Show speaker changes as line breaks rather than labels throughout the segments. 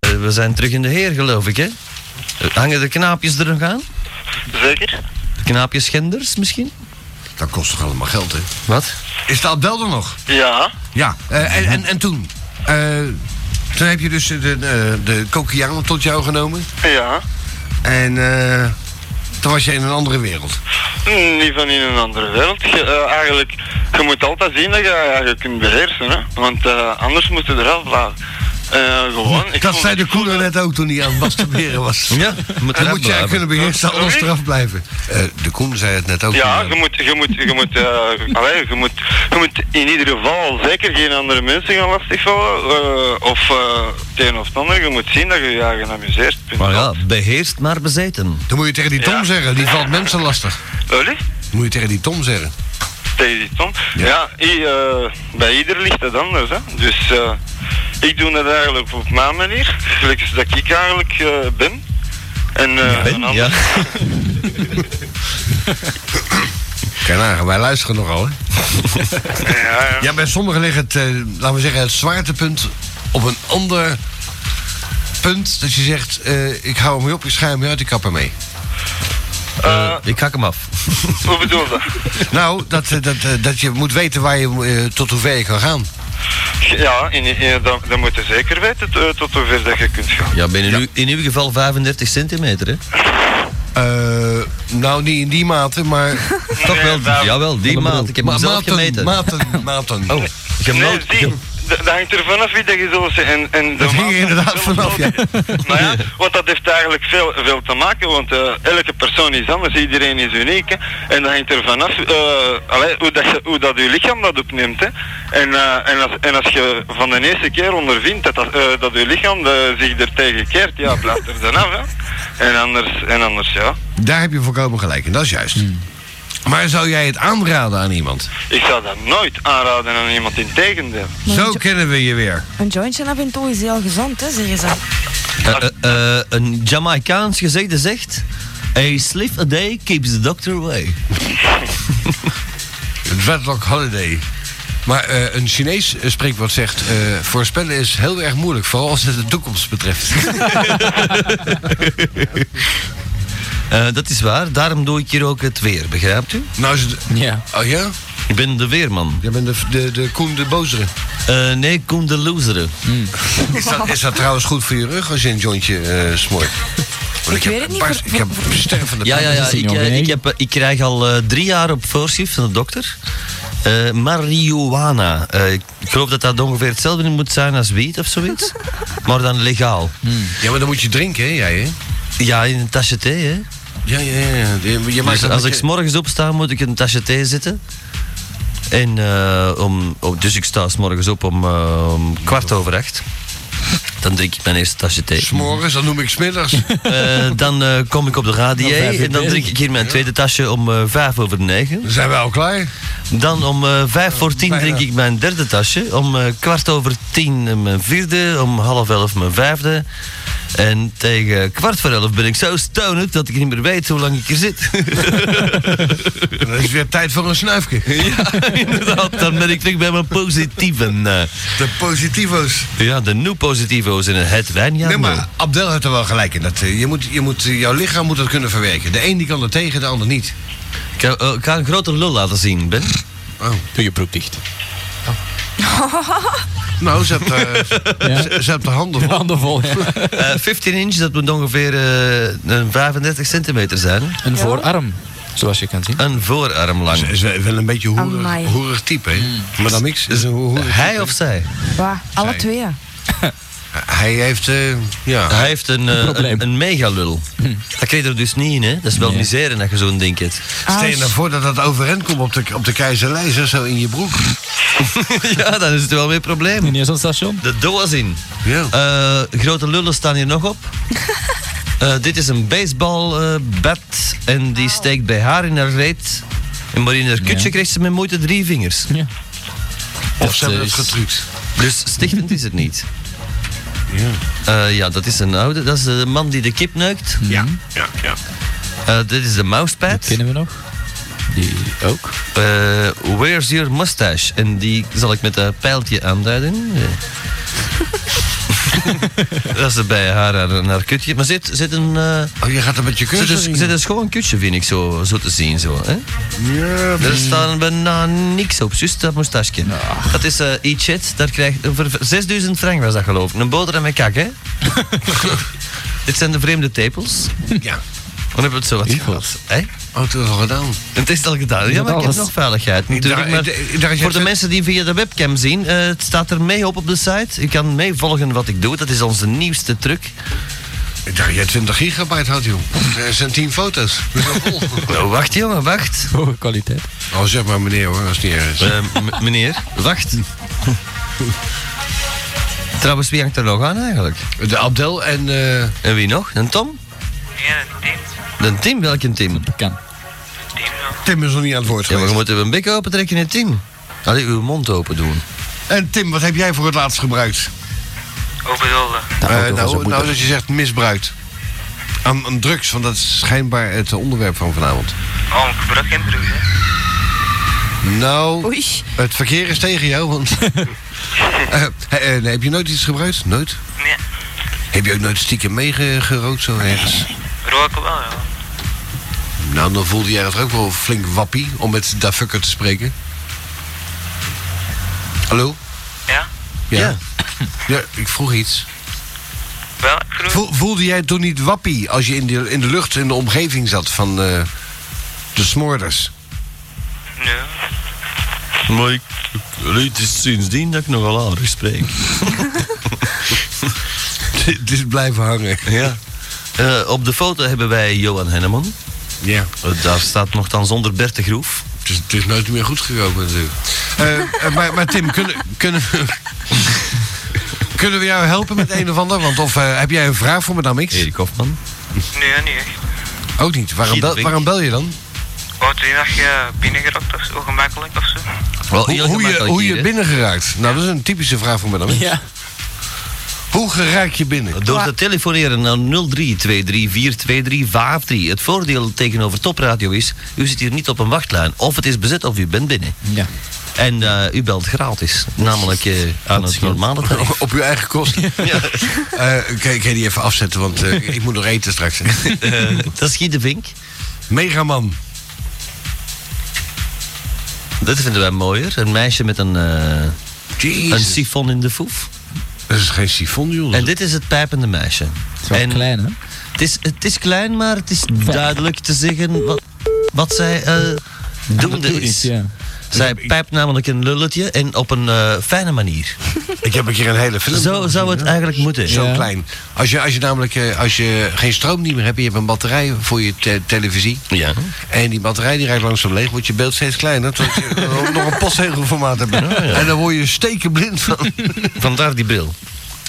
Eh, we zijn terug in de Heer, geloof ik, hè? Eh, Hangen de knaapjes er nog aan?
Zeker?
De knaapjes genders misschien?
Dat kost toch allemaal geld, hè?
Wat?
Is dat bel er nog?
Ja.
Ja. eh, en, en, en toen? Eh, toen heb je dus de, de, de Coquiaan tot jou genomen.
Ja.
En eh, toen was je in een andere wereld.
Niet van in een andere wereld. Je, eh, eigenlijk, je moet altijd zien dat je je eigen kunt beheersen. Hè? Want eh, anders moet je eraf blijven. Eh, gewoon. Ik
dat
vond
zei de
het
koeler net ook toen hij aan het masturberen was.
Ja, moet
Dan
eraf
moet jij
blijven.
kunnen beheersen, alles
Sorry?
eraf blijven. Eh, de Koen zei het net ook.
Ja,
toen,
je
eh,
moet, je moet, je moet, eh, allee, je moet, je moet in ieder geval zeker geen andere mensen gaan lastigvallen. eh, of eh het een of het ander. Je moet zien dat je je eigen amuseert. Punt.
Maar ja, beheerst maar bezeten.
Dan moet je tegen die Tom
Ja.
zeggen, die valt mensen lastig.
Allee,
Dan moet je tegen die Tom zeggen.
tegen die Tom. Ja, i- eh, bij ieder ligt het anders. Hè. Dus eh, ik doe het eigenlijk op mijn manier. Gelijk als dat ik eigenlijk eh, ben. En, eh, een
Ben,
ander-
ja.
Kijk nou, wij luisteren nogal, hè?
ja, ja.
Ja, bij sommigen ligt het, eh, laten we zeggen, het zwaartepunt op een ander punt. Dat je zegt, eh, ik hou hem op, ik schijn hem uit, ik kap ermee.
Eh, ik hak hem af.
Hoe bedoel je dat?
Nou, dat, eh, dat, eh, dat je moet weten waar je, eh, tot hoever je kan gaan.
Ja, in, in, dan, dan moet je zeker weten eh, tot hoever dat je kunt gaan.
Ja, ben in, uw, in uw geval 35 centimeter, hè?
Eh, nou, niet in die mate, maar...
Toch
Nee,
wel,
daar-
jawel, die maat. Ik heb hem
Ma-
zelf gemeten.
Maten, maten.
Oh,
Nee,
gemeld,
die, d- dat hangt er vanaf wie dat je zo zegt. En, en de
Dat hing
maat-
er inderdaad vanaf, ja.
Maar ja, want dat heeft eigenlijk veel, veel te maken, want eh, elke persoon is anders, iedereen is uniek. Hè. En dat hangt er vanaf eh, allee, hoe, dat je, hoe dat je lichaam dat opneemt. Hè. En, eh, en, als, en als je van de eerste keer ondervindt dat, dat, eh, dat je lichaam eh, zich er tegen keert, ja, blijft er dan af. Hè. En, anders, en anders, ja.
Daar heb je voorkomen gelijk in, dat is juist.
Hmm.
Maar zou jij het aanraden aan iemand?
Ik zou dat nooit aanraden aan iemand, in tegendeel.
Maar
Zo
weet je-
kennen we je weer.
Een jointje naar bent toch is heel gezond, hè, zeggen ze.
Eh, eh, eh, een Jamaicaans gezegde zegt... A sleep a day keeps the doctor away.
Het Wedlock Holiday. Maar eh, een Chinees eh, spreekwoord zegt... eh, voorspellen is heel erg moeilijk, vooral als het de toekomst betreft.
Eh, dat is waar, daarom doe ik hier ook het weer, begrijpt u?
nou is het...
Ja.
Oh ja?
Ik ben de weerman.
Jij bent de, de, de Koen de Bozere.
Eh, nee, Koen de loseren.
Is dat, is dat trouwens goed voor je rug als je een jointje eh smoort? Want
Ik
heb
weet het niet,
bars-
voor-
Ik heb stervende
Ja, ja,
pijn.
ja.
is die
Ik,
nog
eh,
beneden?
ik, heb, eh, ik krijg al eh, drie jaar op voorschrift van de dokter. eh, marihuana. Eh, ik geloof dat dat ongeveer hetzelfde moet zijn als wiet of zoiets. maar dan legaal.
Hmm.
Ja, maar dan moet je drinken, hè, jij, hè?
Ja, in een tasje thee, hè.
Ja, ja, ja. Je, je maakt
Dus
dat
als
met
ik
je-
s morgens opsta, moet ik in een tasje thee zitten. En, eh, om, oh, dus ik sta s morgens op om, eh, om kwart over acht. Dan drink ik mijn eerste tasje thee.
S'morgens, dan noem ik smiddags.
Eh, dan eh, kom ik op de radio
vijf uur
en dan drink ik hier mijn tweede tasje om eh, vijf over negen.
Dan zijn we al klaar.
Dan om eh, vijf voor tien
bijna.
drink ik mijn derde tasje. Om eh, kwart over tien eh, mijn vierde. Om half elf mijn vijfde. En tegen kwart voor elf ben ik zo stoned dat ik niet meer weet hoe lang ik hier zit.
En Dan is het weer tijd voor een snuifje.
ja, inderdaad. Dan ben ik terug bij mijn positieven. eh.
De positivo's.
ja, de nu positivo's in het wijnjaar.
Nee, maar Abdel heeft er wel gelijk in. Dat, eh, je moet, je moet, eh, jouw lichaam moet dat kunnen verwerken. De een die kan er tegen, de ander niet.
Ik, ga- eh, ik ga een grote lul laten zien, Ben.
Oh.
Doe je broek dicht.
Nou, ze hebt, eh,
Ja.
ze, ze hebt de handen vol.
Handen vol, ja.
Eh, 15 inch, dat moet ongeveer eh, een 35 centimeter zijn.
Een voorarm, zoals je kan zien.
Een voorarm lang.
Ze is wel wel een beetje
Amai.
hoerig, hoerig type, hè?
Hmm.
Maar dan niks. Is een ho- hoerig
Hij of zij?
Waar? Alle
Zij.
twee.
Hij heeft, eh, ja...
Hij heeft een, eh,
Ah, probleem. Hm.
een, een megalul. Dat kreeg je er dus niet in, hè? Dat is wel misère dat je zo'n ding hebt.
Stel je nou voor dat dat overeind komt op de, op de keizerlijzer, zo in je broek.
ja, dan is het wel weer een probleem.
In zo'n station.
De doos in.
Ja.
Eh, grote lullen staan hier nog op. Eh, dit is een baseballbat bat en die steekt bij haar in haar reet. En maar in haar kutje
Ja.
krijgt ze met moeite drie vingers.
Ja.
Of ze hebben
is-
het getrukt.
Dus stichtend is het niet.
Ja.
Eh, ja, dat is een oude. Dat is de man die de kip neukt.
Ja, ja, ja.
Eh, dit is de mousepad.
Kennen we nog? Die ook.
Eh, where's your mustache? En die zal ik met een pijltje aanduiden. Eh. Dat is er bij haar, haar, haar kutje. Maar zit, zit een... eh,
Oh, je gaat er met je
zit,
cursus
een, zit een schoon kutje, vind ik, zo, zo te zien. Zo, hè?
Ja,
Er staat bijna niks op, juist dat moustache. Dat is eh e-chat, daar krijgt... Voor 6000 frank was dat geloof ik. Een boterham met kak, hè? Dit zijn de vreemde tepels.
ja.
Dan hebben we het zo wat gehad. hè?
Oh, het is al gedaan.
Het is al gedaan. Ah, Ja, maar ik heb nog veiligheid. Natuurlijk.
Daar-
Maar
ik- daar is
voor de
het-
mensen die via de webcam zien, eh, het staat er mee op op de site. Je kan meevolgen wat ik doe. Dat is onze nieuwste truc.
Ik dacht, jij 20 gigabyte houdt, joh. Er eh, zijn 10 foto's. Dat is wel vol.
Nou, wacht jongen, wacht.
Hoge kwaliteit.
Oh, zeg maar meneer hoor, als het niet erg is.
Eh, m- meneer, wacht. Trouwens, wie hangt er nog aan eigenlijk?
De Abdel en... eh,
En wie nog? Een Tom?
Ja, dat neemt.
Een Tim? Welke Tim?
Kan.
Tim is nog niet aan het woord
Ja, maar
geweest.
we moeten een bek open trekken in Tim. Allee, uw mond open doen.
En Tim, wat heb jij voor het laatst gebruikt?
Hoe bedoel je?
Eh, nou, nou, dat je zegt misbruikt. Aan, aan drugs, want dat is schijnbaar het onderwerp van vanavond.
Oh, ik gebruik geen drugs, hè.
Nou,
Oei.
het verkeer is tegen jou, want... Eh, eh, eh, nee, heb je nooit iets gebruikt? Nooit?
Nee,
Heb je ook nooit stiekem meegerookt zo ergens?
roken wel, ja.
Nou, dan voelde jij dat ook wel flink wappie, om met Da Fucker te spreken. Hallo?
Ja?
Ja.
Ja, ik vroeg iets.
Wel, ik vroeg...
Vo- voelde jij toen niet wappie als je in de, in de lucht in de omgeving zat van eh, de smoorders?
Nee.
Maar ik, het is sindsdien dat ik nogal aardig spreek.
Het is blijven hangen.
Ja. Eh, op de foto hebben wij Johan Henneman.
Ja.
Eh, Daar staat nogthans onder Bert de Groef.
Het is, het is nooit meer goed gekomen natuurlijk. Eh, eh, maar, maar Tim, kunnen, kunnen, we- kunnen we jou helpen met een of ander? Want of eh, heb jij een vraag voor madame X?
Erik Hofman.
Nee, niet echt.
Ook niet. Waarom,
Guido
bel,
Vink.
waarom bel je dan?
Oh, toen dacht je binnengerokt of zo, gemakkelijk of zo.
Wel,
Hoe,
heel
hoe je,
gemakkelijk
hoe
hier,
je
hè.
binnen geraakt. Nou, dat is een typische vraag voor madame X.
Ja.
Hoe geraak je binnen?
Door te telefoneren naar 0323423353. Het voordeel tegenover topradio is, u zit hier niet op een wachtlijn. Of het is bezet of u bent binnen.
Ja.
En eh, u belt gratis. Namelijk eh, aan het
scheelt.
normale tarief.
Op uw eigen kosten. Eh, kan, je- kan je die even afzetten, want eh, ik moet nog eten straks.
Eh, dat is Guy de Vink.
Megaman.
Dat vinden wij mooier. Een meisje met een, eh, een
Jezus.
sifon in de foef.
Dat is geen sifon, joh.
En dit is het pijpende meisje.
Het is wel
En-
klein, hè?
Het is, het is klein, maar het is duidelijk te zeggen wat, wat zij eh doende is.
Ja.
Zij pijpt namelijk een lulletje en op een eh, fijne manier.
Ik heb een keer een hele film.
Zo zou het eigenlijk moeten.
Zo
Ja.
klein. Als je, als je namelijk eh, als je geen stroom niet meer hebt, je hebt een batterij voor je te- televisie.
Ja.
En die batterij die rijdt langzaam leeg, wordt je beeld steeds kleiner. Tot je nog- nog een postzegelformaat hebt. En dan word je stekenblind van.
Oh, Vandaar die bril.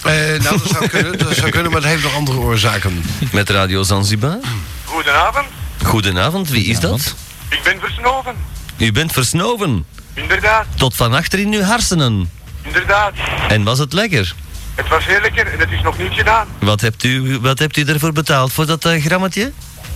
Eh, nou, dat zou, kunnen, dat zou kunnen, maar het heeft nog andere oorzaken.
Met Radio Zanzibar.
Goedenavond,
Goedenavond, wie is dat?
Goedenavond.
ik ben Versnoven.
U bent versnoven.
Inderdaad,
Tot van achter in uw hersenen.
inderdaad.
En was het lekker?
Het was heel lekker en het is nog niet gedaan.
Wat hebt u, wat hebt u ervoor betaald voor dat eh, grammetje?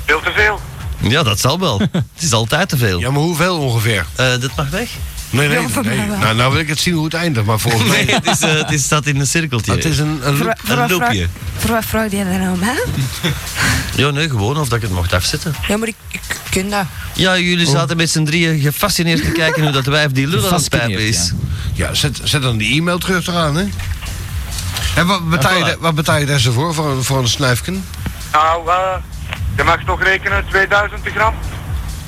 Veel te veel.
Ja, dat zal wel. het is altijd te veel.
Ja, maar hoeveel ongeveer?
Eh, dat mag weg.
Nee, nee,
Ja, voor
nee.
mij wel.
Nou, nou wil ik het zien hoe het eindigt, maar volgens mij...
Nee, het, is, eh, het is, staat in een cirkeltje.
Het is een, een
Voor,
loop.
voor,
een
wat vraag-
loopje.
voor wat vraag je dat nou mij?
Ja, nee, gewoon of dat ik het mocht afzetten.
Ja, maar ik, ik ken dat.
Ja, jullie
Oh.
zaten met z'n drieën gefascineerd te kijken hoe dat wijf die lul aan het pijpen
Gefascineerd,
is.
Ja, zet, zet dan die e-mail terug eraan, hè. En wat betaal, je,
Ja, voilà.
daar- wat betaal je daar zo voor, voor, een- voor een snuifken?
Nou, eh, je mag toch rekenen 2000 gram.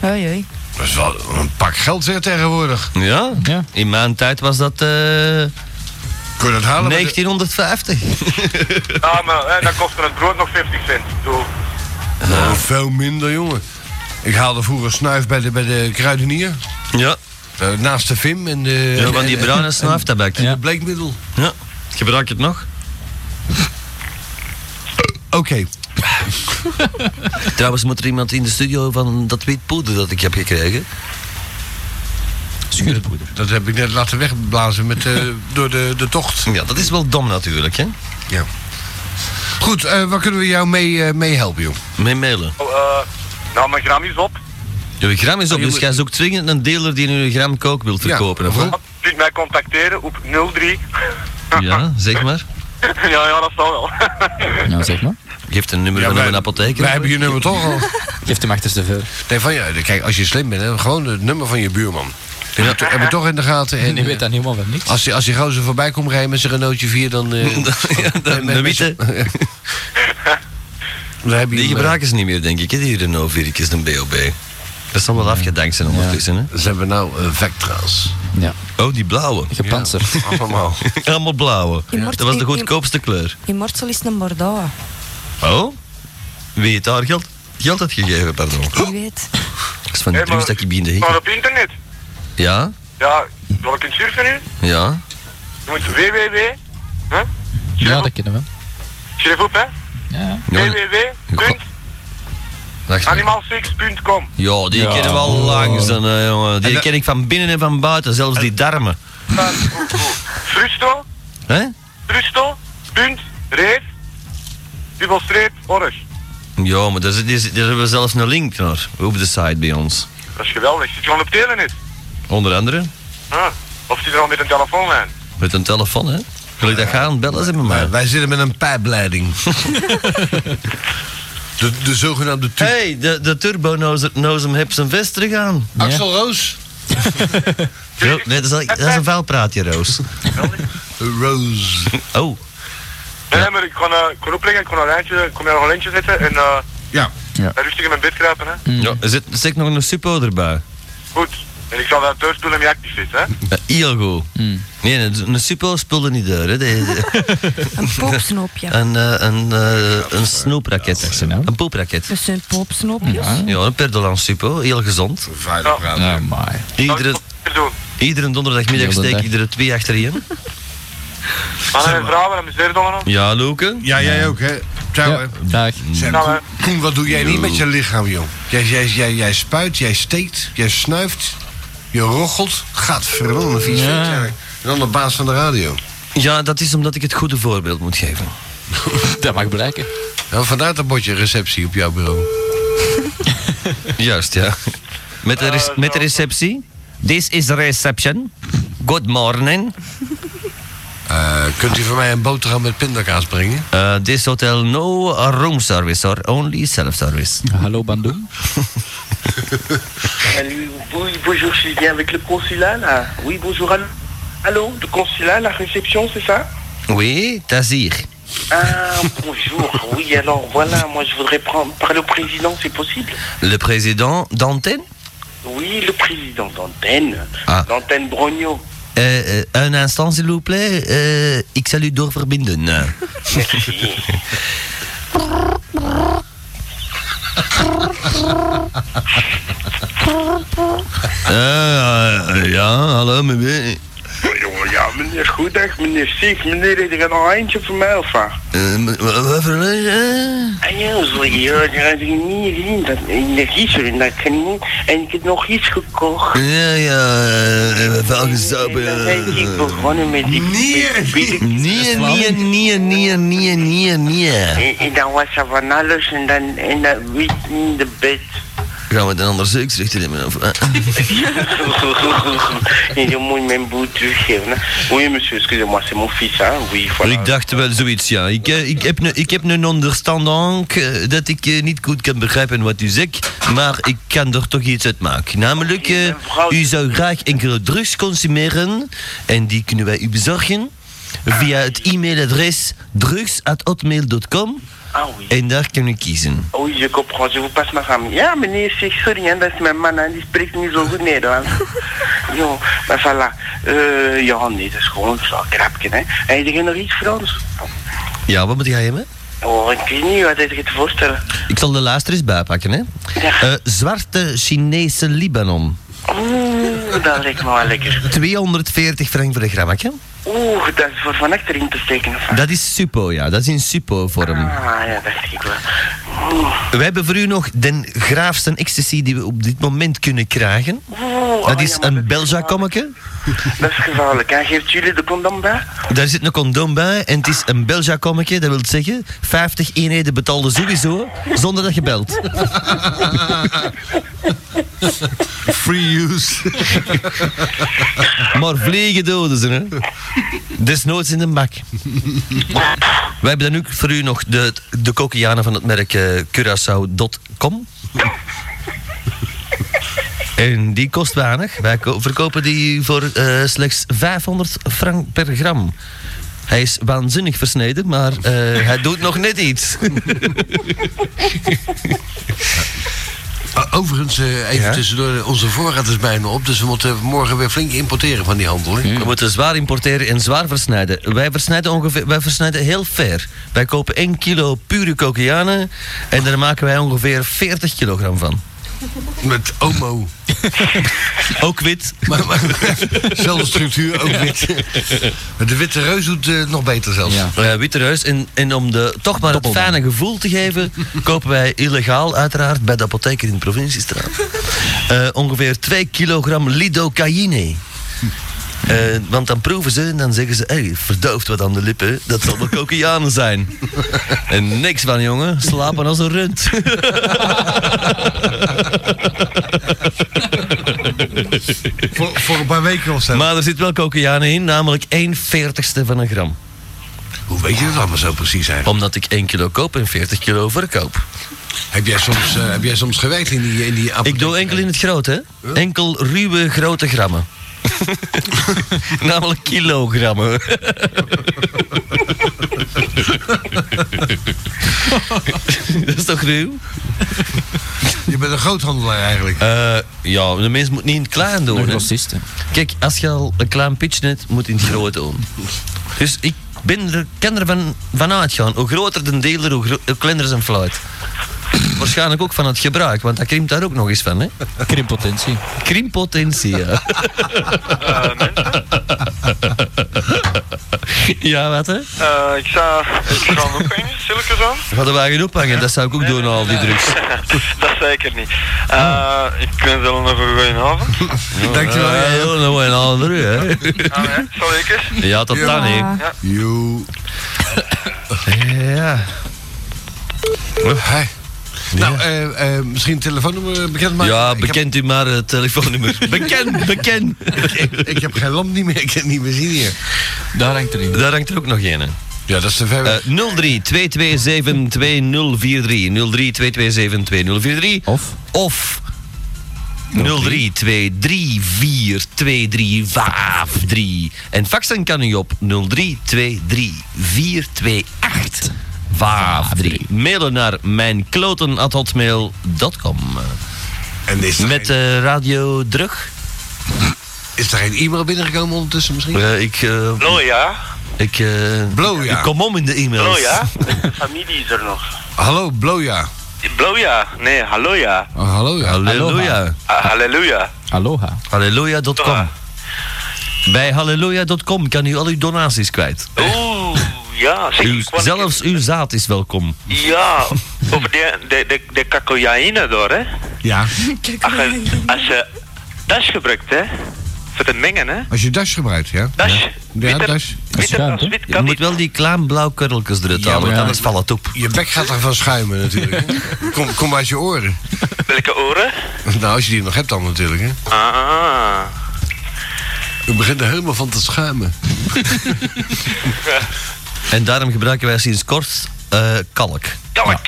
Oei, oei.
Dat is wel een pak geld, zeg, tegenwoordig.
Ja?
Ja.
In mijn tijd was dat eh,
Kun je dat halen? met de-
1950.
Ja, maar eh, dan kostte het brood nog 50 cent. Doe.
Nou, veel minder, jongen. Ik haalde vroeger snuif bij de, bij de kruidenier.
Ja.
eh, naast de Vim en de...
ja,
en-
van die
en-
bruine snuiftabak.
en
Ja.
de bleekmiddel.
Gebruik je het nog?
Oké.
Trouwens moet er iemand in de studio van dat wit poeder dat ik heb gekregen.
Schuurpoeder.
Dat heb ik net laten wegblazen met, eh, door de, de tocht.
Ja, dat is wel dom natuurlijk, hè?
Ja. Goed, eh waar kunnen we jou mee, eh, mee helpen, joh?
Mee mailen.
Oh, eh, nou, mijn gram is op.
Uw gram is op, dus jij zoekt dringend een dealer die nu een gram kook wilt
Ah, Ja,
verkopen, of wat?
Je kunt mij contacteren op 03.
Ja, zeg maar.
ja, ja, dat zal wel.
Nou, zeg maar.
Geef een nummer van
wij-
een apotheker.
Wij hebben je nummer toch al.
Geef hem achter de ver.
Nee, van je, kijk, als je slim bent, hè, gewoon het nummer van je buurman. Die hebben we to- hebben we toch in de gaten. En,
En je Ah. weet
eh,
daar helemaal van niks.
als die, als die gozer voorbij komt rijden met zijn Renaultje 4, dan... eh,
Ja, dan- dan weten.
dan heb je
Die
hem, eh,
gebruiken ze niet meer, denk ik, hè, die Renault Virkes, een BOB. Dat zal wel afgedankt zijn ondertussen,
Ze hebben nou eh, Vectra's.
Ja.
hè? Oh, die blauwe.
Gepantserd.
Allemaal.
Allemaal blauwe.
Die
Dat
wordt-
was de
die- die-
goedkoopste kleur.
Die mortsel is een Bordeaux.
Oh? Wie heeft daar geld, geld had gegeven, pardon?
Wie weet.
Dat is van die
Hey,
drugs
maar-
dat je begint te hikken.
Maar op internet?
Ja?
Ja, wil ik het surfen nu?
Ja?
Je moet www. Huh?
Ja, dat kennen we.
Schrijf op, hè?
Ja.
Ja, wacht.
www.animalsex.com.
Ja, Oh, die kennen we al langs, dan, eh, jongen. Die ken ik van binnen en van buiten, zelfs die darmen.
Frusto,
Hè?
frusto, punt, reef, dubbelstreep, orange.
Ja, maar daar, zit- daar zit- daar hebben we zelfs een link naar, op de site bij ons.
Dat is geweldig. Zit je gewoon op telenet?
Onder andere,
Huh? Of zit je al met een telefoonlijn?
met een telefoon, hè? Wil ik dat gaan? Bellen ze met mij.
Maar wij zitten met een pijpleiding. de, de zogenaamde tu-
hey, de, de turbo nozem heeft zijn vest terug aan.
Axel Roos.
Jo, nee, dat is, al- dat is een vuilpraatje, Roos.
Roos.
Oh,
Nee, maar ik kon, eh, ik kon opleggen, ik kon een lijntje, ik kon mij nog een lijntje zetten en eh,
Ja.
rustig in mijn bed kruipen. Hè.
Mm. ja, er zit, er zit nog een suppo erbij.
Goed. En ik zal dat doorspelen met actief is, hè.
Eh, Heel goed. Nee, een, een suppo speelde niet door, hè? Die-
Een poopsnoopje.
een, eh, een, eh, een snoepraket.
nou?
Een poepraket.
Dat zijn poopsnoopjes.
Ja, een perdolan suppo, heel gezond.
Veilig praten.
Dus- Ja, maar.
Zal ik
Iedere,
het weer doen.
iedere donderdagmiddag
Heel de
steek
dag.
ik er twee achterin.
Mannen en vrouwen, en misdeerdingen. en
Ja, Loken?
Ja, jij ook, hè? Zou,
Ja, dag.
Zeg,
Nou,
Koen- Koen, wat doe jij niet met je lichaam, joh? Jij, jij, jij, jij spuit, jij steekt, jij snuift, je rochelt. Gaat verdomme vies.
Ja.
vent, ja. En dan de baas van de radio.
Ja, dat is omdat ik het goede voorbeeld moet geven.
Dat mag blijken.
Nou, vandaar dat bordje receptie op jouw bureau.
Juist, ja. Met de, rec-
Eh,
met de
nou.
zo.
receptie. This is the reception. Good morning.
Eh, kunt u voor mij een boterham met pindakaas brengen?
Uh, this hotel no room service or only self-service.
Hallo Bandung.
Salut, oui, bonjour, je suis bien avec le consulat là. Oui, bonjour. Allô, allô le consulat, la réception, c'est ça
Oui, dat is hier.
Ah, bonjour. Oui, alors voilà, moi je voudrais prendre, parler au président, c'est possible
Le président d'antenne?
Oui, le président d'antenne.
Ah.
D'antenne Brogno.
Eh, eh, een instant, s'il vous plaît. Eh, ik zal u doorverbinden. Eh.
Merci.
Eh, ja, hallo, meneer.
Ja, ja, meneer Goedag, meneer Sief, meneer, is er nog eentje voor mij of wat?
Eh, m- w- wat voor een- eh?
Ah ja, zo ja, dat ik niet gezien. Dat, dat is er, dat kan niet. En ik heb nog iets gekocht.
Ja, ja, eh, welke sap,
En dan ben ik
eh.
begonnen met die...
Nee!
Nee, nee, nee, nee, nee, nee, nee.
En, en dan was er van alles en dan, en dan wiet in de bed.
Gaan we dan anders zeuksrichter nemen? Of, eh?
en dan moet je mijn boel teruggeven. Hè. Oui, monsieur, excusez-moi, c'est mon fils, hein. Oui, voilà.
Ik dacht wel zoiets, ja. Ik, eh, ik, heb, een- ik heb een onderstanding eh, dat ik eh, niet goed kan begrijpen wat u zegt, maar ik kan er toch iets uit maken. Namelijk, eh, u zou graag enkele drugs consumeren en die kunnen wij u bezorgen via het e-mailadres drugs.hotmail.com
Ah oui.
en daar kan u kiezen.
Oui, je comprends, je vous passe ma femme. Ja, meneer, c'est sorry, hein, dat is mijn man, hein, die spreekt niet zo goed Nederlands. jo, maar voilà. Eh, ja, nee, dat is gewoon zo'n krapje, hè. En je nog iets Frans?
Ja, wat moet jij hebben?
Oh, ik weet niet, wat is je te voorstellen?
Ik zal de laatste eens bijpakken, hè.
Ja.
Eh, zwarte Chinese Libanon.
Oeh, dat lijkt me wel lekker.
240 frank voor een grammakje.
Oeh, dat is voor van achter in te steken. of wat?
Dat is suppo, ja. Dat is in suppo-vorm.
Ah, ja, dat zie ik wel. Oeh,
We hebben voor u nog de graafste ecstasy die we op dit moment kunnen krijgen.
oeh,
Dat
oh,
is
ja, maar
een
dat
belja kommetje
Dat is gevaarlijk. En geeft jullie de condoom bij?
Daar zit een condoom bij en het is een Belgia-kommetje. Dat wil zeggen, 50 eenheden betaalde sowieso, zonder dat je belt.
Free use.
Maar vliegen doden ze, hè. Desnoods in de bak. Wij hebben dan ook voor u nog de, de kokianen van het merk eh, Curaçao.com. En die kost weinig. Wij ko- verkopen die voor eh, slechts 500 frank per gram. Hij is waanzinnig versneden, maar eh, hij doet nog net iets.
O- Overigens, eh, even
Ja?
tussendoor, onze voorraad is bijna op, dus we moeten morgen weer flink importeren van die handel. hè?
We moeten zwaar importeren en zwaar versnijden. Wij versnijden, ongeveer, wij versnijden heel fair. Wij kopen 1 kilo pure kokianen en daar maken wij ongeveer 40 kilogram van.
Met Omo.
Ook wit.
Maar, maar, zelfde structuur, ook wit. Maar de witte reus doet eh, nog beter zelfs.
Ja.
Eh, witte reus. En, en om de, toch maar het
Doppelgang.
fijne gevoel te geven, kopen wij illegaal uiteraard bij de apotheker in de provinciestraat. eh, ongeveer 2 kilogram lidocaïne. Eh, want dan proeven ze en dan zeggen ze, hey, verdoofd wat aan de lippen, dat zal wel kokianen zijn. en niks van jongen, slapen als een rund.
Voor, voor een paar weken of zo.
maar er zit wel kokianen in, namelijk 1 veertigste van een gram.
Hoe weet je dat allemaal zo precies eigenlijk?
Omdat ik 1 kilo koop en 40 kilo verkoop.
Heb jij soms, eh, heb jij soms gewerkt in die, in die apotheek?
Ik doe enkel in het groot, hè? Enkel ruwe grote grammen. Namelijk kilogrammen. Dat is toch ruw?
Je bent een groothandelaar eigenlijk.
Eh, ja, de mens moet niet in het klein doen.
Een
hè.
grossist, hè.
Kijk, als je al een klein pitje hebt, moet je in het groot doen. Dus ik ben er, kan er van, van uitgaan. Hoe groter de dealer, hoe, gro- hoe kleiner zijn fluit. Waarschijnlijk ook van het gebruik, want dat krimpt daar ook nog eens van, hè?
Krimpotentie.
Krimpotentie, ja.
Eh, mensen,
Ja, wat hè?
eh, ik zou... Ik zou hem ook een zulke zo.
Hadden wij geen ophangen, dat zou ik ook doen, al die drugs.
dat zeker niet. Eh, Ik wens jullie nog een goeie avond.
Dankjewel.
Ja,
ja.
joh, dat wordt een andere, hè?
Ah, ja, zal ik eens?
Ja, tot dan, hè.
Ja.
Joe.
Ja.
Oh, Hi. Nou, eh, eh, misschien een telefoonnummer bekendmaken?
Ja,
Ik heb-
bekend u maar het telefoonnummer. Bekend, bekend.
Ik, ik heb geen lamp niet meer, ik kan het niet meer zien hier.
Daar hangt er in.
Daar hangt er ook nog een, hè.
Ja, dat is te ver weg.
Eh, 03 227 2043. 03 227 2043.
Of?
Of 03 234 2353. En faxen kan u op 03 234 283. Mailen naar mijnkloten.hotmail.com.
en is er,
Met
geen,
eh, radio druk?
is er geen e-mail binnengekomen ondertussen misschien?
Eh, ik, eh,
Hallo, ja.
ik, eh,
Blowja.
ik kom om in de e-mails.
Hallo, ja.
Oh Familie is er nog.
Hallo, Bloja.
Bloja. Nee, hallo, ja.
Oh, hallo, ja.
Halleluja.
Ah, halleluja.
Aloha.
Halleluja.com. Bij halleluja.com kan u al uw donaties kwijt.
Oeh, ja. Zeg,
Uw,
ik wou-
zelfs uw zaad is welkom.
Ja, over de, de, de, de cacoïaïne door, hè.
Ja.
Als je, als
eh,
je das gebruikt, hè. Voor het mengen, hè.
Als je das gebruikt, ja?
Das.
Ja,
witte-
das.
Witte
Schuim,
das,
toch?
wit
Je
kan
moet
niet.
wel die klein blauw kurreltjes eruit
Ja,
halen, want
maar-
anders valt het op.
Je bek gaat ervan schuimen natuurlijk. hè. Kom, kom uit je oren.
Welke oren?
Nou, als je die nog hebt dan natuurlijk, hè.
Ah.
Je begint er helemaal van te schuimen.
En daarom gebruiken wij sinds kort eh, kalk.
Kalk.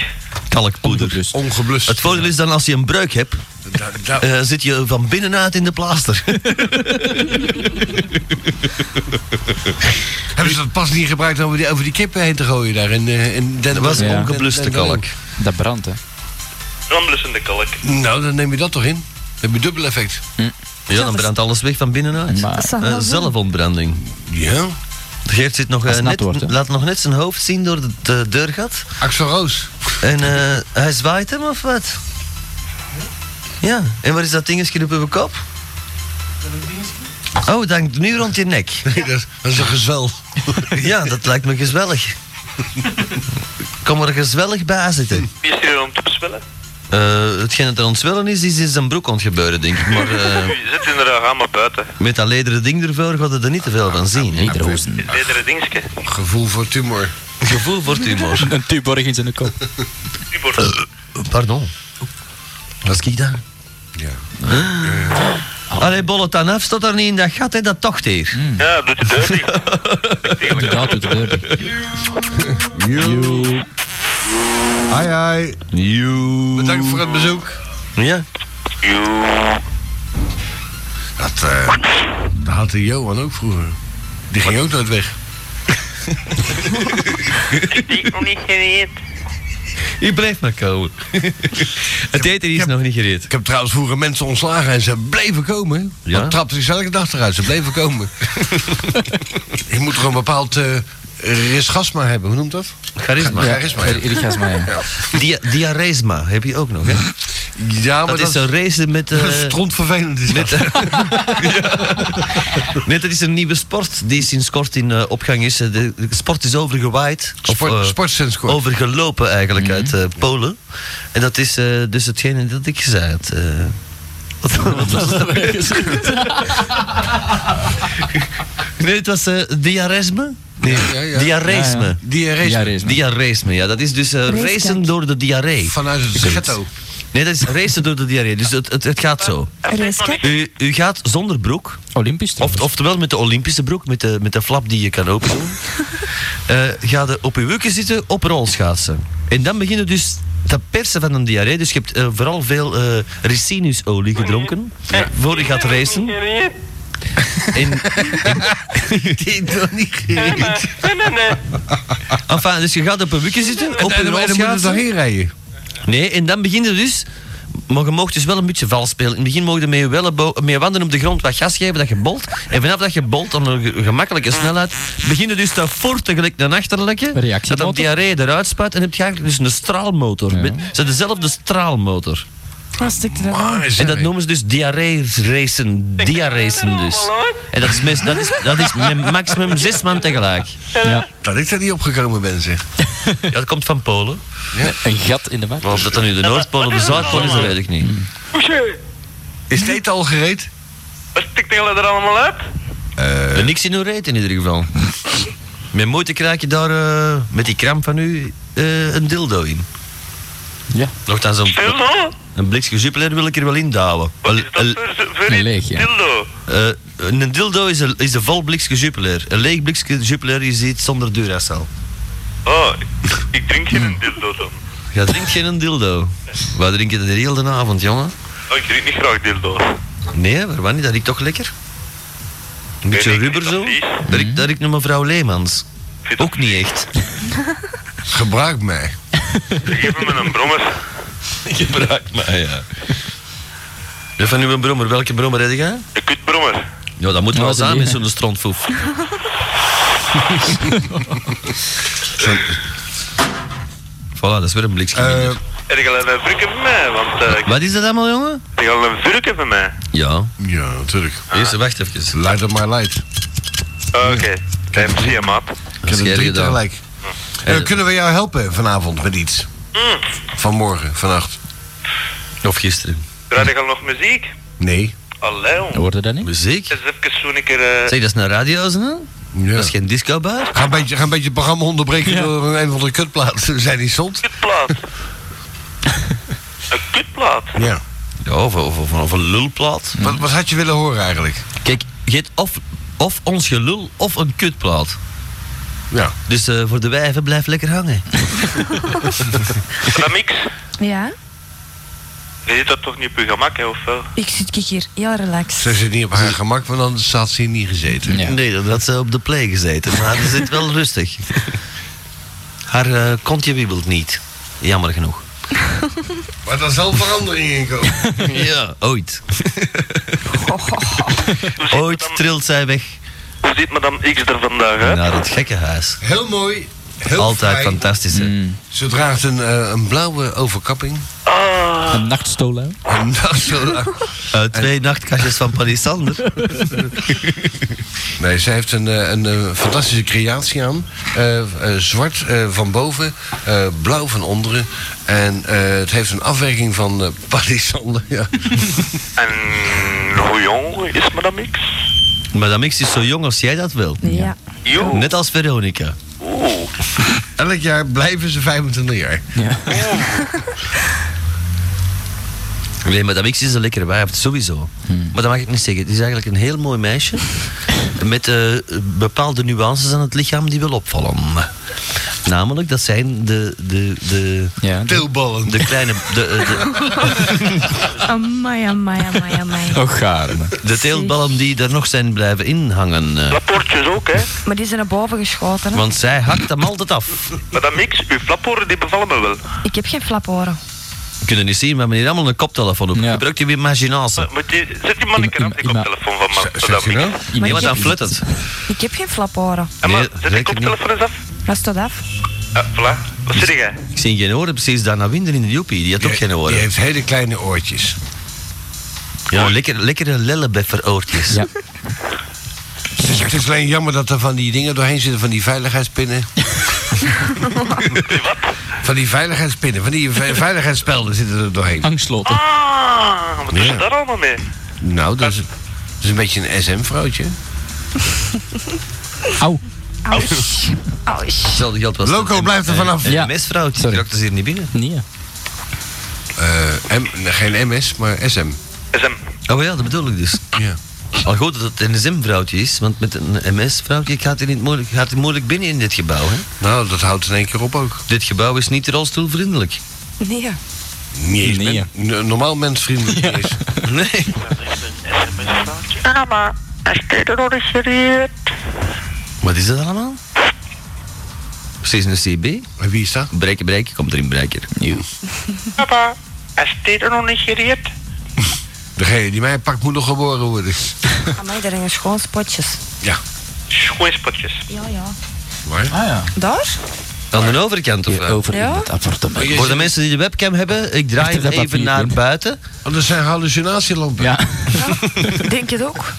Kalkpoeder. dus.
Onbewust.
Ongeblust.
Het voordeel is dan als je een breuk hebt,
Da- da-
eh, zit je van binnenuit in de plaaster.
hebben ze dat pas niet gebruikt om over die, over die kippen heen te gooien daar in, eh, in Den
Dat was
Ja.
ongebluste
Den- Den-
kalk.
Dat brandt, hè.
Ramblessende kalk.
Nou, dan neem je dat toch in. Dan heb je dubbel effect.
Ja, dan brandt alles weg van binnenuit.
Maar-
Dat zou wel
Eh,
zijn.
zelfontbranding.
Ja.
Geert zit nog, eh,
Als het nat
net,
wordt, hè.
laat nog net zijn hoofd zien door de, de deurgat.
Axel Roos.
En eh, hij zwaait hem of wat? Ja, en waar is dat dingetje op uw kop? Oh, dat hangt nu rond je nek.
Nee, dat, is- dat is een gezwel.
Ja, dat lijkt me gezwellig. Kom er gezwellig bij zitten.
Wie is hier om te bespellen?
Eh, hetgeen dat er aan het zwellen is, is in zijn broek aan het gebeuren, denk ik. Maar eh,
Je zit inderdaad allemaal buiten.
met dat lederen ding ervoor gaat het er niet te veel van zien. Hè?
Lederhozen.
Lederen dingetje.
Gevoel voor tumor.
Gevoel voor tumor. Eh,
Een tuborg in zijn kop.
Pardon. Was ik daar? Eh.
Ja.
Allee, bollet aan af, staat er niet in dat gat, hè, dat tocht hier.
Ja, doet de deur dicht.
Hmm. Inderdaad, doet het deur.
Hai, hai. Bedankt voor het bezoek.
Ja.
Dat, eh, dat had de Johan ook vroeger. Die ging ook nooit weg.
Ik nog niet geweest.
Je blijft maar komen. het eten is nog niet gereed.
Ik heb trouwens vroeger mensen ontslagen en ze bleven komen.
Ja?
Ja? Dan trapte ik elke dag eruit. Ze bleven komen. je moet toch een bepaald eh risgasma hebben. Hoe noemt dat?
Charisma.
Charisma. Ja,
Irgasma, ja.
Dia diaresma heb je ook nog, hè?
ja maar
dat, is een race met... eh,
strontvervelend is dat.
nee, dat is een nieuwe sport die sinds kort in eh, opgang is. Eh, De, de sport is overgewaaid. of,
Sport, Mhm.
eh,
sportsenskort.
overgelopen eigenlijk uit eh, Polen. En dat is eh, dus hetgene dat ik zei. had, eh. wat, wat was dat? nee, het was eh, diaresme. Nee,
Ja, ja.
diaresme.
Ja,
Diarree.
Diarreesma.
Diaresme, ja, dat is dus eh,
Racekijk.
racen door de diarree.
Vanuit het ghetto.
Nee, dat is racen door de diarree. Dus het, het, het gaat zo.
Reiskak.
U, u gaat zonder broek,
Olympisch.
of,
trouwens.
oftewel met de Olympische broek, met de, met de flap die je kan open doen. Eh, ga je op je wukken zitten, op rolschaatsen. En dan beginnen dus te persen van een diarree. Dus je hebt eh, vooral veel eh ricinusolie gedronken. Voor je gaat racen. En, die nog niet Enfin, dus je gaat op een wukje zitten, op
En dan-
een
en dan moeten ze
rolschaatsen.
daarheen rijden.
Nee, en dan begin je dus... Maar je mocht dus wel een beetje vals spelen. In het begin mocht je met je, wellebo- met je wanden op de grond wat gas geven dat je bolt. En vanaf dat je bolt aan een ge- gemakkelijke snelheid, begin je dus te forten gelijk een achterlijke. Dat
Reactiemotor.
dat diarree eruit spuit. En dan heb je eigenlijk dus een straalmotor.
Ja.
Met, ze dezelfde straalmotor.
Wat stikt er dan aan?
Maar,
En dat
zeg.
noemen ze dus diarree-racen. Diarracen dus. En dat is, mis- dat is, dat is met maximum zes man tegelijk.
Ja.
Dat ik daar niet opgekomen ben, zeg.
Ja, dat komt van Polen.
Een gat in de maag.
Maar of dat dan nu de Noordpool of de Zuidpool is, dat weet ik niet.
Is het eten al gereed?
Wat stikt jullie er allemaal uit?
Eh, niks in uw reet in ieder geval. Met moeite krijg je daar eh, met die kramp van u eh, een dildo in.
Ja.
Nochtans, een,
Dildo?
een blikje jupiler wil ik er wel in douwen.
Wat
Wel,
is dat
eh,
voor, voor
Een
iets?
leeg, ja.
Dildo.
eh, een dildo is een, is een vol blikje jupiler. Een leeg blikje jupiler is iets zonder duracel.
Oh, ik- ik drink geen dildo dan.
Je drinkt Hmm. geen dildo. Wij drinken dat de hele avond, jongen.
Oh, ik drink niet graag dildo's.
Nee, waarom niet? Dat ik toch lekker. Een beetje
Nee, ik
rubber
vind
zo.
dat vies.
Dat ik, dat ik naar mevrouw Leemans.
Ik vind dat-
Ook niet echt.
Gebruik mij.
Geef me een brommer.
Gebruik mij, ja. Van uw brommer, welke brommer heb je?
Een kutbrommer.
Ja, dat moet wel
dat
zijn
die,
met
hè.
zo'n strontfoef. voilà, dat is weer een blikje
Eh,
minder.
Er gaat een vurken van mij, want eh,
Wat is dat allemaal, jongen?
er gaat een vurken van mij.
Ja.
ja, natuurlijk.
Eerst, wacht even.
Light up my light.
Oké, blijf zie je, maat.
Ik heb
Dat is
er
jij
drie
gedaan.
tegelijk. Eh,
Eh,
kunnen we jou helpen vanavond met iets? Vanmorgen, vannacht?
Of gisteren.
Draai je al nog muziek?
Nee.
Allee, jong.
Hoorde dat niet?
Muziek?
Eens even zo'n keer... eh,
Zeg, dat is een radio, hè? Dat is
Ja.
geen discobar.
Ga, een beetje, ga een beetje het programma onderbreken door een, een van de kutplaats. We zijn niet zond.
kutplaat. een kutplaat?
Ja.
Ja, of, of, of, of een lulplaat.
Wat, wat had je willen horen eigenlijk?
Kijk, je hebt of, of ons gelul of een kutplaat.
Ja.
Dus eh, voor de wijven blijf lekker hangen.
Een mix?
Ja,
Je zit dat toch niet op je gemak, hè, of wel?
ik zit kijk hier heel relaxed.
Ze zit niet op haar gemak, want anders had ze hier niet gezeten.
Ja.
Nee, dan had ze op de play gezeten. Maar ze zit wel rustig. Haar eh, kontje wiebelt niet. Jammer genoeg.
Maar daar zal verandering in komen.
Ja, ooit.
Hoe ziet
Ooit
madame-
trilt zij weg
Hoe ziet madame X er vandaag uit?
naar het gekkenhuis.
Heel mooi. Heel
Altijd
fijn.
fantastisch. hè?
Mm.
Ze draagt een, eh, een blauwe overkapping.
Ah,
Een nachtstola.
Nou, zo-
Eh, twee nachtkastjes van Paddy Sander.
nee, zij heeft een, eh, een eh, fantastische creatie aan. Eh, eh, zwart eh, van boven, eh, blauw van onderen. En eh, het heeft een afwerking van eh palisander. Ja.
En hoe jong is Madame X?
Madame X is zo jong als jij dat wil.
Ja.
Jo.
Net als Veronica.
Oeh.
Elk jaar blijven ze 25 jaar.
Ja.
Nee, Madame X is een lekkere wijf, sowieso.
Hmm.
Maar dat mag ik niet zeggen. Het is eigenlijk een heel mooi meisje. Met eh, bepaalde nuances aan het lichaam die wel opvallen. Namelijk, dat zijn de, de, de,
ja.
Tilballen.
de kleine... De, eh, de,
Amai, amai, amai, amai.
Oh, gaarne.
De teelballen die er nog zijn blijven inhangen. eh,
Flappoortjes ook, hè?
Maar die zijn naar boven geschoten. Hè?
want zij hakt hem altijd af.
Madame X, uw flapporen die bevallen me wel.
Ik heb geen flaporen.
We kunnen niet zien, maar meneer allemaal een koptelefoon op.
Ja.
Gebruikt u weer marginaise.
Moet je, zet die man een keer
Ima-
af, die
ima-
koptelefoon van ma-
Zeg je
Madame X.
nou?
Nee, want
ik,
dan
heb,
flut het.
ik heb geen flaporen.
Emma,
Nee,
zet die
zeker niet.
koptelefoon eens af.
Dat staat af.
Ah, voilà. Wat zeg jij?
Ik zie geen oren, precies daarna winder in de joepie. Die had ook geen
Die
oren.
heeft hele kleine oortjes.
Ja, lekker, lekkere lellebefferoortjes.
Ja.
Het is, het is alleen jammer dat er van die dingen doorheen zitten, van die veiligheidspinnen. van die veiligheidspinnen, van die ve- veiligheidsspelden zitten er doorheen.
Angstsloten.
Ah, wat is
Ja.
er daar allemaal mee?
Nou, dat is, dat is een beetje een SM-vrouwtje.
Au.
Ausch. Ausch.
Hetzelfde geld was
Loco blijft er vanaf.
Ja.
Ja.
Mesvrouwtje, die
Sorry.
raakte ze hier niet binnen.
Nee.
Eh, M- nee, geen MS, maar SM.
SM.
Oh ja, dat bedoel ik dus.
Ja.
Al goed dat het een NSM-vrouwtje is, want met een MS-vrouwtje gaat hij niet moeilijk, gaat hij moeilijk binnen in dit gebouw. Hè?
Nou, dat houdt in één keer op ook.
Dit gebouw is niet rolstoelvriendelijk.
Nee.
Niet eens
Nee,
men- n- normaal mensvriendelijk niet eens.
Nee.
Mama, als dit er nog eens serieus.
Wat is dat allemaal? Precies een CB.
Maar wie is dat?
Breker, breker, komt erin, breker. Nieuw.
Papa, als dit er nog niet serieus.
Degene die mij pakt moet nog geboren worden.
Amai, daar hangen schoon spotjes.
Ja.
Schoonspotjes.
Ja, ja.
Maar?
Ah ja.
Daar?
Aan de overkant of wel?
Over in
Ja?
het appartement.
Voor de mensen die de webcam hebben, ik draai
Achter dat
hem even
papier,
naar
Pim.
buiten.
Oh, dat zijn hallucinatielampen.
Ja.
Denk het ook.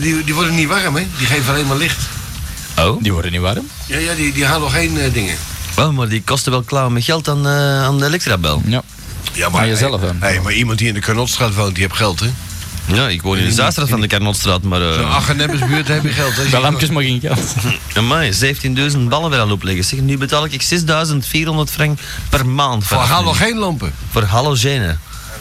Die, die worden niet warm, hè? Die geven alleen maar licht.
Oh?
Die worden niet warm.
Ja, ja die, die halen nog geen eh, dingen.
Oh, maar die kosten wel klauwen met geld aan, eh, aan de Electrabel.
Ja.
Ja,
Aan jezelf, hè?
Hey, maar iemand die in de Karnotstraat woont, die heeft geld, hè?
Ja, ik woon in de Zaanstraat van de Carnotstraat, maar...
Zo'n
eh
Achenebbesbuurt heb je geld, hè?
Wel lampjes maar geen geld.
amai, 17.000 ballen weer aan opleggen. Zeg, nu betaal ik 6.400 frank per maand.
Voor
vanaf nu.
haal nog geen lampen.
Voor halogenen.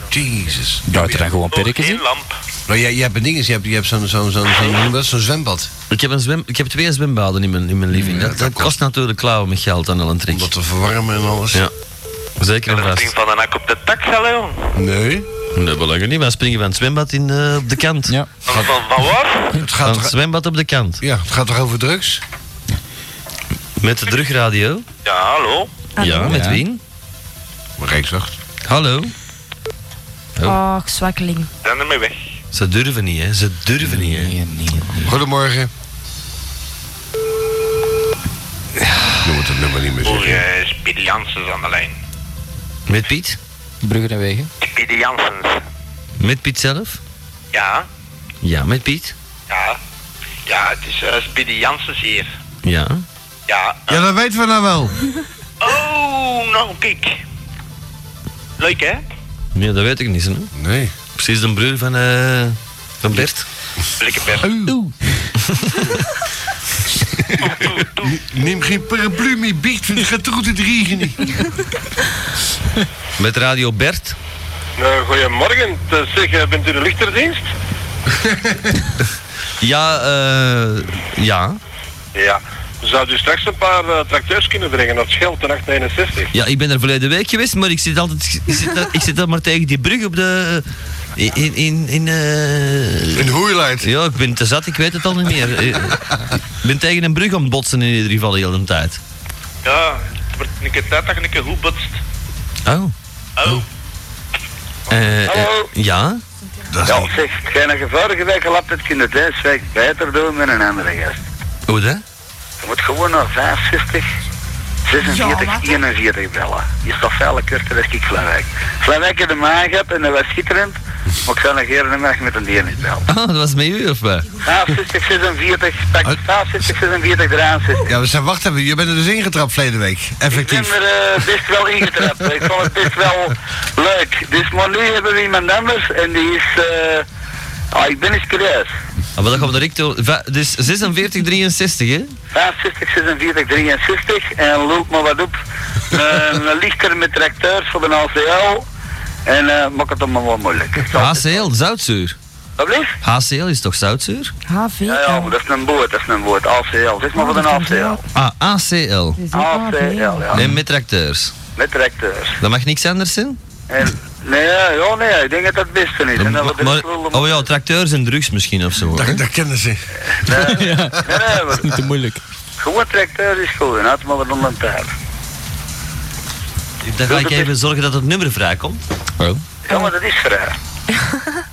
Jezus.
Gaat er dan gewoon perken
Geen
in?
lamp.
Nou, jij, jij hebt een ding, je hebt, je hebt zo'n zo'n zo'n zo'n- hoe noem je dat? zo'n zwembad.
Ik heb, een zwem, ik heb twee zwembaden in mijn, in mijn living. dat, dat kost natuurlijk klauwen met geld aan een
Om
trick.
dat te verwarmen en alles.
Ja. Zeker en
Dat
vast.
ding van een hak op de tak, zal jong.
Nee.
Dat wil ik niet. Wij springen van het zwembad in, eh, op de kant.
Ja.
Van, van, van waar?
Het
Van
gaat,
het
toch,
zwembad op de kant.
ja, het gaat toch over drugs?
Met de drugradio.
Ja, hallo.
Ja, met
Ja.
wie?
Maar ik zacht.
Hallo.
Och, zwakkeling.
Dan ermee weg.
Ze durven niet, hè. Ze durven niet, hè.
Nee, nee, nee.
Goedemorgen. Je moet het nummer niet meer
Voor
zeggen.
eh Speedy Janssens aan de lijn.
Met Piet?
Bruggen en wegen.
Speedy Janssens.
Met Piet zelf?
Ja,
Ja, met Piet.
ja. Ja, het is eh Speedy Janssens hier.
Ja.
Ja.
Ja, dat weten we nou wel.
Oh, nou kijk. Leuk hè?
Nee, dat weet ik niet, hè.
Nee.
Precies de broer van, eh, van Bert.
Lekker per.
Neem geen paraplu meer biecht, want het gaat toch het regenen.
Met Radio Bert.
Nou, goedemorgen. Zeg, bent u de lichterdienst?
Ja, eh... ja.
Ja. Zou u straks een paar
eh,
tracteurs kunnen brengen? Dat scheelt de 861.
Ja, ik ben er verleden week geweest, maar ik zit altijd... Ik zit, daar- ik zit daar maar tegen die brug op de... In, in, in, in eh,
Een hoeileid.
Ja, ik ben te zat, ik weet het al niet meer. Eh, Ik ben tegen een brug aan het botsen in ieder geval de hele tijd.
Ja, het wordt een keer tijd dat je een keer goed botst.
Oh.
Oh.
Eh, eh,
Hallo.
ja?
Ja, zeg, jij nog vorige week al hebt het kunnen Dijswijk beter doen met een andere gast.
Hoe dat?
Je moet gewoon naar 65,
Ja,
46,
maar-
41 bellen. Die is toch veilig korter dan ik Slanwijk. Slanwijk in de maan gehad en dat was schitterend. Maar ik zou nog eerder een dag met een DNS bellen.
Ah, dat was met u of wat?
65, 46, pak 65, 46, 63.
Ja, we zijn, wacht even, je bent er dus ingetrapt verleden week.
Ik ben
Effectief.
er eh, best wel ingetrapt. Ik vond het best wel leuk. Dus maar nu hebben we iemand anders en die is... eh, ah, ik ben eens curieus.
Ah, maar dat gaan we direct door. Va- Dus 46, 63, hè?
65, 46, 63 en loop maar wat op. Een een lichter met tracteurs voor de ACL. En eh maak het allemaal wel moeilijk.
HCL, zoutzuur.
Wat blieft?
HCL is toch zoutzuur?
HV.
Ja, ja, maar dat is een boord, dat is een woord. ACL, zeg maar
Oh,
voor een
dat komt
ACL.
Ah, ACL.
Dit is ook
ACL, ja.
En met tracteurs.
Met tracteurs.
Dat mag niks anders zijn?
En, nee, ja, nee, ik denk dat dat het beste is. En dat we de
Maar-
spullen-
oh ja, tracteurs en drugs misschien of zo. hè?
Dat, dat kennen ze.
Nee, nee, maar-
Dat is niet te moeilijk.
Gewoon tracteur is goed, en had maar wat onder een taart.
Dan ga ik even zorgen dat het nummer vrijkomt.
Oh.
Ja, maar dat is vrij.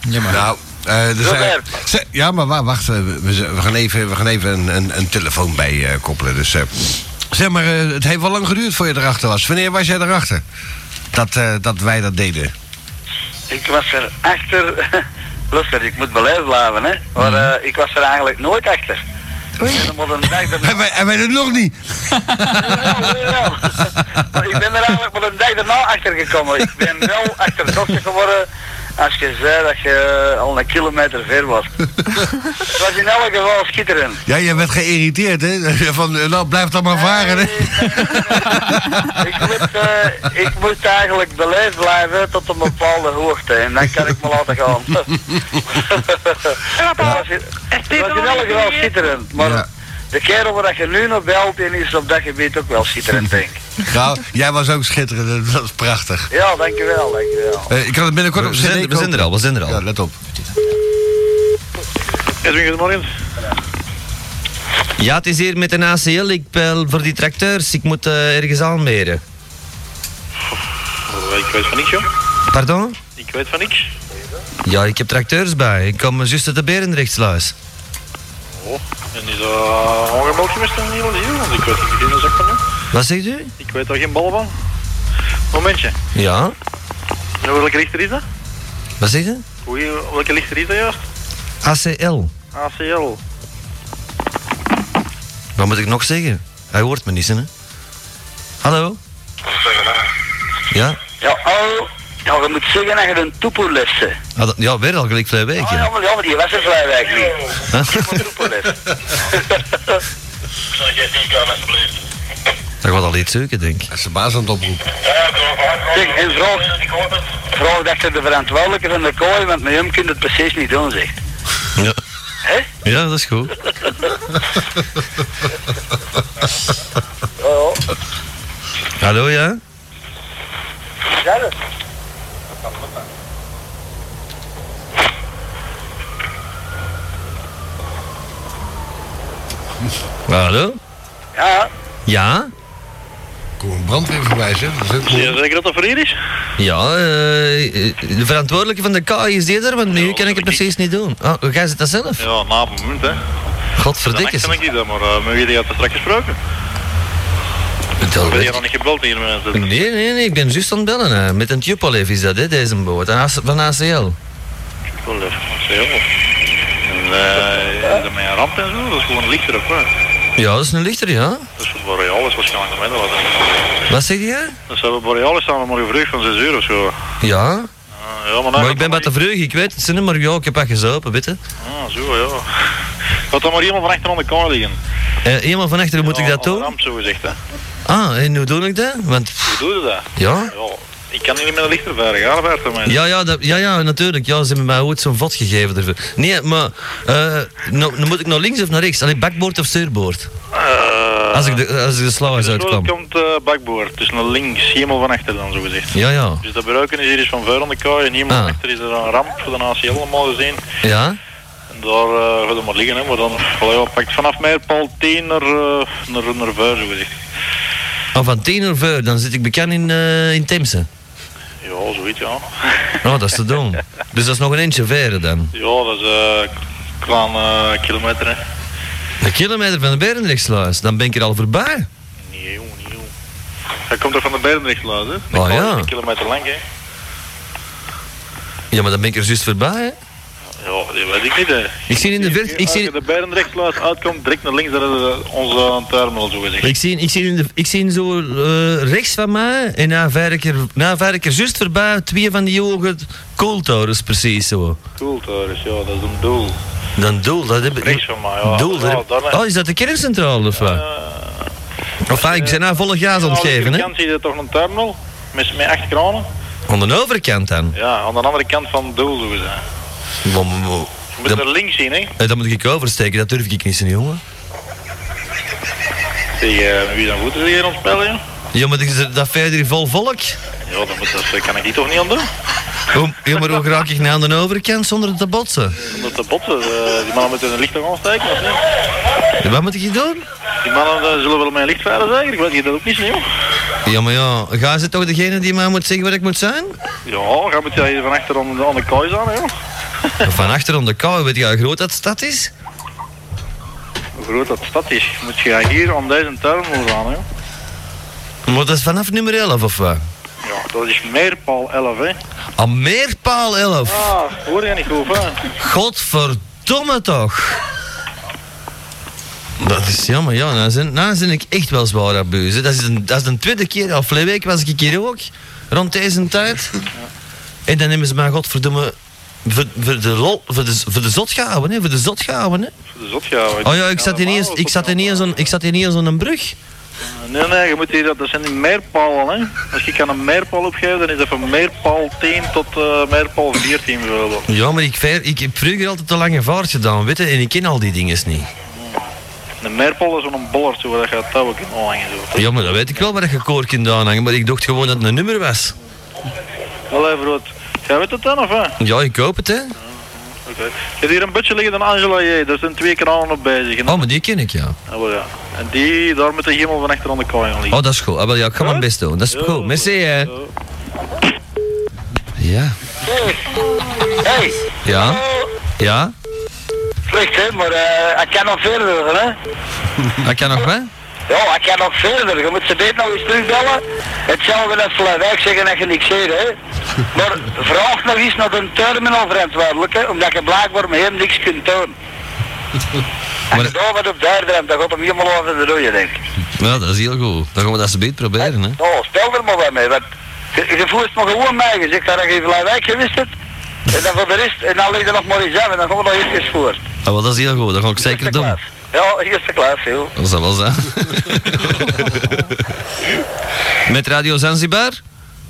Ja, maar.
Nou, eh, er zijn,
Robert.
Ze- ja, maar wa- wacht, eh, we, we- we gaan even, we gaan even een, een, een telefoon bij eh, koppelen. Dus, eh, zeg maar, eh, het heeft wel lang geduurd voor je erachter was. Wanneer was jij erachter? Dat, eh, dat wij dat deden.
Ik was er achter... Luister, ik moet beleefd blijven, hè. Maar eh, ik was er eigenlijk nooit achter. En dan moet een dag daarna...
En wij, en wij dat nog niet.
Jawel, jawel. ik ben er eigenlijk maar een dag daarna achter gekomen. Ik ben wel achterdochtig geworden als je zei dat je al een kilometer ver was. Het was in elk geval schitterend.
Ja, je werd geïrriteerd, hè? Van, eh, nou, blijf dan maar varen, hè?
ik, moet, eh, ik moet eigenlijk beleefd blijven tot een bepaalde hoogte en dan kan ik me laten gaan. ja, dat is in elk geval schitterend, maar
Ja.
de kerel waar je nu nog belt in is op dat gebied ook wel schitterend, denk ik.
Nou, jij was ook schitterend. Dat was prachtig.
Ja, dankjewel, dankjewel.
Eh, ik kan het binnenkort op
We
CD
zijn, we zijn er
kopen.
al, we zijn er al.
Ja, let op.
Edwin, goedemorgen.
Ja, het is hier met een ACL. Ik bel voor die tracteurs. Ik moet eh, ergens aanmeren.
Oh, Ik weet van niks, joh.
Pardon?
Ik weet van niks.
Ja, ik heb tracteurs bij. Ik kom juist uit de Berendrechtsluis.
Oh, en is dat ongemeld geweest een heel deel? Want ik weet er geen zak van, joh.
Wat zegt u?
Ik weet daar geen bal van. Momentje.
Ja.
En welke lichter is dat?
Wat zegt u?
Hoe, welke lichter is dat juist?
ACL.
ACL.
Wat moet ik nog zeggen? Hij hoort me niet, hè? Hallo? Ja?
Ja, oh, ja, je moet zeggen dat je een toepoe lust bent.
Ah, dat- ja, weer al gelijk twee
Oh,
weken.
ja, maar, ja, maar die was er vrijwijk niet. Een toepoe lust.
Dat gaat al iets zoeken, denk ik.
Dat is de baas aan het oproepen.
Zeg, en vraag, vraag dat je de verantwoordelijke van de kooi, want met hem kun je het precies niet doen, zeg.
Ja.
Hè?
Ja, dat is goed.
Oh,
Hallo, ja?
ja. dat-
Hallo?
Ja,
Ja?
Kom een brandweer voorbij, zeg. Dat is ook
Zie
mooi.
je zeker dat dat voor hier is?
Ja, eh, de verantwoordelijke van de KI is die er, want nu kan ik het precies niet doen. Oh, jij zit dat zelf?
Ja, na op het moment, hè. Dan
Godverdikke.
kan ik niet, hè, maar eh, met wie die had er straks gesproken? Ik ben hier nog niet gebeld hier, mensen.
Nee, nee, nee, ik ben juist aan het bellen. hè. Met een Tupolev is dat, hè, deze boot. Een AC Van ACL.
Wel, eh, ACL. En eh, is dat met een ramp en zo? Dat is gewoon lichter of wat?
Ja, dat is een lichter, ja.
Dat is voor Borealis Dus waarschijnlijk nog minder.
Wat zeg je?
Dat zou bij Borealis samen maar gevraagd van 6 uur of zo.
Ja.
Ah, ja, maar, nou,
Maar ik ben wat te vroeg, ik weet het. Zin, maar ja, ik heb wat gezopen, weet je.
Ah, zo ja. Laat dan maar iemand van achter aan de kamer liggen.
Eh, eenmaal van achteren moet ik dat
Aan de
doen?
Ramp zo gezegd, hè.
Ah, en hoe doe ik dat? Want, pff,
Hoe doe je dat?
ja.
Ja, ik kan niet met een lichter veilig arbeiden, maar...
Ja, ja, dat- ja, ja, natuurlijk. Ja, ze hebben mij ooit zo'n vod gegeven ervoor. Nee, maar eh, nou, dan moet ik naar links of naar rechts? Allee, bakboord of stuurboord?
Eh,
Als ik de, als ik de sluis
zo
uitkwam.
komt eh bakboord, dus naar links, helemaal van achter dan zo gezegd.
Ja, ja.
Dus dat bereiken is hier is van vuil aan de kaai en helemaal
Ah.
van achter is er een ramp voor de ACL allemaal gezien.
Ja?
En daar eh gaat het maar liggen, hè, maar dan voilà, ja, pakt vanaf mij paal 10 naar, eh, naar, naar vuil zo gezegd.
Of Oh, van tien uur voor, dan zit ik bekend in, eh in Temse.
Ja, zoiets ja.
Oh, dat is te doen. Dus dat is nog een eentje verder dan.
Ja, dat is eh, een klein eh, kilometer hè.
Een kilometer van de Berendrechtsluis, dan ben ik er al voorbij.
Nee, joh, nee, joh. Dat komt er van de Berendrechtlaan, hè?
Oh,
Dat is
ja.
Een kilometer lang, hè?
Ja, maar dan ben ik er juist voorbij, hè?
Ja, dat weet ik niet, hè.
Ik zie in de verte, ik
Als
zie,
je de Berendrechtlaan uitkomt, direct naar links, dat is eh, onze terminal, zo gezegd.
ik zie, ik zie, in de, ik zie zo eh, rechts van mij en na vijf keer, na vijf keer juist voorbij twee van die ogen kooltorens precies zo.
Doel, Torres, ja, dat is een doel.
Dan doel, dat heb ik...
Rechts van mij, ja.
Doel, dat
Ja,
heb-
daar-
Oh, is dat de kerncentrale of wat? Of enfin, ik ben nou volle gaas aan het geven, hè?
eh, Aan de zie je toch een terminal, met, met acht kranen.
Aan de overkant dan.
Ja, aan de andere kant van het doel, zo gezegd.
Wo- wo- wo-
Je moet
Dat-
er links in, hè.
Eh, Dat moet ik oversteken, dat durf ik niet, hè, jongen.
Zeg, eh, met wie dan goed is hier aan het spelen, joh?
Ja, maar is er dat verder vol volk?
Ja, dat, moet, dat kan ik die toch niet aan doen.
Hoe, ja, maar hoe raak ik nou aan de overkant zonder te botsen?
Omdat de botten, eh, die mannen moeten hun licht toch aansteken, of niet?
Wat moet ik hier doen?
Die mannen eh, zullen wel mijn licht veilig zijn, ik weet niet, dat ook niet, joh.
Ja, maar ja, ga ze toch degene die mij moet zeggen wat ik moet zijn?
Ja, ga met jij van achter aan de, aan de kooi aan, joh.
Van achter om de kou, weet je hoe groot dat stad is?
Hoe groot dat stad is, moet je hier aan deze terminal gaan, joh.
Maar dat is vanaf nummer 11 of wat?
Ja, dat is meerpaal 11, hè.
Aan meerpaal 11.
Ah, hoor je niet goed, hè?
Godverdomme toch. Dat is jammer, ja. Nou zijn, nou zijn ik echt wel zwaar abuus. hè. Dat is, een, dat is de tweede keer. Al vorige week was ik hier ook. Rond deze tijd. En dan hebben ze mij godverdomme... Voor, voor de lol, voor de, voor de zot gehouden, hè. Voor de zot gehouden, hè.
Dat is op jou.
Oh ja, ik zat ineens, ik zat ineens, aan, ik zat ineens aan een brug.
Nee, nee, je moet hier, dat dat zijn die meerpalen, hè. Als je kan een meerpaal opgeven, dan is dat van meerpaal 10 tot eh meerpaal 14 bijvoorbeeld.
Ja, maar ik, ver- ik heb vroeger altijd een lange vaart gedaan, weet je, en ik ken al die dingen niet.
Een meerpaal is zo'n bollert, zo, waar je het touw kan aanhangen, zo.
Ja, maar dat weet ik wel waar je koor kunt aanhangen, maar ik dacht gewoon dat het een nummer was.
Allee, brood. Jij weet het dan, of hè?
Ja, ik koop het, hè.
Oké. Je hebt hier een budget liggen dan Angela J. Daar zijn twee kranen op bezig. En,
Oh, maar die ken ik, ja.
Ah, wel, ja. en die, daar moet de hemel van achter aan de kooi aan liggen.
Oh, dat is goed. Ah, wel, ja, ik ga mijn best doen. Dat is
Ja,
goed. Merci, hè.
zo.
Ja.
Hey,
Ja. Ja.
slecht hè, maar eh, ik kan nog verder, hè.
Ik Ah, kan nog wat?
Ja, ik kan nog verder. Je moet ze beter nog eens terugbellen. Hetzelfde als Vlaandijk zeggen dat je niks zegt, hè. Maar vraag nog eens naar de terminal verantwoordelijke, omdat je blijkbaar met hem niks kunt doen. En
Maar-
je daar wat op daar remt, dan gaat hem helemaal over de rode, denk ik.
Ja, dat is heel goed. Dan gaan we dat beet proberen, hè.
Nou, spel er maar wat mee, want je, je voert me gewoon mij. Je zegt dat je in Vlaandijk gewist hebt. En dan voor de rest, en dan ligt er nog maar eens af en dan gaan we nog eventjes voor.
Ah, wel, dat is heel goed. Dat ga ik zeker doen.
Ja, eerste klaas, joh.
Dat zal wel zijn. Met Radio Zanzibar?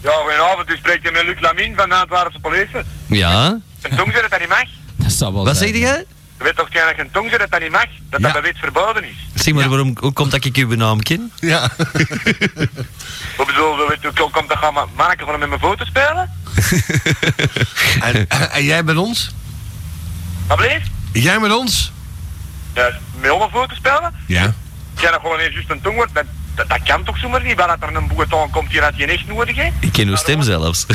Ja, goedenavond. U spreekt met Luc Lamin van de Antwerpse politie.
Ja.
Een tong dat dat niet mag.
Dat zou wel
Wat
zijn.
zeg jij?
Je weet toch dat een tong dat dat niet mag? Dat
Ja.
dat weet verboden is.
Zeg maar, waarom, hoe komt dat ik uw naam ken?
Ja.
Ik bedoel, hoe weet- hoe komt dat gaan ma- mannetjes gewoon met mijn voeten spelen?
En, eh, en jij met ons?
Wat bleef?
Jij met ons?
Ja, met mijn voeten spelen?
Ja.
Ik kan dat gewoon even juist een tong worden. Dat, dat, dat kan toch zomaar niet? Wel dat er een boegeton komt hier dat je echt nodig hè?
Ik ken uw stem zelfs.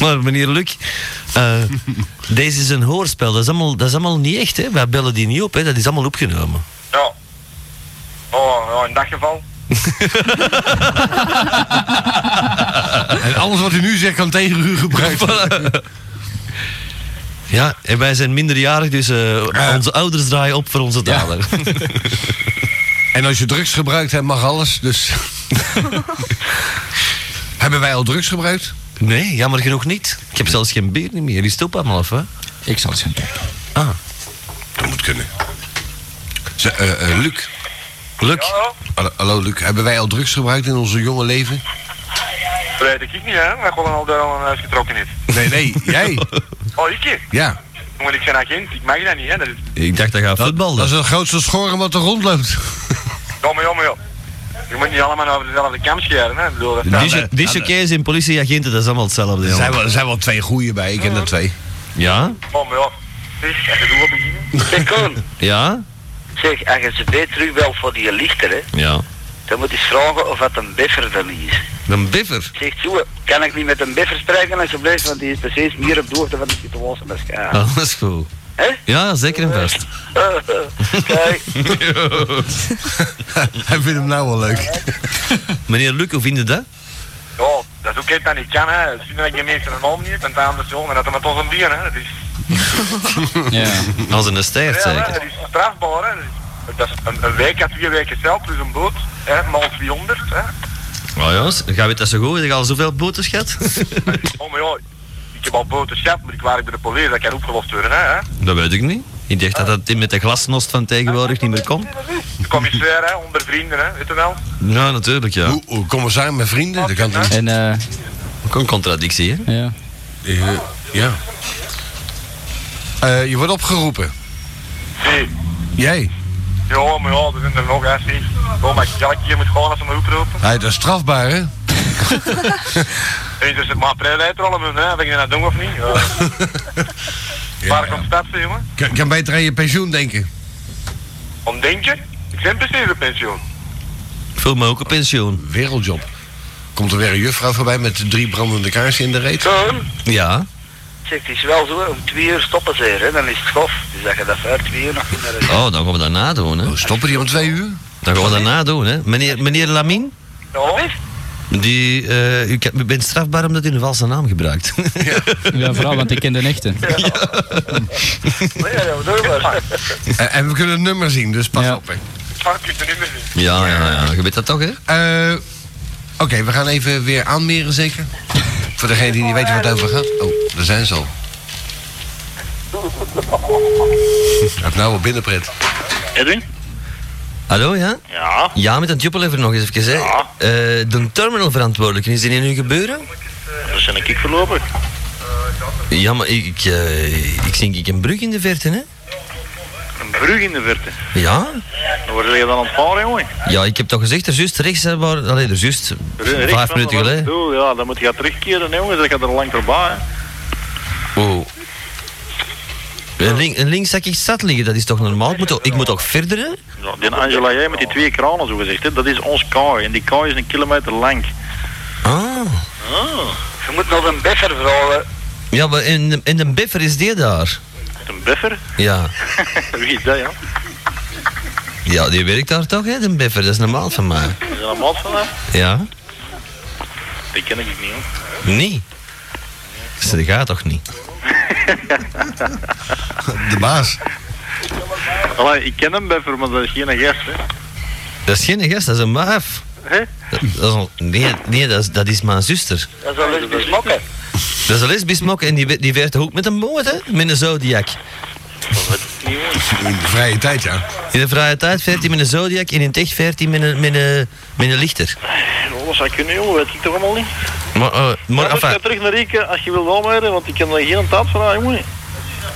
maar meneer Luc, eh, deze is een hoorspel. Dat is allemaal, dat is allemaal niet echt, hè? Wij bellen die niet op, hè? Dat is allemaal opgenomen.
Ja. Oh, ja, in dat geval.
En alles wat u nu zegt kan tegen u gebruikt worden.
Ja, en wij zijn minderjarig, dus eh, onze ouders draaien op voor onze
Ja.
dader.
En als je drugs gebruikt hebt, mag alles. Dus. Hebben wij al drugs gebruikt?
Nee, jammer genoeg niet. Ik heb zelfs geen bier niet meer. Die stopt allemaal af, hè?
Ik zal het gaan doen.
Ah.
Dat moet kunnen. Ze- eh, eh, Luc.
Luc,
Ja,
Hallo, hallo, Luc. Hebben wij al drugs gebruikt in onze jonge leven?
dat weet ik niet hè. Dat gewoon al daar al een huis getrokken is.
Nee, nee. Jij?
Oh, ik hè?
Ja.
Moet ik zijn agent? Ik mag dat niet hè. Dat is...
ik dacht dat gaat
Dat
voetballen.
is het grootste schoren wat er rondloopt.
Ja, maar ja, maar ja. Je moet niet allemaal over dezelfde kam scheren hè. Ik bedoel, dat
Die is- Die chockees en politieagenten, dat is allemaal hetzelfde.
Er zijn
jongen.
wel, er zijn wel twee goeie bij. Ik ken er twee.
Ja?
Oh, maar ja. Dus, dat doen we beginnen.
Zeg, Koen,
Ja?
zeg, als je ze beter terugbelt voor die lichter, hè.
Ja.
Dan moet je eens vragen of dat een beffer dan niet is.
Een biffer.
Zegt zo, kan ik niet met een beffer spreken alsjeblieft, want die is precies meer op de hoogte van de situatie. Dus, ja.
Oh, dat is goed.
Hè?
Ja, zeker en vast. Oh.
Kijk,
Hij vindt hem nou wel leuk.
Meneer Luc, hoe vindt u dat?
ja, Oh, dat is ook iets dat niet kan, hè. Het is niet dat je mensen een naam niet bent aan de jongen en dat er maar toch een bier, hè. Dat is,
Ja.
Als een staart,
ja, hè,
zeker.
dat is strafbaar, hè. Dat is, dat is een, een week à twee weken cel plus een boot, hè, maal 200, hè.
Nou jongens, gaan we dat zo goed? Heb je al zoveel boetes gehad?
Oh, maar ja, ik heb al boterschap, maar ik werk bij de politie, dat kan opgelost worden, hè. hè.
dat weet ik niet. Ik dacht dat dat met de glasnost van tegenwoordig niet meer komt.
De commissair, hè, onder vrienden, hè, weet je wel.
Ja, natuurlijk, ja.
Hoe, hoe komen we samen met vrienden? Dat kan toch niet?
En eh,
Ook een contradictie, hè?
ja.
Eh, ja. Eh, je wordt opgeroepen.
Zie,
Jij.
ja, maar ja, er zijn er nog, hè, zie. Oh, maar elke keer moet gewoon als ze me oproepen.
Hey, dat is strafbaar, hè?
Hey,
dus
er zit maar een prijleider al in, hè, ben je dat doen of niet? Ja. Waar komt dat, zie, jongen?
Kan, kan beter aan je pensioen denken.
Om denk je? Ik ben precies op pensioen.
Ik voel me ook op pensioen.
Wereldjob. Komt er weer een juffrouw voorbij met drie brandende kaarsen in de reet?
Zoon?
Ja.
Zeg, het is wel zo, om twee uur stoppen ze hier, hè, dan is het gof. Dus dat je dat voor twee uur nog kunnen
Oh, dan gaan we daarna doen, hè?
Oh, stoppen die om twee uur?
Dan gaan we daarna doen, hè? Meneer, meneer Lamin? Die, eh, u, kan- u bent strafbaar omdat u een valse naam gebruikt.
ja, vooral, want ik ken de echte.
Ja, dat doe ik maar.
Eh, en we kunnen het nummer zien, dus pas
Ja.
op. hè.
Fuck, ik ben niet meer zien.
ja, ja, ja. Je weet dat toch, hè?
Eh, Oké, we gaan even weer aanmeren, zeker? Voor degene die niet weet waar het over gaat. Oh, daar zijn ze al. Ik heb nou wel binnenpret.
Edwin?
Hallo, ja?
Ja.
Ja, met dat juppel even nog eens even, hè?
Ja.
Eh, de terminalverantwoordelijke, is die in uw gebeuren?
Dat zijn ik voorlopig.
Ja, maar ik, ik, eh, ik zie ik een brug in de verte, hè?
Een brug in de verte.
Ja?
Dan word je dan aan het varen, jongen.
Ja, ik heb toch gezegd, er juist rechts, hè, waar... Allee, er juist,
Rick,
vijf
van
minuten
wat
geleden.
ik bedoel, Ja, dan moet je gaan terugkeren, hè, jongen. Dan gaat er lang voorbij, hè.
Oh. En, link, en links zag ik stad liggen, dat is toch normaal? Ik moet toch, ik moet toch verder, hè?
Ja, die Angela jij met die twee kranen, zo gezegd, hè, dat is ons kaai. En die kaai is een kilometer lang.
Ah.
Oh. Je moet nog een beffer vragen.
Ja, maar en, en de buffer is die daar?
Een buffer?
Ja.
Wie is dat, ja?
Ja, die werkt daar toch, hè, de buffer? Dat is normaal van mij.
Is dat een maat van hem?
Ja?
Die ken ik niet, hoor.
Nee. Dus dat gaat toch niet?
De baas.
Allee, ik ken een buffer, maar dat is geen gast, hè.
Dat is geen gast, dat is een maaf.
Hè?
Dat, dat is al- nee, nee dat, is, dat is mijn zuster.
Dat is wel lesbisch mokken.
Dat is een lesbisch mok en die, we- die werd ook met een boot, hè? Met een zodiac.
In de vrije tijd, ja.
In de vrije tijd 14 met een zodiac en in het echt 14 met een, met een, met een lichter.
Ja, dat zou kunnen, jongen. Weet ik toch allemaal niet.
Maar, eh, maar,
Maar
enfin,
ga terug naar Rieke als je wilt omrijden, want ik ken er geen taart van aan, jongen.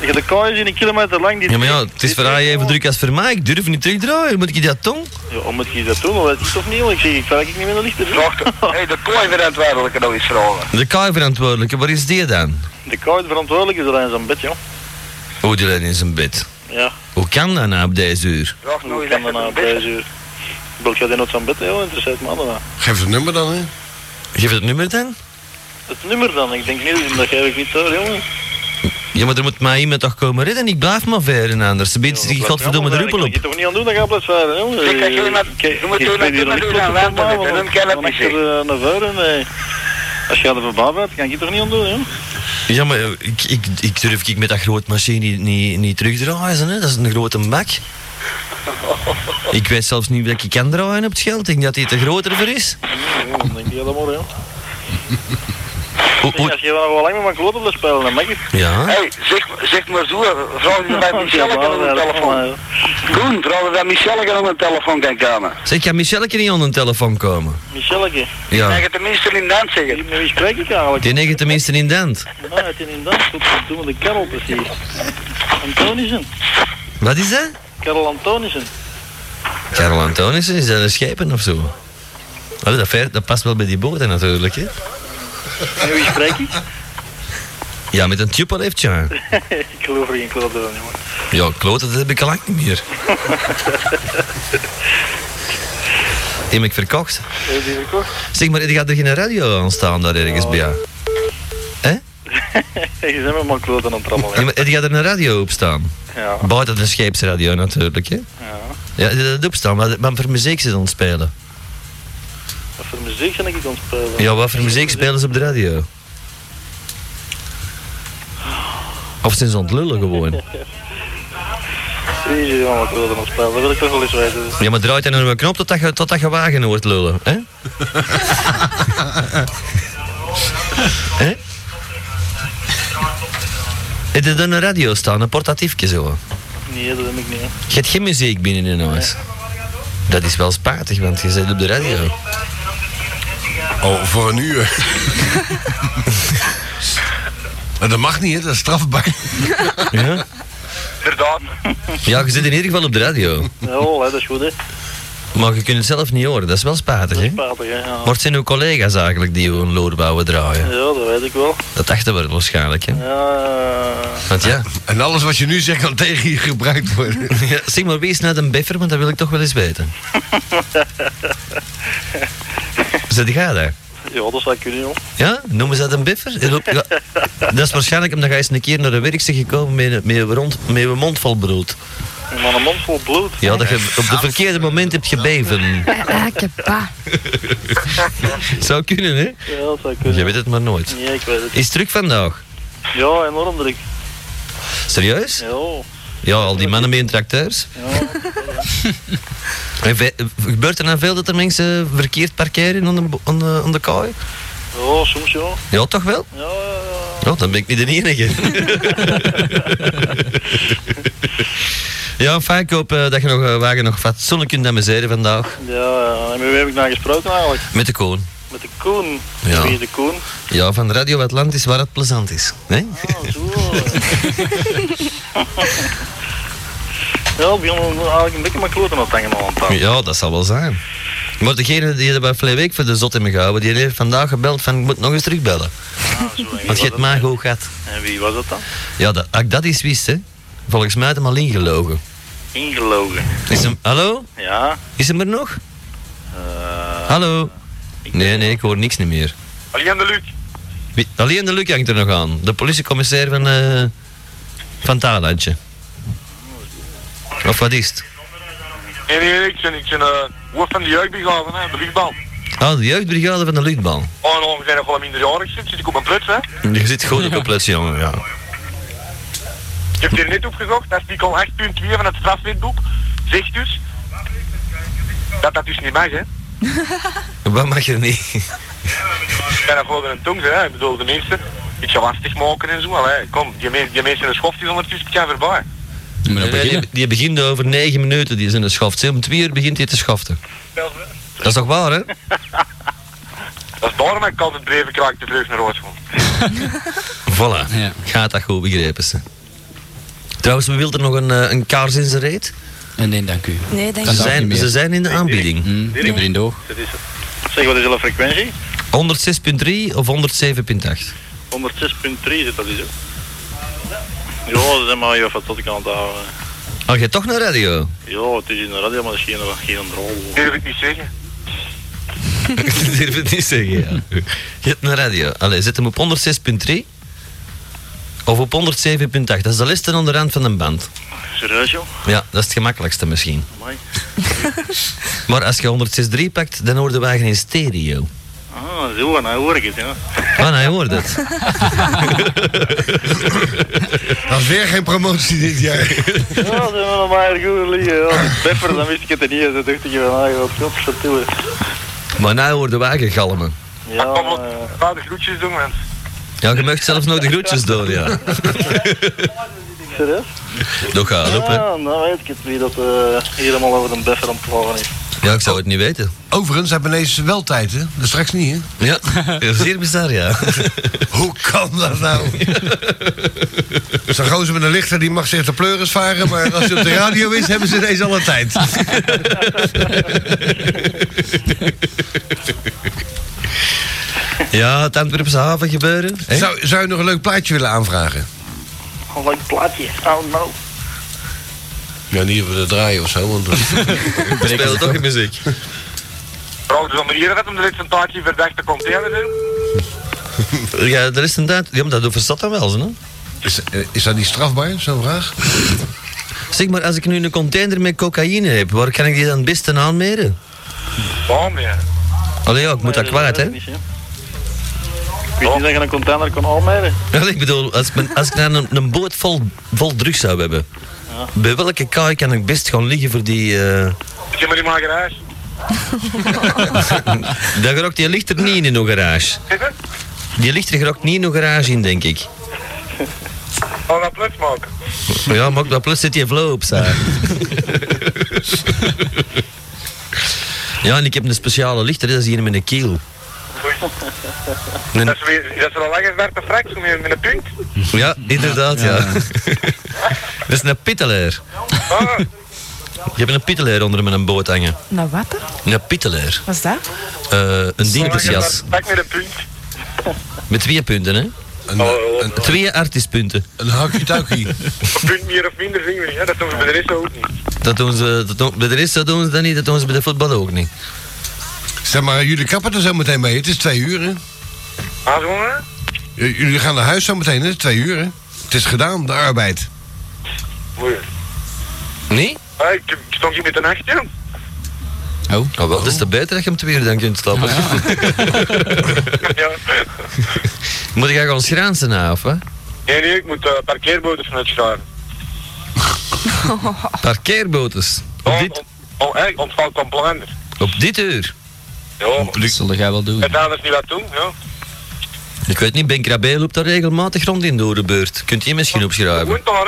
Je gaat de kaai zien, een kilometer lang. Die
Ja, maar ja, het is voor haar even druk als voor mij. Ik durf niet terugdraaien. Moet ik dat tong?
Ja, hoe Oh, moet je dat doen? Dat weet ik toch niet, jongen. Ik zeg, ik werk niet meer naar lichter.
hey, de kooi verantwoordelijke nog eens vragen.
De K-verantwoordelijke, waar is die dan?
De kaai verantwoordelijk is er aan zijn bed, joh.
Oh, die ligt in zijn bed.
Ja.
Hoe kan dat nou op deze uur?
Vraag nog
Hoe
eens
kan dat
echt
nou
een
op
beffer.
deze uur? Wil jij die nooit aan bed, joh? Interesseert me allemaal.
Geef het nummer dan, hè?
Geef het nummer dan?
Het nummer dan? Ik denk niet, dat geef ik niet door, jongen.
Ja, maar er moet mij iemand toch komen redden. Ik blijf maar veren anders. Beetje die godverdomme de ruppel
Ik
op.
kan je toch niet aan doen, dan ga je plaats varen, jongen.
Ik kan je maar-
Kijk,
je moet
ik
doen
ben
dat
hier
je maar
niet
doet aan
voor mij,
water,
want
dan kan het niet
ik er eh, naar voren, nee. Als je er voorbij bent, kan ik je toch niet aan doen, joh.
Ja, maar eh, ik, ik, ik durf ik met dat groot machine niet, niet, niet terugdraaien. Hè? Dat is een grote bak. Ik weet zelfs niet dat ik kan draaien op het geld. Ik denk dat hij te groter voor is.
Ja, Dan denk je dat maar, joh.
Oeh, oeh.
Als je nog wel lang met mijn kloten wil spelen, dan mag ik.
Ja.
hey, zeg, zeg maar zo, vraag je bij Michelle kan op een telefoon. Doen, vraag je bij Michelle kan op een telefoon kan komen.
Zeg, kan Michelle niet aan de telefoon komen?
Michelleke,
Ja.
Ja.
je tenminste in naam zeggen.
met wie spreek ik eigenlijk?
Die negen tenminste in Dent.
Nou, het is inderdaad goed te doen met de Karel precies. Antonissen.
Wat is dat?
Karel Antonissen.
Karel Antonissen, is dat een schepen of zo? Allee, dat, ver- dat past wel bij die boten natuurlijk, hè?
Met wie spreek ik?
Ja, met een tjupel heeft ja.
ik geloof er geen kloten van, jongen.
Ja, kloot, dat heb ik al lang niet meer. Die heb ik verkocht.
Heb je die verkocht?
Zeg maar, er gaat er geen radio aan staan daar ergens bij jou? Hè?
je bent helemaal kloot aan het trammelen.
Ja, maar die gaat er een radio op staan.
Ja.
Buiten de scheepsradio natuurlijk, hè?
Ja.
Ja, die gaat op staan, maar, maar voor muziek ze dan spelen.
Wat voor muziek ben ik aan het spelen?
Ja, wat voor muziek spelen ze op de radio? Of zijn ze aan het lullen gewoon?
Wie is hier allemaal kloot aan het spelen? Dat wil ik toch wel eens weten.
Ja, maar draait dan nog een knop totdat je, totdat je wagen hoort lullen, hè? Hè? Heb je dan een radio staan, een portatiefje zo?
Nee, dat heb ik niet. hè.
Je hebt geen muziek binnen in huis. Dat is wel spijtig, want je zit op de radio.
Oh, voor een uur. Maar dat mag niet, hè? Dat is strafbaar.
Ja?
Inderdaad.
ja, je zit in ieder geval op de radio.
Ja, wel, hè, dat is goed, hè.
Maar je kunt het zelf niet horen, dat is wel spijtig, hè?
Patig, hè. Ja.
Maar het zijn uw collega's eigenlijk die hun loorbouwen draaien.
ja, dat weet ik wel.
Dat dachten we waarschijnlijk, hè?
Ja, eh,
Want Eh. ja,
En alles wat je nu zegt kan tegen je gebruikt worden.
ja zeg maar, wie is net een beffer, want dat wil ik toch wel eens weten. Zit jij daar?
ja dat zou ik kunnen, joh.
Ja? Noemen ze dat een biffer? En op- ja. Dat is waarschijnlijk omdat je eens een keer naar de werkster gekomen met, een- met, een rond- met een mond vol brood.
Maar een mond vol bloed.
Ja, dat je op het verkeerde moment hebt gebeven.
Ah, ik heb pa.
Zou kunnen, hè?
Ja, dat zou ik
Je
kunnen.
weet het maar nooit.
Nee, ik weet het.
Is het druk vandaag?
Ja, enorm druk.
Serieus?
Ja,
Ja, al die mannen met hun tracteurs.
ja.
En ve- Gebeurt er nou veel dat er mensen verkeerd parkeren aan de, bo- aan de, aan de kooi?
Ja, soms ja.
Ja, toch wel?
Ja, ja, ja.
Ja, dan ben ik niet de enige. ja, fijn, ik hoop eh, dat je nog, eh, wagen nog fatsoenlijk kunt amuseren vandaag.
Ja, ja. En met wie heb ik nou gesproken eigenlijk?
Met de koon.
Met de Koen.
Ja.
Wie is de Koen?
Ja, van Radio Atlantis, waar het plezant is. Nee?
Ah, zo. ja, ik begon eigenlijk een beetje met kloten aan het hangen al aan tafel.
Ja, dat zal wel zijn. Maar degene die er bij Vlee Week voor de zot in me gehouden, die heeft vandaag gebeld van, ik moet nog eens terugbellen.
Ah, zo. En wie
Want je
was
hebt
dat?
mij goed gehad.
En wie was dat dan?
Ja, dat, als ik dat eens wist, hè. Volgens mij had hem al ingelogen.
Ingelogen.
Is hem, hallo?
Ja.
Is hem er nog?
Eh
Hallo? Nee, nee, ik hoor niks niet meer.
Alleen eh, de Luc.
Wie- Alleen de Luc hangt er nog aan. De politiecommissair van, eh van Thalandje. Of wat is het?
Nee, nee, ik ben, ik ben eh hoofd van de jeugdbrigade, hè, de luchtbal.
Ah, de jeugdbrigade van de luchtbal.
Oh, en ongeveer nog wel minderjarig zit, zit ik op mijn plots, hè.
Je zit gewoon op een plek, jongen. Ja.
Ik heb hier net opgezocht, dat is artikel 8.2 van het strafwetboek. Zegt dus dat dat dus niet mag, hè.
Wat mag je niet?
Ik ben nog wel een tong, hè. Ik bedoel, de mensen, ik ga lastig maken en zo, hè. Kom, die, men, die mensen in de schoft is ondertussen, ik ga voorbij.
Moet maar
Nee,
beginnen.
Eh, die, die begint over negen minuten, die is in de schaft. Zeg, Om twee uur begint hij te schaften. Dat is toch waar, hè?
Dat is daarom dat ik altijd breven kraak de vleugel naar huis kom.
Voilà.
Ja.
Gaat dat goed begrepen, ze. Trouwens, we wilden nog een, eh, een kaars in zijn reet.
En Eh, nee, dank u.
Nee, denk
Ze
Dat
ik.
zou ik niet
zijn,
meer.
ze zijn in de aanbieding.
Hm, ik heb er in de oog.
dat is het. Zeg, wat is de frequentie?
106.3 of 107.8?
106.3 zit dat is ook. Ja, dat is maar even tot ik aan het houden.
Oh, jij toch naar radio?
Ja, het is in de radio, maar dat is geen, geen rol.
Durf ik niet zeggen.
Ik durf het niet zeggen, ja. Je hebt een radio. Allee, zet hem op 106.3 of op 107.8. Dat is de liste aan de rand van een band.
Serieus, joh?
Ja, dat is het gemakkelijkste misschien.
Amai.
Maar als je 106.3 pakt, dan hoort de wagen in stereo.
Ah, zo, nou hoor ik het, ja.
Ah, nou, je hoort het.
Dat is weer geen promotie dit jaar.
Ja, dat zijn wel maar goede liggen. Ja, die pepper, dan wist ik het er niet. Dat dacht ik van, ah, wat godverdomme.
Maar nou hoort de wagen galmen.
Ja,
Kom op,
eh,
ga de groetjes doen, man.
Ja, je mag zelf nog de groetjes door, ja.
serieus?
Nog gaan op, hè.
Ja, nou weet ik het wie dat eh, hier helemaal over een beffer aan het plagen is.
Ja, ik zou het niet weten.
Overigens hebben we ineens wel tijd, hè? Dat is straks niet, hè?
Ja, zeer bizar, ja.
Hoe kan dat nou? Zo'n gozer met een lichter die mag zich de pleuris varen, maar als hij op de radio is, hebben ze ineens alle tijd.
Ja, het Antwerpse haven gebeuren. Hè?
Zou, zou je nog een leuk plaatje willen aanvragen?
Een leuk plaatje. Oh no.
Ja, niet op de draaien of zo, want
We spelen toch in muziek.
Trouwens, om hier dat om de lid van taartje verdachte container zijn.
Ja, dat is inderdaad. Ja, maar dat doet Verstappen wel, zo, hè?
Is, eh, is dat niet strafbaar, zo'n vraag?
Zeg maar, als ik nu een container met cocaïne heb, waar kan ik die dan het beste aanmeren?
Waarom ja?
Allee, ja, ik moet dat kwaad, hè?
Ik weet niet dat je een container kan aanmeren.
Wel, ik bedoel, als ik, mijn- als ik dan een, een boot vol, vol drugs zou hebben, bij welke kaai kan ik best gaan liggen voor die... eh,
Zeg maar in mijn garage.
Dat gerookt, die ligt er niet in in een garage. Die ligt er gerookt niet in een garage in, denk ik.
Al dat plots maken.
Ja, maar ook dat plus zit je flow op, zeg. Ja, en ik heb een speciale lichter, hè, dat is hier met een kiel.
Dat is weer- dat is wel een lange zwarte frak zo met, met een punt.
Ja, inderdaad, ja. dat is een pittelair.
Ah,
Je hebt een pittelair onder met een boot hangen.
Nou, wat? dan?
Een pittelair.
Wat is dat?
Eh, een dienstjas.
pak met een punt.
Met twee punten, hè?
Een, een,
Twee artiestpunten.
een hakkie-takkie.
Een punt meer of minder zien we niet. Hè? Dat doen we bij de rest ook niet.
Dat doen ze, dat doen, bij de rest dat doen ze dat niet, dat doen ze bij de voetbal ook niet.
Zeg maar, jullie kappen er zo meteen mee. Het is twee uur, hè?
Ah, zo hè?
J- Jullie gaan naar huis zo meteen, hè? Het is twee uur, hè? Het is gedaan, de arbeid.
Mooi.
Nee?
Ah, ik, ik stond hier met een nacht, jong.
Nou, wel, dat is te beter dat je om twee uur dan kunt stappen.
Ja.
Moet ik gaan schraansen na, of wat?
Nee, nee, ik moet eh parkeerboten vanuit scharen.
Parkeerbotes. Op
Oh,
dit,
oh, oh, hey, ontvalt complimenten.
op dit uur.
Ja,
Dat zullen jij wel doen.
het anders niet wat doen, ja.
Ik weet niet, Ben Krabbe loopt daar regelmatig rond in door de beurt. Kunt je misschien
Je
opschrijven?
woont daar,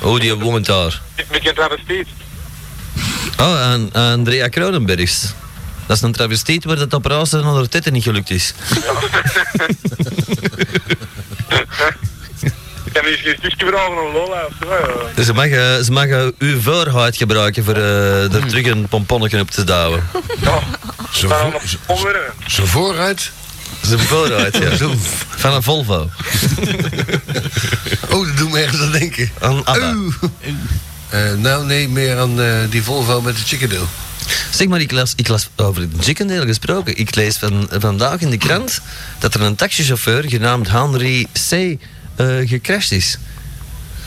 hè?
Oh, die woont daar.
Met geen travestiet.
Oh, aan, aan Andrea Kronenbergs. Dat is een travestiet waar dat operatie aan haar titten niet gelukt is.
Ik kan hier geen stukje vragen om Lola of zo. ja.
Ze mag, eh, ze mag eh, uw voorhuid gebruiken voor eh, er terug een pomponnetje op te douwen.
Ja,
Zo,
maar dan
vo-
nog
zo-
omwerken.
zo vooruit.
Zijn voorhuid, ja. Van een Volvo.
Oh, dat doet me ergens aan denken.
Een Abba.
Oeh. Eh, nou, nee, meer aan eh, die Volvo met de chickadee.
Zeg maar, ik las, ik las over het chickendeel gesproken. Ik lees van, vandaag in de krant dat er een taxichauffeur genaamd Henry C. eh, gecrashed is.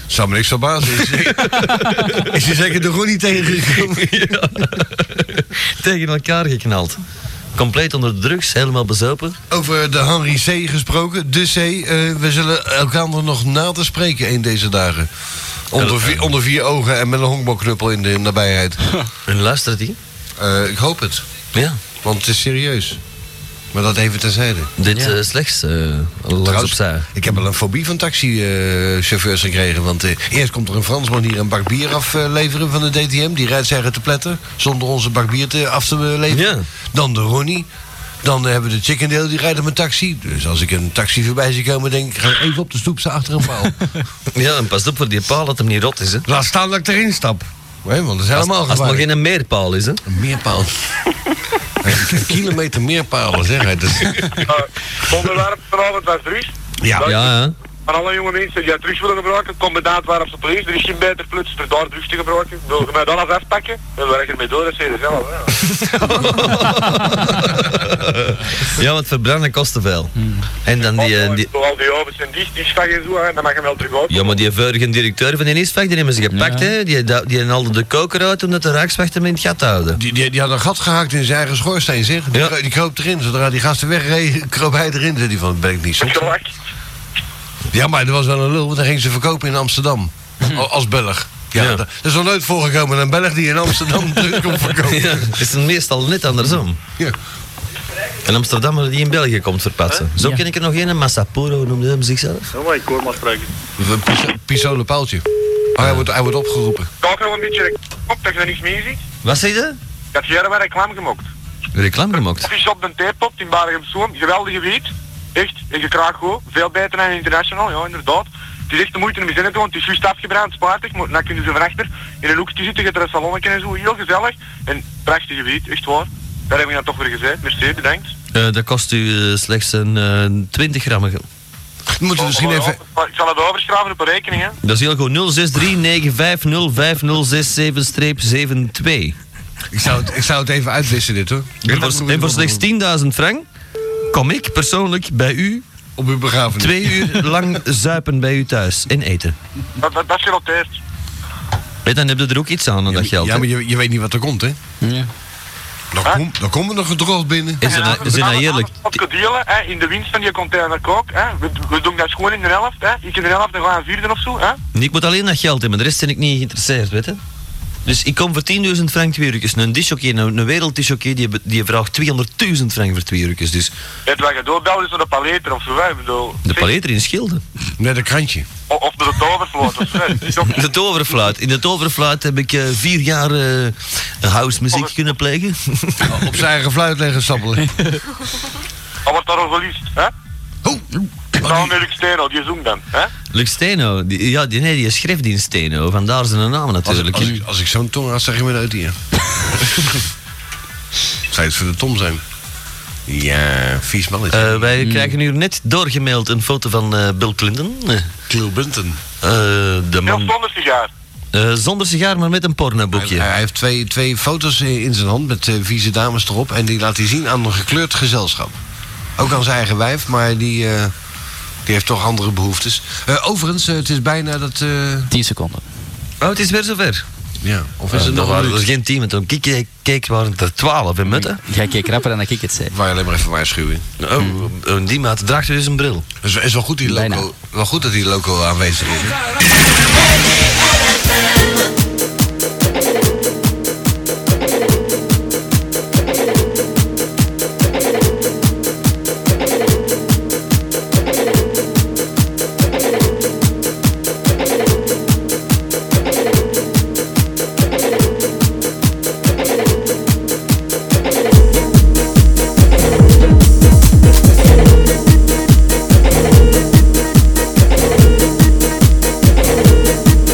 Zou me niks verbazen. Is hij- Is hij zeker er gewoon niet tegengekomen?
Ja. Tegen elkaar geknald. Compleet onder de drugs, helemaal bezopen.
Over de Henry C. gesproken. De C. eh, we zullen elkaar nog na te spreken een deze dagen. Onder,
eh.
vier- onder vier ogen en met een honkbalknuppel in de nabijheid.
En luistert hij?
Eh, ik hoop het.
Ja.
Want het is serieus. Maar dat even terzijde.
Dit eh, slechts eh langs
Trouwens,
opzij.
ik heb al een fobie van taxichauffeurs gekregen. Want eh, eerst komt er een Fransman hier een bak bier afleveren van de DTM. Die rijdt zeggen te pletten. Zonder onze bak bier te, af te eh, leveren.
Ja.
Dan de Ronnie. Dan eh, hebben we de Chickendale, die rijdt op een taxi. Dus als ik een taxi voorbij zie komen, denk ik... ga even op de stoep staan achter een paal.
Ja, en pas op voor die paal dat hem niet rot is. Hè.
Laat staan dat ik erin stap. Nee, want dat is
Als,
helemaal
als het maar
gevaarlijk.
geen meerpaal is. Hè.
Een meerpaal. een kilometer meerpalen, zeg hij. Dat is-
Eh, Het onderwerp vanavond was drugs.
Ja, ja.
Van alle jonge mensen die drugs willen gebruiken, kom bedaad waarop ze police. Er is geen beter plaats voor daar drugs te gebruiken. Wil je mij dan eens afpakken? Dan werk ik ermee door, dat zei je zelf. hè.
ja, want verbranden kost te veel.
Hmm.
En dan die, eh, die...
Door Al Oh, die ovens en die, die stag en zo, hè, dan mag je hem wel terug uit.
Ja, maar die vorige directeur van die ISVAC, die hebben ze gepakt,
Ja.
hè. Die, die, die haalde de koker uit omdat de rijkswacht hem in het gat houden.
Die, die, die had een gat gehaakt in zijn eigen schoorsteen, zeg. Die,
Ja.
kro- die kroop erin. Zodra die gasten wegreden, kroop hij erin. Zei die van, ben ik niet zo.
Gelak.
Ja, maar dat was wel een lul, want dan ging ze verkopen in Amsterdam. A- Oh, Als Belg. Ja,
Ja.
Dat dat is nog nooit voorgekomen, een Belg die in Amsterdam druk komt verkopen.
Ja, is het meestal net andersom.
Ja.
Een Amsterdammer die in België komt verpatsen. Zo ken ik er nog een, een Massapuro noemde hem zichzelf.
Ja, maar ik hoor maar spreken.
Een piso- Pistolen paaltje. Oh, hij, wordt, hij wordt opgeroepen.
Kijk nog een beetje op dat je er niks meer ziet.
Wat zei je?
Ik heb hier een reclame gemaakt.
Reclame gemaakt.
Het is op de theepop in Bargem Zoom. Geweldige wiet. Echt, en je kraakt goed. Veel beter dan international, ja inderdaad. Het is echt de moeite om zinnen te doen. Het is juist afgebrand, spaatig. Maar dan kunnen ze van achter in een hoekje zitten. Je hebt er een salonnetje en zo. Heel gezellig. En prachtige wiet, echt waar. Daar heb ik dan toch weer gezegd. Merci, bedankt.
Eh, dat kost u eh, slechts een eh, 20 gram.
We moeten misschien
Oh, oh,
even...
oh, Ik zal het overschrijven op een rekening, hè.
Dat is heel goed. 0639505067-72.
Ik zou, het, ik zou het even uitwissen, dit hoor.
En voor, en voor slechts 10.000 frank kom ik persoonlijk bij u
op uw begrafenis.
Twee uur lang zuipen bij u thuis en eten.
Dat, dat, dat is genoteerd.
En dan heb je er ook iets aan aan dat geld.
Ja,
hè?
maar je, je weet niet wat er komt, hè?
Ja.
Dan, kom, dan komen er gedroogd binnen.
Is
En
dat
avond-
is dat nou
avond-
eerlijk?
avond Op delen, hè, in de winst van je container ook. Hè. We, we doen dat gewoon in de helft. Hè. Ik in de helft, dan gaan we een vierde of zo. Hè.
Ik moet alleen dat geld hebben, de rest ben ik niet geïnteresseerd, weet je? Dus ik kom voor 10.000 frank twee uurtjes. Een dishockey, een, een werelddishockey, die, die vraagt 200.000 frank voor twee uurtjes. Dus
Weet wat je doorbelt is dus naar de paleter of zo. Hè. Ik bedoel,
de
zeg,
paleter in Schilden.
Met een krantje.
o- Of naar de tovervloot of zo. hè. Het is ook-
De toverfluit. In de toverfluit heb ik eh, vier jaar eh, house muziek kunnen plegen.
Op zijn eigen fluit leggen stappelen.
Dan wordt daar al geliefd. Hè.
Oh,
Dan met Luc Steno, die zoen dan. Hè.
Lux Steno, die, ja, die, nee, die is schriftdienst Steno, vandaar zijn naam
als,
natuurlijk.
als, ik- als ik zo'n tong had, zeg je me uit hier. Zou het voor de Tom zijn? Ja, vies mannetje.
Eh, wij krijgen nu net doorgemaild een foto van eh, Bill Clinton. Eh,
Cleo Bunten.
de
Heel
man,
zonder sigaar.
eh, zonder sigaar, maar met een pornoboekje.
Hij, hij heeft twee, twee foto's eh, in zijn hand met eh, vieze dames erop. En die laat hij zien aan een gekleurd gezelschap. Ook aan zijn eigen wijf, maar die, eh, die heeft toch andere behoeftes. Eh, overigens, eh, het is bijna dat... eh,
10 seconden.
Oh, het is Eh, weer zover.
ja, of
Ja,
is het
er
nog een
waren er
minuut?
geen tien, want toen ik keek- keek waren het er twaalf in Mutten.
Jij keek rapper dan ik het zei.
Waar alleen maar even waarschuwing.
Oh, in die maat draagt u dus een bril.
Het is, is wel, goed die
Bijna.
loco, wel goed dat die loco aanwezig is. hè?
Thank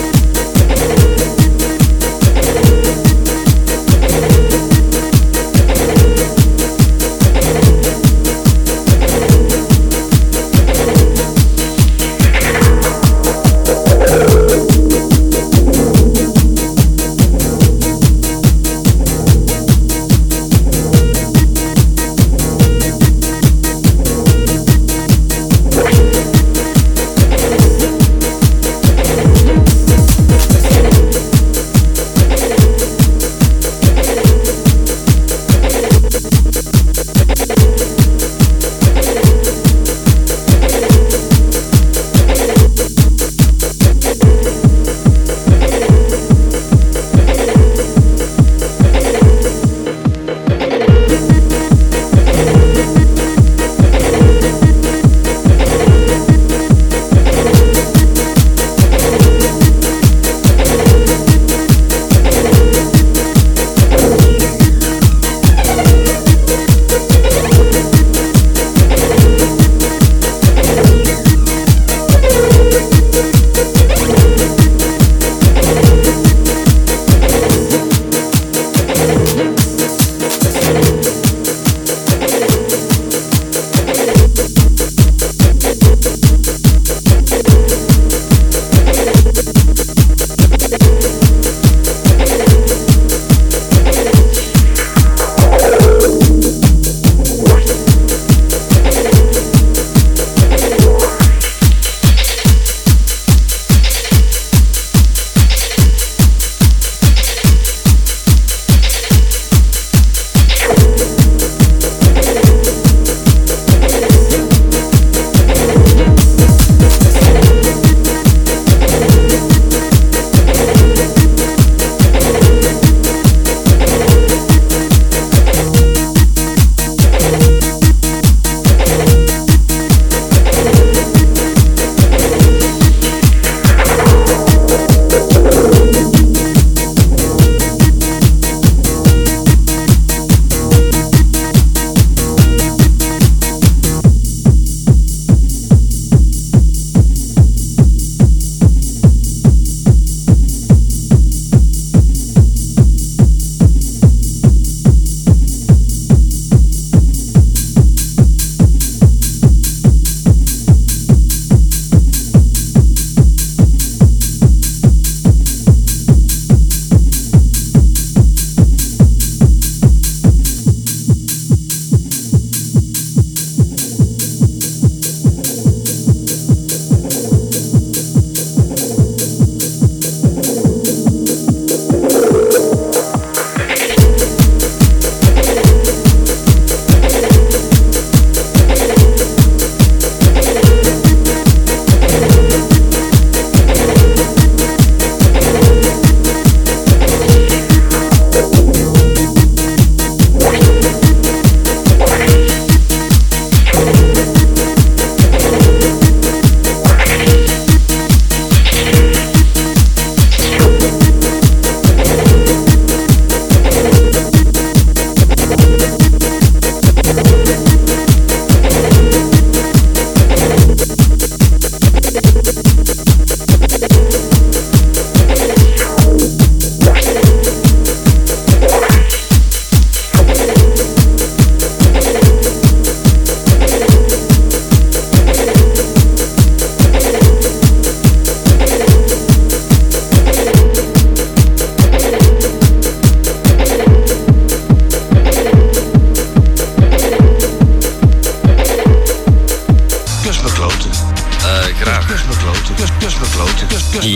Eh,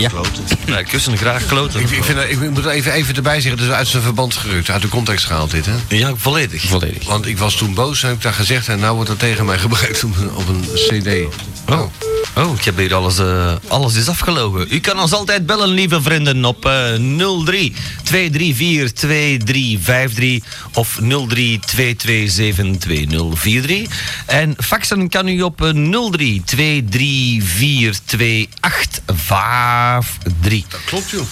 kussen
Ja.
kloten.
Nou, kussen graag kloten.
Ik, ik, vind, dat- ik moet even, even erbij zeggen, dat is uit zijn verband gerukt. Uit de context gehaald dit, hè?
Ja, volledig.
Volledig.
Want ik was toen boos, heb ik daar gezegd. En nou wordt dat tegen mij gebruikt op een, op een cd.
Oh. Oh, ik heb hier alles, eh, alles is afgelogen. U kan ons altijd bellen, lieve vrienden, op eh 03 234 2353 of 03 2272 En faxen kan u op eh, 03 234 2853.
Dat klopt, joh.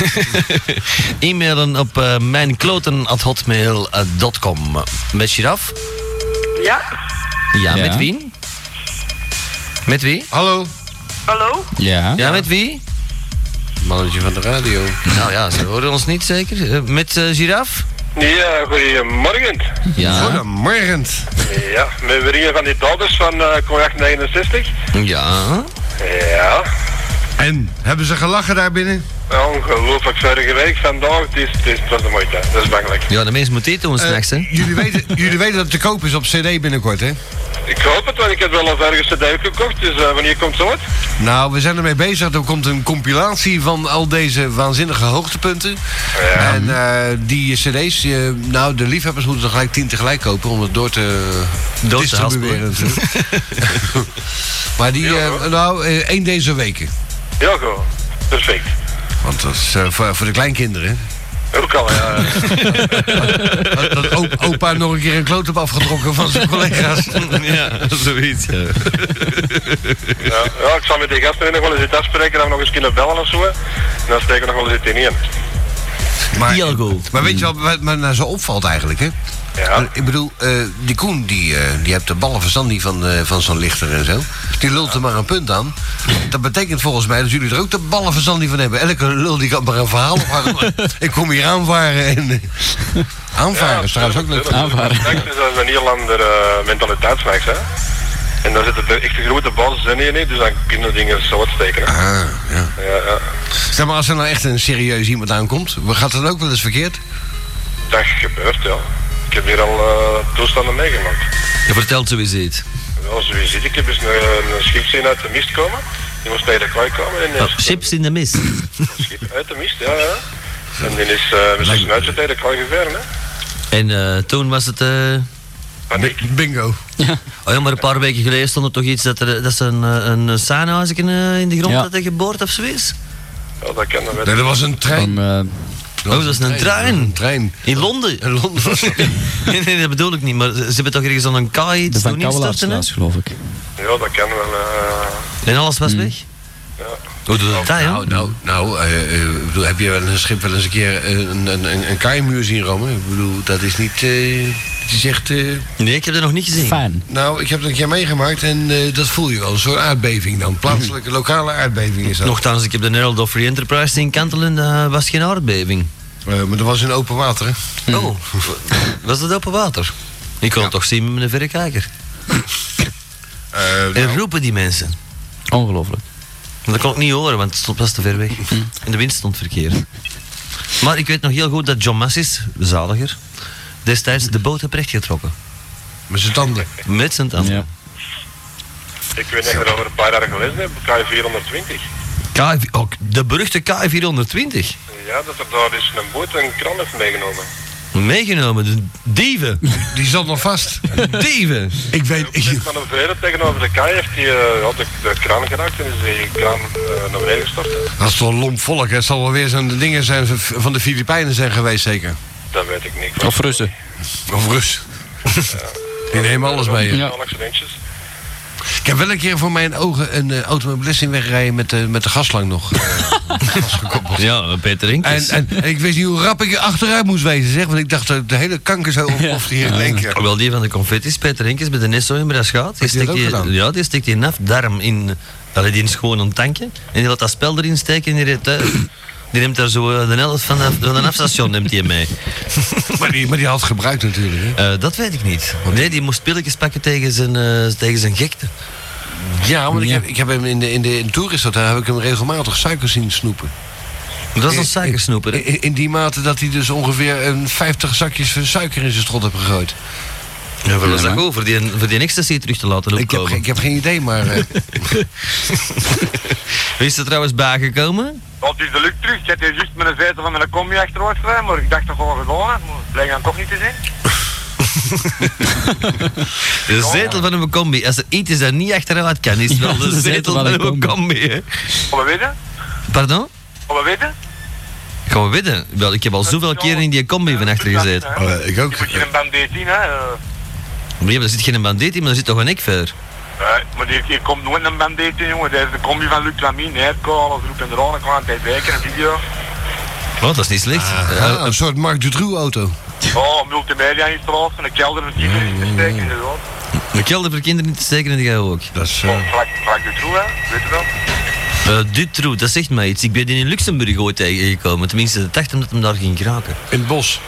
E-mailen op eh, mijnkloten.hotmail.com. eh, Met Giraf?
Ja?
Ja,
Ja.
met wie? Met wie?
Hallo,
Hallo?
Ja.
Ja, met wie?
mannetje van de radio.
Nou ja, ze horen ons niet zeker. Eh, Met eh, Giraf?
Ja, goedemorgen.
Ja.
Goedemorgen.
Ja, met weer een van die daders van uh, 69.
Ja.
Ja.
En, hebben ze gelachen daar binnen?
Ongelooflijk vorige week vandaag, het, is, het, is, het was de moeite, dat is bangelijk.
Ja, de mens moet eten ons
Eh,
s'nachts, hè?
jullie, weten, jullie weten dat het te koop is op cd binnenkort, hè?
Ik hoop het, want ik heb wel eens ergens de duik gekocht, dus eh, wanneer komt zo het?
Nou, we zijn ermee bezig. Er komt een compilatie van al deze waanzinnige hoogtepunten.
Oh
En eh, die cd's, eh, nou, de liefhebbers moeten er gelijk tien tegelijk kopen... om het door te
Dood te
distribueren. natuurlijk. maar die, eh, nou, eh, één deze weken.
Ja, go. Perfect.
Want dat is eh, voor, voor de kleinkinderen.
Ook al, ja.
Dat, dat op- opa nog een keer een kloot heeft afgetrokken van zijn collega's.
ja, zoiets. Ja.
ja. Ja, ik zal met die gasten nog wel eens iets afspreken, dat we nog eens kunnen bellen of zo. hè. En dan steken we nog wel eens iets in.
Maar,
Diago.
maar weet je wat, wat me nou zo opvalt eigenlijk, hè?
Ja.
Ik bedoel, eh, die Koen, die, eh, die hebt de ballen verstand niet van, eh, van zo'n lichter en zo. Die lult er maar een punt aan. Dat betekent volgens mij dat jullie er ook de ballen verstand niet van hebben. Elke lul die kan maar een verhaal ophangen. Ik kom hier aanvaren en... eh, aanvaren is trouwens ook leuk.
Aanvaren.
Dat is een Nederlander eh mentaliteit s'nachts, hè. En daar zitten de echte grote basis in, hè, dus dan kunnen dingen zo wat steken, hè.
Ah, ja.
Ja, ja.
Zeg maar, als er nou echt een serieus iemand aankomt, gaat dat ook wel eens verkeerd?
Dat gebeurt, ja. Ik heb hier al eh, toestanden meegemaakt.
Je vertelt zo eens iets.
Ja, zo je ziet, ik heb eens een, een schip zien uit de mist komen. Die moest bij de kooi komen en
Oh,
is
chips in de mist.
een schip uit de mist, ja, ja. En die is eh met zijn uitzet bij de kooi gevaren, hè.
En eh, toen was het... eh,
Paniek.
Bingo.
Oh ja, maar een paar weken geleden stond er toch iets dat, er, dat ze een, eh, een eh, saanhuis in, eh, in de grond
Ja.
hadden geboord of zoiets.
Ja, dat kan dan wel.
Nee, dat was een trein.
Van, eh,
Oh, dat is een
Een
trein.
trein.
In Londen.
In Londen was dat.
nee, nee, dat bedoel ik niet. Maar ze ze hebben toch ergens aan een kaai
de
iets
Van
doen instorten, hè?
Kouwelaars geloof ik.
Ja, dat kan wel. eh.
En alles was weg. Hoe doe dat, hè?
Nou, nou, nou eh, eh, ik bedoel, heb je wel eens een schip wel eens een keer eh, een, een, een, een kaaimuur zien rammen? Ik bedoel, dat is niet. eh het is echt. eh,
Nee, ik heb dat nog niet gezien.
Fijn.
nou, ik heb dat een keer meegemaakt en eh, dat voel je wel. Een soort aardbeving dan. Plaatselijke, lokale aardbeving is dat.
Nochtans, ik heb de Herald of Free Enterprise zien kantelen. Dat was geen aardbeving.
Eh, maar dat was in open water. Hè?
Oh, was dat open water? Ik kon het toch zien met mijn verrekijker.
Eh, nou,
En roepen die mensen.
Ongelooflijk. Hm.
Maar Dat kon ik niet horen, want het stond was te ver weg. En de wind stond verkeerd. Maar ik weet nog heel goed dat John Massis, de zaliger, destijds de boot heeft rechtgetrokken.
met zijn tanden.
Met zijn tanden.
Ja.
ik weet niet of ik dat over een paar jaar gelezen heb. KJ 420.
K- ook de beruchte K420.
Ja, dat er daar is een boot een kran heeft meegenomen.
Meegenomen, de dieven.
Die zat nog vast.
Dieven.
ik weet.
Ik zit
Ik,
van een veren tegenover de kaai heeft die eh, had de, de kraan geraakt en is die kraan eh, naar beneden gestort. hè.
dat is toch een lomp volk, hè? Het zal wel weer zo'n dingen zijn van- van de Filipijnen zijn geweest, zeker.
Dat weet ik niet.
Of Russen.
Of Rus. Die nemen alles mee. hè?
Ja.
accidentjes.
Ik heb wel een keer voor mijn ogen een eh, automobilist in wegrijden met, de met de gaslang nog.
Ja, Peter
en,
Inkes.
en, en ik wist niet hoe rap ik achteruit moest wezen, zeg. Want ik dacht, dat de hele kanker zo ontploft hier in één keer.
Wel die van de confetti's, Peter Henkes, met de Nesso in Braschaat. Die
Heeft hij dat
stikt
ook
die,
gedaan?
ja, die stikt die nafdarm in. Allee, die is gewoon een tankje. En die laat dat spel erin steken en die reed uit. Die neemt daar zo eh, de helft van, de, van een afstation neemt die mee.
Maar die, maar die had gebruikt natuurlijk, hè.
Eh, dat weet ik niet. Nee, die moest pilletjes pakken tegen zijn, eh, tegen zijn gekte.
Ja, want ik heb, ik heb hem in de, in de in toerist, daar heb ik hem regelmatig suiker zien snoepen.
Dat is een
Eh,
suikersnoeper. hè?
In, in die mate dat hij dus ongeveer een 50 zakjes van suiker in zijn strot heeft gegooid.
Ja, voor
Ja,
is dat
man.
goed? Voor die, voor die ecstasy terug te laten
Ik heb,
opkomen.
geen- ik heb geen idee, maar... eh,
Wie is er trouwens bijgekomen?
Dat is de lucht terug. Ik had hier juist met een zetel van mijn combi achteruit gereden, maar ik dacht toch wel gedaan. Maar het bleek dan toch niet te zijn.
De zetel van een combi. Als er iets is dat niet achteruit kan, is het wel de zetel van een combi. hè.
Gaan we weten?
Pardon?
Gaan we weten?
Gaan we winnen? Wel, ik heb al zoveel keer in die combi van achter gezeten.
eh, ik ook.
Je moet hier een bandeet in, hè. eh.
Nee, maar er zit geen bandiet in, maar er zit toch een ik voor.
Eh, maar hier, hier komt nooit een bandeet in, jongen. Dat is de combi van Luc Lamine, Herco, alles roep en eraan. Ik kwam aan het wijken, een video.
Oh, dat is niet slecht.
Ah, een soort Mark Dutroux-auto.
Oh, multimedia installatie, een kelder, een kiezer in te steken, inderdaad.
De kelder voor kinderen niet te steken en die gaan we ook.
Dat is... eh,
Oh, vlak, vlak de troe, hè. Weet je wel?
Eh Dutroux, dat zegt mij iets. Ik ben die in Luxemburg ooit tegengekomen. Tenminste, ik dacht omdat hem daar ging kraken.
in het bos.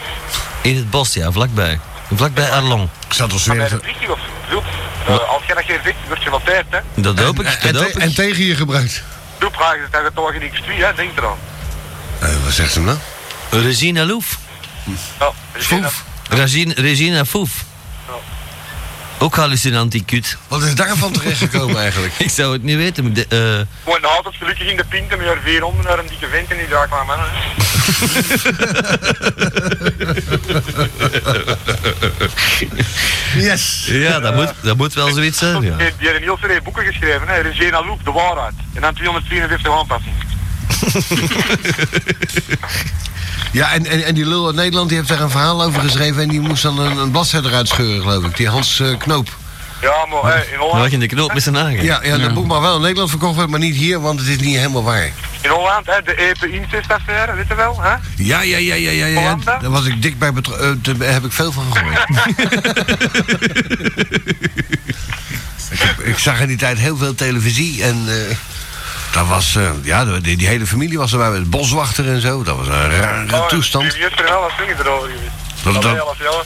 In het bos, ja, vlakbij. Vlakbij Arlon.
Ik zat ons
Maar
weer
bij de
even...
vliegtuig of zo. Eh, Als je dat geen vliegt, word je noteerd, hè.
Dat hoop
en,
ik, dat
te-
hoop
en
ik.
tegen je gebruikt.
Doe vragen, dat gaat toch in X2, hè. Denk eraan.
Eh, wat zegt hem nou?
Regina Loef.
Ja, dus je
Foef.
Regina, Regina Foef. Ook hallucinant, die kut.
Wat is daarvan terechtgekomen eigenlijk?
Ik zou het niet weten. maar de- eh,
Gewoon de auto gelukkig in de pinte met haar 400 naar een dikke vent en die draagt maar mannen. hè.
Yes!
ja, dat moet, dat moet wel zoiets zijn.
Die
Ja.
heeft een heel serie boeken geschreven, hè. Regina Loop, De Waarheid. En dan 254 aanpassingen.
Ja, en, en, en die lul uit Nederland die heeft daar een verhaal over geschreven... en die moest dan een, een bladzijde eruit scheuren, geloof ik. Die Hans eh, Knoop.
Ja, maar hè, in
Dan lag
Holland,
je in de knoop met zijn nagen.
Ja, ja, dat boek mag wel in Nederland verkocht worden, maar niet hier... want het is niet helemaal waar.
in Holland hè, de Epe incestaffaire, weet je wel? Hè?
Ja, ja, ja, ja, ja, ja. ja.
Hollanda?
Daar was ik dik bij betro- eh, Daar heb ik veel van gehoord. ik, heb- ik zag in die tijd heel veel televisie en... eh, dat was, eh, ja, die, die hele familie was erbij, met boswachter en zo. Dat was een rare toestand.
Oh, Die juist er wel wat dingen erover geweest.
Dat-
Dat
dat-
was wel,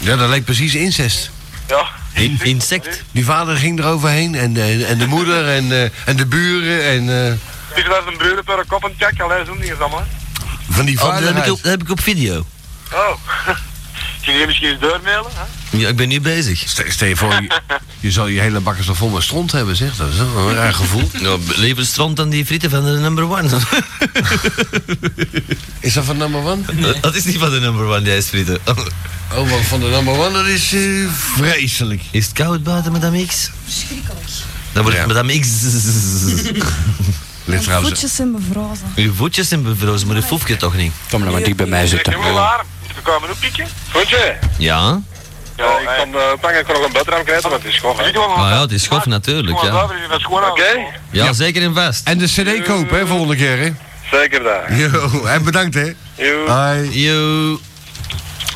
Ja, dat leek precies incest.
Ja.
In- insect.
Die vader ging eroverheen en, eh, en de moeder en, eh, en de buren en eh,
Dus dat is een breuren per een kop en kijk, allee, zo'n ding is allemaal.
van die
Oh, dat,
vader.
heb ik op, dat heb ik op video.
Oh. Kun je misschien eens deurmailen? Hè?
Ja, ik ben nu bezig.
Stel stel je voor, je, je zal je hele bakkers nog vol met stront hebben, zeg. Dat is wel een raar gevoel.
Nou, lever stront dan die frieten van de number one.
Is dat van number one?
Dat is niet van de number one, die is frieten.
Oh, want van de number one, dat is eh, vreselijk.
Is het koud buiten, madame X?
Verschrikkelijk.
Dan wordt
Ja.
madame X...
Ligt
Mijn
trouwens...
voetjes in bevrozen.
Uw voetjes zijn bevrozen, maar uw foefje toch niet?
Kom dan maar dicht bij mij
Zeg,
zitten.
jongen, warm. Moet ik komen oppikken?
Goed, hè?
Ja?
Ja, ik kan eh, bang dat ik nog een bedram krijg, maar het is gewoon. hè.
Ah ja, het is schof natuurlijk, ja.
Oké?
Ja, zeker en vast.
En de cd kopen, hè, volgende keer, hè?
Zeker daar.
Yo, en bedankt, hè?
Joe.
Hoi.
Yo.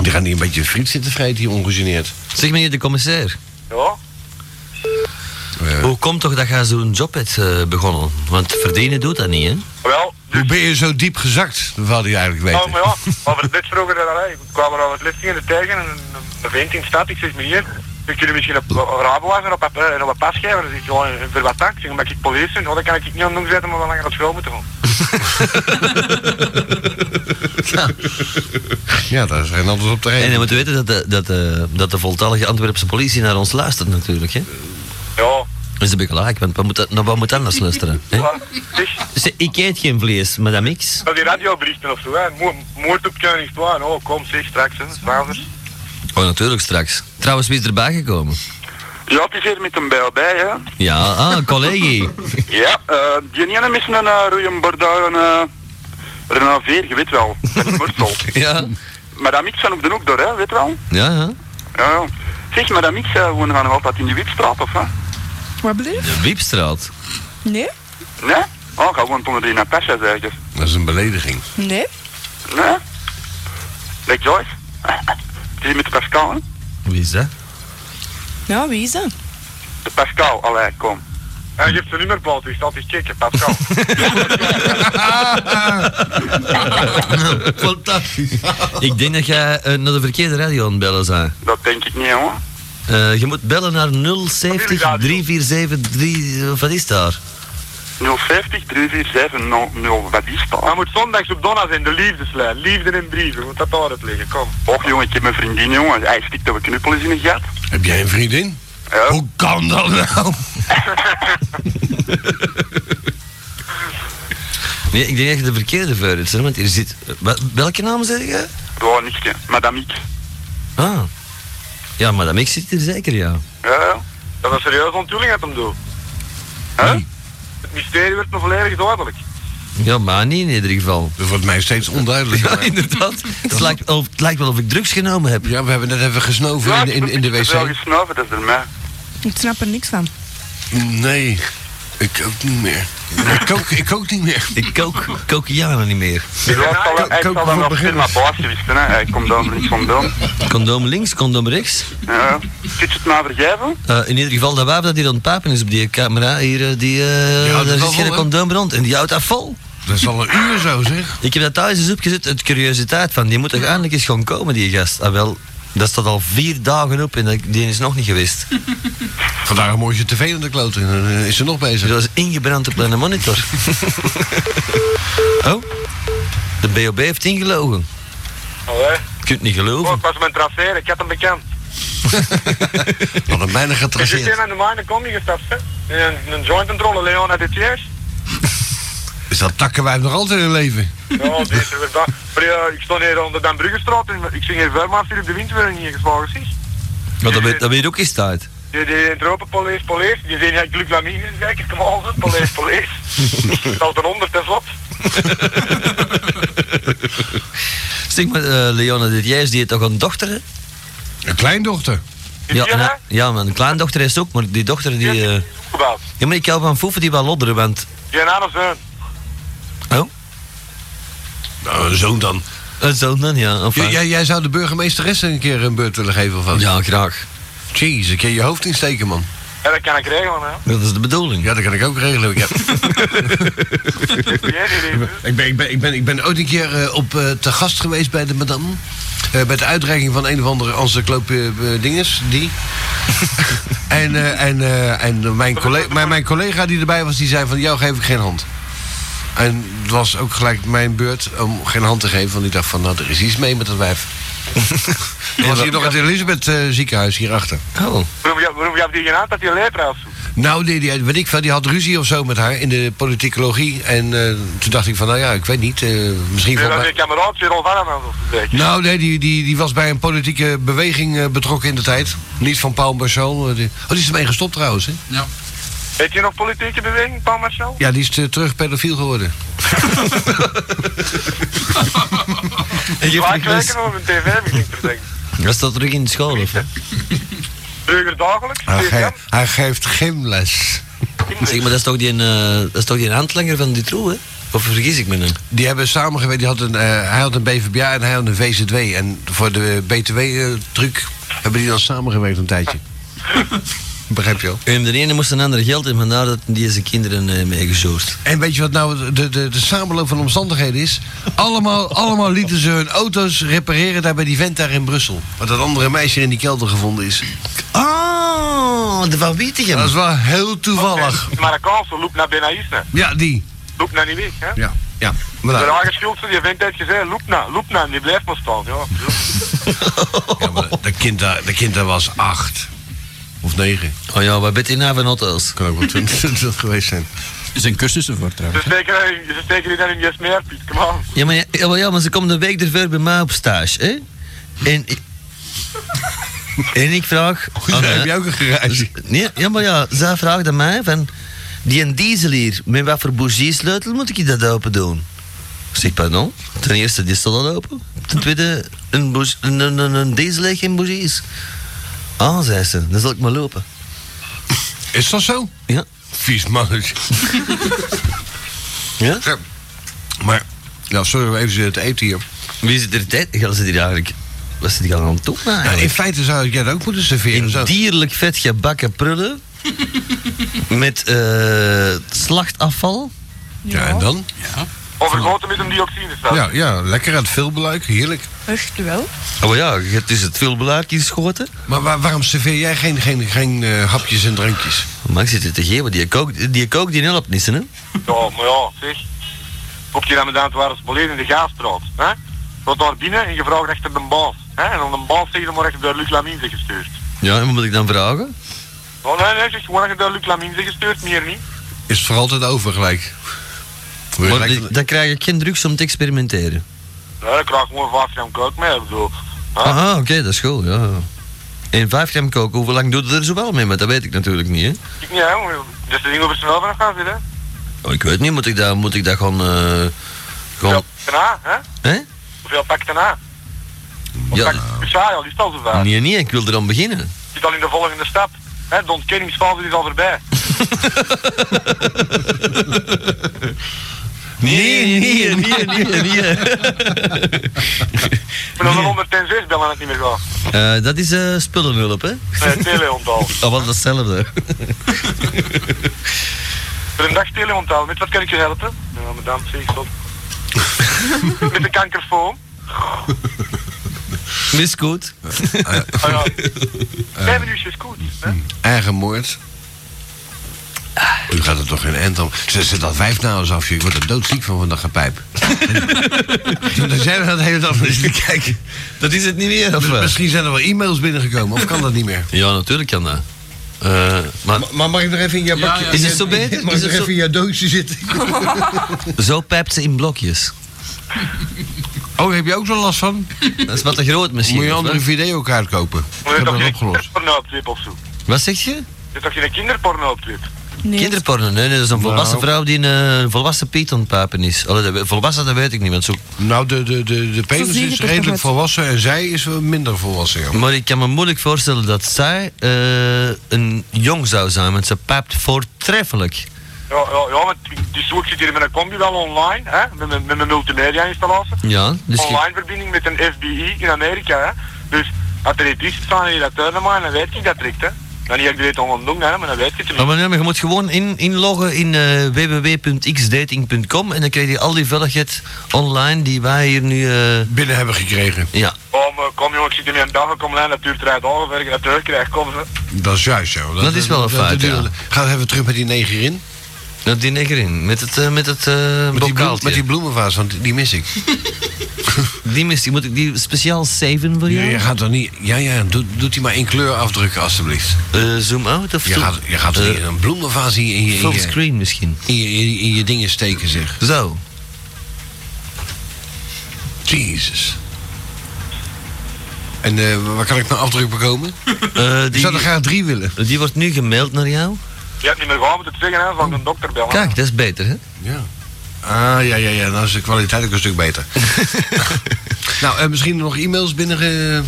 Die gaan hier een beetje friet zitten vreten, hier ongegeneerd.
Zeg meneer de commissair,
Ja.
hoe komt toch dat jij zo'n job hebt eh, begonnen? Want verdienen doet dat niet, hè?
Wel, dus-
Hoe ben je zo diep gezakt? Dat wilde je eigenlijk
Nou,
weten.
maar ja, over het lift vroeger, eh, ik kwam er over het lift tegen tegen en een- een vent in de stad, ik zeg meneer, we kunnen misschien een, een rabowagen op, op, eh, op een pas geven. Dan zeg ik, ja, eh, voor wat dan? Ik zeg, omdat ik politie ben, ja, dan kan ik het niet aan doen zetten, maar dan langer op school moeten gaan.
Ja, daar zijn anders op te
En je
rijden.
moet weten dat de, dat, de, dat de voltallige Antwerpse politie naar ons luistert natuurlijk, hè?
Ja,
Dus dat heb ik gelijk, want wat moet, dat- naar wat moet anders luisteren? Hè?
maar, zeg,
Ze- ik eet geen vlees, madame X.
dat die radioberichten of zo, hè. Mo- Moord op Koningsplein, oh, kom zeg, straks, hè, zwaarder.
Oh, natuurlijk straks. Trouwens, wie is erbij gekomen?
Ja, het is hier met een bijl bij, hè?
Ja, ah, een collega.
Ja, eh, die ene is een uh, Ruyen Bordeaux, een eh, Renault 4, je weet wel, van Borstel.
Ja,
Maar dat mix van op de hoek door, hè, weet je wel?
ja, ja.
Ja, ja. Zeg, maar dat mix, eh, wonen we nog altijd in de Witstraat, of wat?
Wat bleef?
De Wiepstraat.
Nee?
Nee? Oh, ga woont onder die Natasha, zeg je.
Dat is een belediging.
Nee?
Nee? Like Joyce? Het is met de Pascal, hè?
Wie is dat?
Ja, wie is dat?
De Pascal, allee, kom.
En je hebt zijn nummerplaat, dus dat is checken, Pascal.
Fantastisch. Ik denk dat jij eh, naar de verkeerde radio aan het bellen bent.
Dat denk ik niet, hoor.
Eh, je moet bellen naar 070 347 3... Wat is eh, daar?
050 347 00, wat is dat?
Maar moet zondags op donna zijn, de liefdeslijn. Liefde in brieven, moet dat daarop liggen, kom.
Och jongen, ik heb mijn vriendin jongen, hij stikt dat we knuppel is in een gat.
Heb jij een vriendin?
Ja.
Hoe kan dat nou?
Nee, ik denk echt de verkeerde voor is, hè, want hier zit... eh, Wel- Welke naam zeg je?
Gewoon niks, hè. madame ik.
Ah. Ja, maar dat zit er zeker, ja.
Ja, ja.
Dat is een serieuze onthulling dat hem doet.
Hè?
Het mysterie werd nog volledig duidelijk.
Ja, maar niet in ieder geval.
Dat wordt mij steeds
Ja,
onduidelijker.
inderdaad. Het lijkt, of, het lijkt wel of ik drugs genomen heb.
Ja, we hebben net even gesnoven in, de- in, in de
Ik heb wel
wc.
gesnoven, dat is er mij.
Ik snap er niks van.
Nee, ik ook niet meer. Ik ook, ik ook niet meer.
Ik kook kokianen niet meer.
Ja, hij zal- hij zal
kook voor
dan nog
beginners.
firma baas geweest zijn, hè. Hij komt daar niks van doen.
Condoom links, condoom rechts.
Ja. Kun je het mij vergeven?
Eh, in ieder geval, dat wapen dat hier aan het papen is op die camera, hier, eh, die, eh,
Ja, dat
daar
is wel
zit geen
vol, hè?
condoom rond. En die houdt dat vol.
Dat is al een uur zo, zeg.
Ik heb dat thuis eens opgezet, het curiositeit van, die moet toch eindelijk eens gaan komen, die gast. Ah wel, dat staat al vier dagen op en dat- die is nog niet geweest.
Vandaag een mooie tv aan de kloot en dan is ze nog bezig.
Dat is ingebrand op een monitor. oh, de BOB heeft ingelogen.
Allee.
Je kunt niet
Oh,
geloven.
ik was mijn traceren, ik had hem bekend.
Wat een bijna
Ik zit
getraceerd.
hier aan de mijne kom niet gestapt, hè. In een, een joint controle, Leon had dit eerst.
Is dat takkenwijf nog altijd in leven?
Ja, deze weer daar. Maar ja, ik stond hier onder Den Bruggestraat en ik zing hier ver, maar Philip de Wind weer niet geslagen, zie.
Maar dat weet, dat weet ook eens tijd.
Die, die entropen, police, police. Die zijn ja, glucamine in, kijk, kom al, police, police. Dat is een honderd, dat is wat.
Stik met eh Leona dit jij is, die heeft toch een dochter? hè?
Een kleindochter.
Die
Ja,
hier, hè?
na- ja, mijn kleindochter is ook, maar die dochter die...
Die
eh,
is opgebouwd.
ja, maar ik hou van foeven die wel lodderen, want...
Die eh, een aan of zoon.
Oh,
Nou, een zoon dan.
een zoon dan, ja.
J-
Enfin.
jij, jij zou de burgemeesteres een keer een beurt willen geven of wat?
Ja, graag.
Jeez, ik kan je hoofd insteken, man.
Ja, dat kan ik regelen, hè.
Dat is de bedoeling.
Ja, dat kan ik ook regelen. Ik, heb...
Die heeft die regels.
ik, ben, ik, ben, ik, ben, ik ben ooit een keer eh, op eh, te gast geweest bij de madame. Eh, bij de uitreiking van een of andere encyclopedie eh dinges, die. en eh, en, eh, en mijn, collega, mijn, mijn collega die erbij was, die zei van, jou geef ik geen hand. En het was ook gelijk mijn beurt om geen hand te geven, want ik dacht van, nou, er is iets mee met dat wijf. Er was hier nog het Elisabeth eh, ziekenhuis hierachter.
Oh,
Waarom je- Waarom heb je geen aan dat je lepra of zo?
Nou, die, die, weet ik veel, die had ruzie of zo met haar in de politicologie. En eh, toen dacht ik van, nou ja, ik weet niet, eh, misschien...
Ja,
valt
dat
mij-
je kameraad weer al warm aan of zo, zeker.
Nou, nee, die, die, die was bij een politieke beweging eh, betrokken in de tijd. Niet van Paul Marcel. eh, die... Oh, die is ermee gestopt trouwens, hè?
Heeft je nog politieke beweging, Paul Marcel?
Ja, die is eh, terug pedofiel geworden.
en je
Waar kijken over een tv-meeting te denken.
Dat staat terug in de school, of?
Burger dagelijks,
Hij, ge-
TVM,
hij geeft geen les.
Zeg, maar dat is toch die, eh, dat is toch die handlanger van die troe, hè? Of vergis ik me nou? nu?
Die hebben samengewerkt. Die had een, eh, hij had een BVBA en hij had een VZW. En voor de BTW-truc eh, hebben die dan samengewerkt een tijdje. Begrijp je wel?
En de ene moest een ander geld in, vandaar dat die zijn kinderen eh meegezoord.
En weet je wat nou de, de, de samenloop van omstandigheden is? Allemaal, allemaal lieten ze hun auto's repareren daar bij die vent daar in Brussel. Waar dat andere meisje in die kelder gevonden is.
Oh, de Van Wietigem.
Dat is wel heel toevallig.
De Marokkaanse loopt naar Benaïsne.
Ja, die.
Loopt naar niet weg, hè?
Ja. Ja. Maar
De
nou,
rare schulden, die vindt heeft gezegd, loop naar, loop naar, die blijft maar staan, ja.
ja, maar dat, kind daar, dat kind daar was acht. Of negen.
Oh ja, wat bent je nou van hotels?
Kan ook wel twintig geweest zijn.
Er zijn cursussen voor
Ze
trouwens.
steken, eh, ze steken die dan in je smeer, Piet, kom aan.
Ja maar, ja, ja, maar, ja, maar ze komt een week ervoor bij mij op stage, hè? En ik... En ik vraag... aan haar-
heb jij ook een garage?
Nee, ja, maar ja, zij vraagt aan mij van... Die een diesel hier, met wat voor bourgiersleutel moet ik je dat open doen? Ik zeg, pardon? Ten eerste, die staat al open. Ten tweede, een, bourg- een, een, een, een diesel heeft geen bourgiers. Ah, zei ze, dan zal ik maar lopen.
Is dat zo?
Ja.
Vies mannetje.
Ja?
Ja. Maar, nou, sorry, we even het eten hier.
Wie zit er tijd? Gaan ze hier eigenlijk... Wat zit die aan het doen nou
Nou,
eigenlijk?
in feite zou ik jij dat ook moeten serveren.
In
zo.
dierlijk vet gebakken prullen. met eh, slachtafval.
Ja, en dan?
Ja.
Overgoten met een dioxine staat.
Ja, ja, lekker aan het filmbeluik, heerlijk.
Echt wel.
Oh ja, het is het filmbeluik inschoten.
Maar waar- waarom serveer jij geen, geen, geen eh, hapjes en drankjes?
Maar ik zit het te geven, die kook die, kook, die helpt niet, hè?
Ja, maar ja, zeg. Komt hier aan me het waar het volledig in de gaasstraat. Hè? Gaat daar binnen en je vraagt achter de baas. Hè? En dan de baas zegt dan maar dat je door Luc Lamine bent gestuurd.
Ja, en wat moet ik dan vragen?
Oh nee, nee, zeg gewoon dat je door Luc Lamine bent gestuurd, meer niet.
Is het voor altijd over gelijk. Word je
Maar
gelijk-
die- dan krijg ik geen drugs om te experimenteren.
Nee, ik krijg gewoon 5 gram kook mee, ik bedoel. Huh?
Ah, oké, dat is goed, ja. En 5 gram koken, hoeveel lang doet het er zo wel mee? Maar dat weet ik natuurlijk niet, hè?
Ik niet, hè. jongen. Dat is de ding over snel vanaf gaan zitten.
Oh, ik weet niet, moet ik daar, moet ik daar gewoon... eh, gewoon...
Daarna, hè.
Hè?
Hoeveel pak je daarna?
Ja,
Saai al, die is al zo vaak.
nee, nee, ik wil er dan beginnen.
Zit al in de volgende stap. Hè? De ontkenningsfase is al voorbij.
Nee, nee, nee, nee, nee.
Ik ben al een 106 bellen en het niet meer gaan.
Eh, dat is eh, spullenhulp, hè?
Nee, teleontaal.
Oh, wat datzelfde.
Goedendag teleontaal. Met wat kan ik je helpen? Ja, madame, zie ik stop. Met de kankerfoon.
Mis goed.
Eh,
Ah, ja. Vijf minuutjes goed. Hè?
Eigen moord. Ah, U gaat er toch geen eind om. Ze zet al vijf nauwels af. Ik word er doodziek van van dat gepijp. en, dan zijn we dat hele dag eens te kijken.
Dat is het niet meer, of wel?
Misschien zijn er wel e-mails binnengekomen. Of kan dat niet meer?
Ja, natuurlijk kan dat. Eh, maar
Maar mag ik nog even in jouw bakje...
Is het zo beter?
Mag
Is
ik
het
nog even
zo-
in jouw doosje zitten?
zo pijpt ze in blokjes.
Oh, daar heb je ook zo last van?
Dat is wat te groot misschien.
Moet je een
of
andere
wat?
videokaart kopen. Ik
Maar je hebt
heb
toch
dat
geen
opgelost.
kinderporno op trip of zo?
Wat zeg je?
Je hebt toch geen kinderporno op trip?
Nee.
Kinderporno? Nee, nee, dat is
Nou.
een volwassen vrouw die een eh, volwassen piet aan het papen is. Allee, dat we- volwassen, dat weet ik niet, want zo...
Nou, de, de, de, de penis
zie je
is
toch nog
redelijk
het-
volwassen en zij is wel minder volwassen. ja.
Maar ik kan me moeilijk voorstellen dat zij eh, een jong zou zijn, want ze pijpt voortreffelijk.
Ja, ja, ja, want die zoek zit hier met een combi wel online, hè? Met, mijn- met mijn multimedia installatie.
Ja, dus je-
online verbinding met een FBI in Amerika. Hè? Dus als er iets is van in dat tuinemaan, dan weet ik dat direct. Hè? Dan niet dat ik weet om te doen, hè, maar dan weet ik het
Maar
niet.
meneer, maar je moet gewoon in, inloggen in eh, www.xdating.com en dan krijg je al die velligheid online die wij hier nu... eh,
Binnen hebben gekregen.
ja,
Oh, maar kom jongen, ik zit in een dag, ik kom lijn, dat duurt drie dagen, voordat ik dat terugkrijg, kom ze.
Dat is juist zo.
Dat is wel een feit, ja.
Ga even terug met die neger in.
dat die neger in. Met het, eh, met het eh
Met die, bloem,
bokaaltje.
met die bloemenvaas, want die- die mis ik.
Die mist, die moet ik die speciaal saven voor
Je,
jou?
je gaat dan niet... Ja, ja, doe, doet die maar in kleur afdrukken, alstublieft.
Eh, zoom out of
Je
toe-
gaat, je gaat er
eh,
niet een bloemenvaas in je, in, je, in,
full
je,
screen misschien.
in je- in je- in je dingen steken, zeg.
Zo.
Jezus. En eh, waar kan ik mijn afdruk bekomen?
Eh,
Ik
die,
zou er graag drie willen.
Eh, die wordt nu gemaild naar jou.
Je hebt niet meer gewoon moeten zeggen, hè, van een dokter bellen.
Kijk, dat is beter, hè?
Ja. Ah, ja, ja, ja. Dan is de kwaliteit ook een stuk beter. nou, eh, misschien nog e-mails binnen... eh, ge-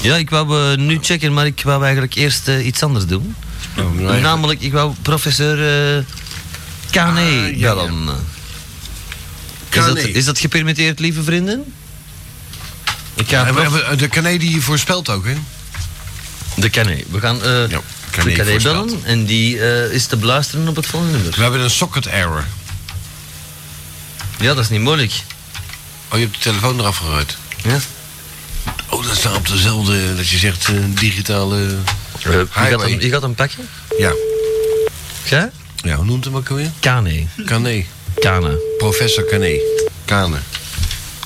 Ja, ik wou eh, nu checken, maar ik wou eigenlijk eerst eh, iets anders doen.
Oh,
Nou,
nee.
Namelijk, ik wou professor eh Kane
Ah, ja,
bellen. Is, dat,
Kane.
is dat gepermitteerd, lieve vrienden? Ik ga
En we
prof-
hebben- de Cané die voorspelt ook, hè?
de Kane. We gaan eh,
Ja,
de
Kane
Kane
voorspelt.
bellen en die eh, is te beluisteren op het volgende nummer. Eh,
We hebben een socket error.
Ja, dat is niet moeilijk.
Oh, je hebt de telefoon eraf geruid.
Ja.
Oh, dat staat op dezelfde, dat je zegt, eh, digitale...
Eh, je, gaat
highway.
hem, je gaat hem pakken?
Ja.
Ja?
ja, hoe noemt hem ook alweer?
Kane.
Cané.
Kane.
Professor Cané. Kane.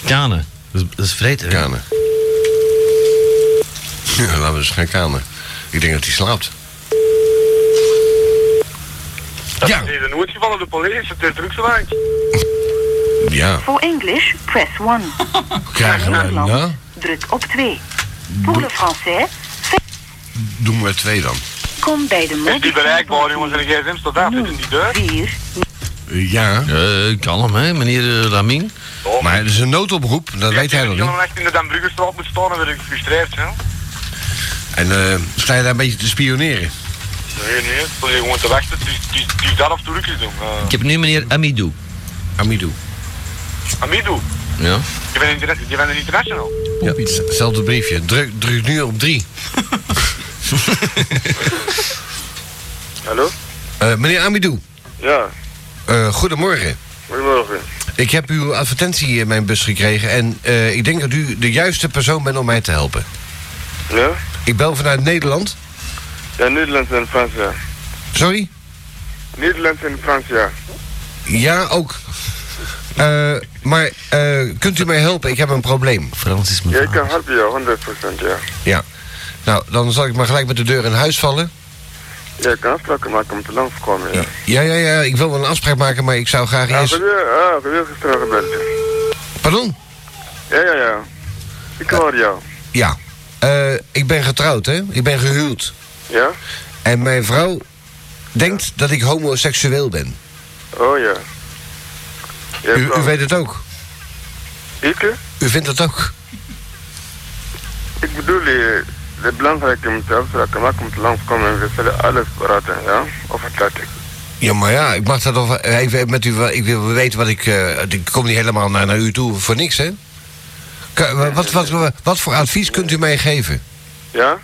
Kane. Dat is, dat is vreten, hè?
Kane. Ja, laten we eens gaan kanen. Ik denk dat hij slaapt. Ja,
Nee, dan nooit gevallen de politie, het is drugsbank.
ja.
Voor English, press 1.
Krijgen we
Nederland,
nou?
druk op 2. Pour le français,
Doen we er twee dan.
kom bij de
Is die bereikbaar, jongens, en
modificatie.
de gsm staat daar, zit in die deur.
4.
Eh, ja,
Eh, kalm, hè, meneer eh, Laming.
maar het is een noodoproep, dat weet hij nog
Ik
niet.
heb echt in de Dan Bruggestraat moet staan en ben ik gefrustreerd, hè.
En eh, sta je daar een beetje te spioneren?
Nee, nee, ik sta hier gewoon te wachten, die, die, die dat af toe rukjes doen. eh.
Ik heb nu meneer Amidou.
Amidou.
Amido,
Ja.
je bent, interna- je bent een international.
Ja, hetzelfde briefje. Druk, druk nu op drie.
Hallo?
Eh, meneer Amidou,
Ja,
eh, goedemorgen.
goedemorgen.
Ik heb uw advertentie in mijn bus gekregen en eh, ik denk dat u de juiste persoon bent om mij te helpen.
Ja?
Ik bel vanuit Nederland.
Ja, Nederlands en Frans, ja.
Sorry?
Nederlands en Frans, ja.
Ja, ook. Eh, maar eh, kunt u mij helpen? Ik heb een probleem. Frans is
Ja, ik kan helpen, ja, 100%, ja.
Ja. Nou, dan zal ik maar gelijk met de deur in huis vallen.
Ja, ik kan afspraken maken om te langskomen, ja.
Ja, ja, ja. Ik wil wel een afspraak maken, maar ik zou graag
Ja,
eerst...
voor je, ah, voor je gisteren gebeld, ja.
Pardon?
Ja, ja, ja. Ik hoor jou.
Ja. Eh, ik ben getrouwd, hè? Ik ben gehuwd.
Ja?
En mijn vrouw denkt dat ik homoseksueel ben.
Oh, ja. Ja,
U, u
klopt.
weet het ook.
Ik, eh,
U vindt het ook.
ik bedoel, je, het belangrijke moet je afspraken maken om te langskomen en we zullen alles praten, ja? Over dat ik.
Ja, maar ja, ik mag dat nog wel even met u. wel- Ik wil weten wat ik. eh, ik kom niet helemaal naar, naar u toe voor niks, hè? Ka- wa- Wat, wat, wat, voor advies kunt u mij geven?
Ja?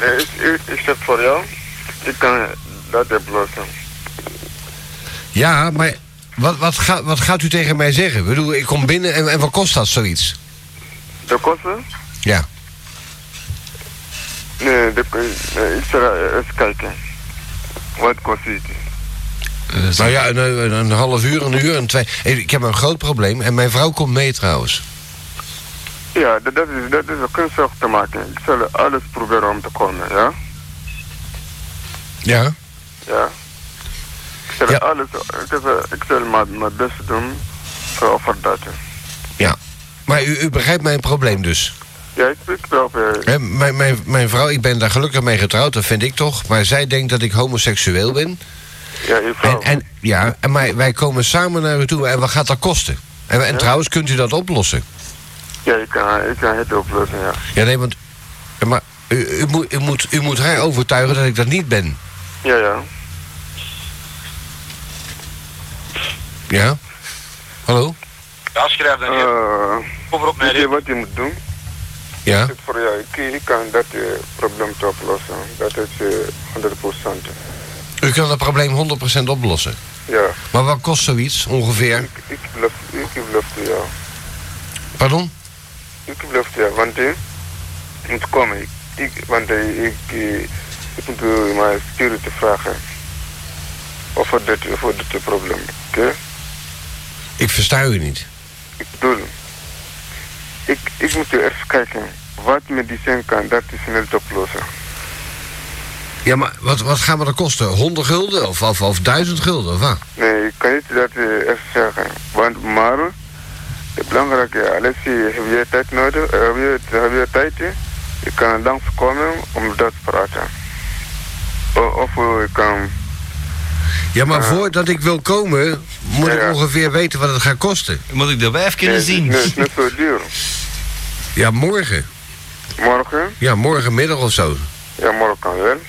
Nee, ik, ik, ik heb voor jou. Ik kan dat oplossen.
Ja, maar wat, wat, ga- wat gaat u tegen mij zeggen? Ik bedoel, ik kom binnen en, en wat kost dat zoiets?
De kosten?
Ja.
Nee, de, nee, ik zal eh, eens kijken. Wat kost het?
nou ja, een, een, een half uur, een uur, een twee. Hey, Ik heb een groot probleem en mijn vrouw komt mee trouwens.
Ja, dat, dat is, dat is ook geen zorg te maken. Ik zal alles proberen om te komen, ja?
Ja?
Ja. Ik zal alles, ik zal, ik zal mijn, mijn best doen voor over dat.
Ja. Maar u, u begrijpt mijn probleem dus.
Ja, ik weet wel. eh,
Hè, mijn, mijn, mijn vrouw, ik ben daar gelukkig mee getrouwd, dat vind ik toch. Maar zij denkt dat ik homoseksueel ben.
Ja, je
vrouw. En, en, ja, en maar wij komen samen naar u toe en wat gaat dat kosten? En, en trouwens, kunt u dat oplossen?
Ja, ik kan, ik kan het oplossen, ja.
Ja, nee, want... ja, Maar u, u, moet, u, moet, u moet haar overtuigen dat ik dat niet ben.
Ja, ja.
Ja? Hallo?
Ja, schrijf dan neer. Kom erop
Eh, Weet
mee.
je wat je moet doen?
Ja?
Ik voor jou, ik, ik kan dat eh, probleem te oplossen. Dat is eh 100%.
U kan dat probleem 100% oplossen.
Ja,
Maar wat kost zoiets, ongeveer?
ik beloof, ik beloof jou.
Pardon?
Ik beloof jou, want eh, je moet komen. Ik, ik- want eh, ik, eh, ik moet eh, mijn security vragen. Over dit, over dit probleem, oké?
Ik versta u niet.
Doel. Ik, ik moet even kijken wat medicijn kan dat snel te oplossen.
Ja, maar wat, wat gaan we dat kosten? 100 gulden of, of, of 1000 gulden of wat?
Nee, ik kan niet dat eh, echt zeggen. Want maar, het belangrijke, alles eh, heb je tijd nodig, eh, heb je, heb je tijd, eh, je kan langskomen om dat te praten. O- Of eh, je kan,
Ja, maar voordat ik wil komen, moet ik ongeveer weten wat het gaat kosten.
Moet ik de wijf kunnen zien?
nee, het is net zo duur.
Ja, morgen.
Morgen?
Ja, morgenmiddag of zo.
Ja, morgen kan wel.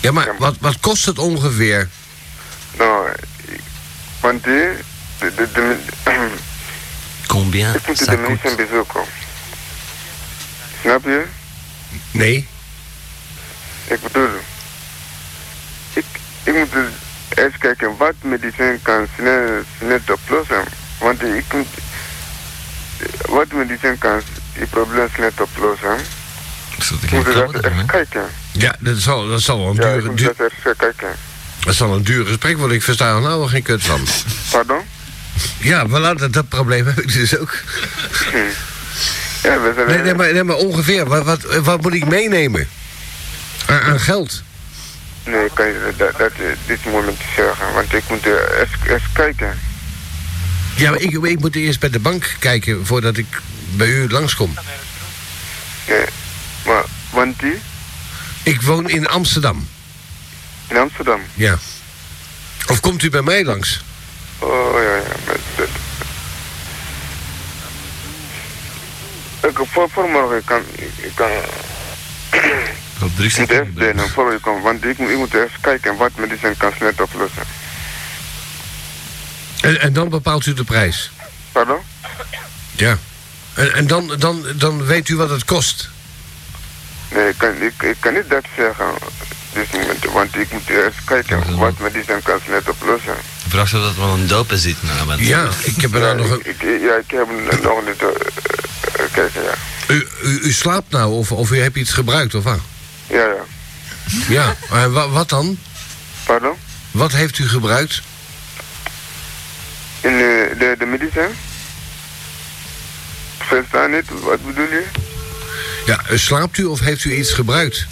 Ja, maar wat, wat kost het ongeveer?
Nou, ik- want die, de, de, de,
Combien?
ik moet de mensen bezoeken. Snap je?
Nee.
Ik bedoel, ik, ik moet eens kijken wat medicijn kan snel, snel oplossen. Want ik moet, wat medicijn kan die probleem snel oplossen. Ik moet dat echt kijken.
Ja, dat zal, dat zal wel een
Ja, ik
duur,
moet
duur-
dat echt kijken.
dat zal een duur gesprek worden. Ik versta er nou wel geen kut van.
Pardon?
Ja, we laten dat probleem heb ik dus ook.
Ja, we zijn...
Nee, nee, maar, nee, maar ongeveer. Wat, wat, wat moet ik meenemen? Aan, aan geld.
Nee, ik kan je dat, dat eh, dit moment niet zeggen. Want ik moet eh, eerst, eerst kijken.
Ja, maar ik, ik moet eerst bij de bank kijken voordat ik bij u langskom.
Ja, maar, want die
Ik woon in Amsterdam.
in Amsterdam.
Ja. Of komt u bij mij langs?
Oh ja, ja, maar dat. Ik, voor, voor morgen ik kan ik kan.
Op drugs
Ik moet eerst delen voor je komt, want ik, moet- ik moet eerst kijken wat medicijn kan snel oplossen.
En, en dan bepaalt u de prijs.
Pardon?
Ja. En, en dan, dan, dan weet u wat het kost.
Nee, ik kan, ik, ik kan niet dus dat zeggen op dit moment, want ik moet eerst kijken wat medicijn kan snel oplossen.
gevraagd of dat wel een dopen zit. Nou, want-
Ja, ik heb er nou nog een...
Ik, ja, ik heb hem nog niet eh, gekeken, ja.
U, u, u slaapt nou, of, of u hebt iets gebruikt, of wat?
Ja, ja.
Ja, maar wa- wat dan?
Pardon?
Wat heeft u gebruikt?
In eh, de, de medicijn? Verstaan niet, wat bedoel je?
Ja, eh, slaapt u of heeft u iets gebruikt?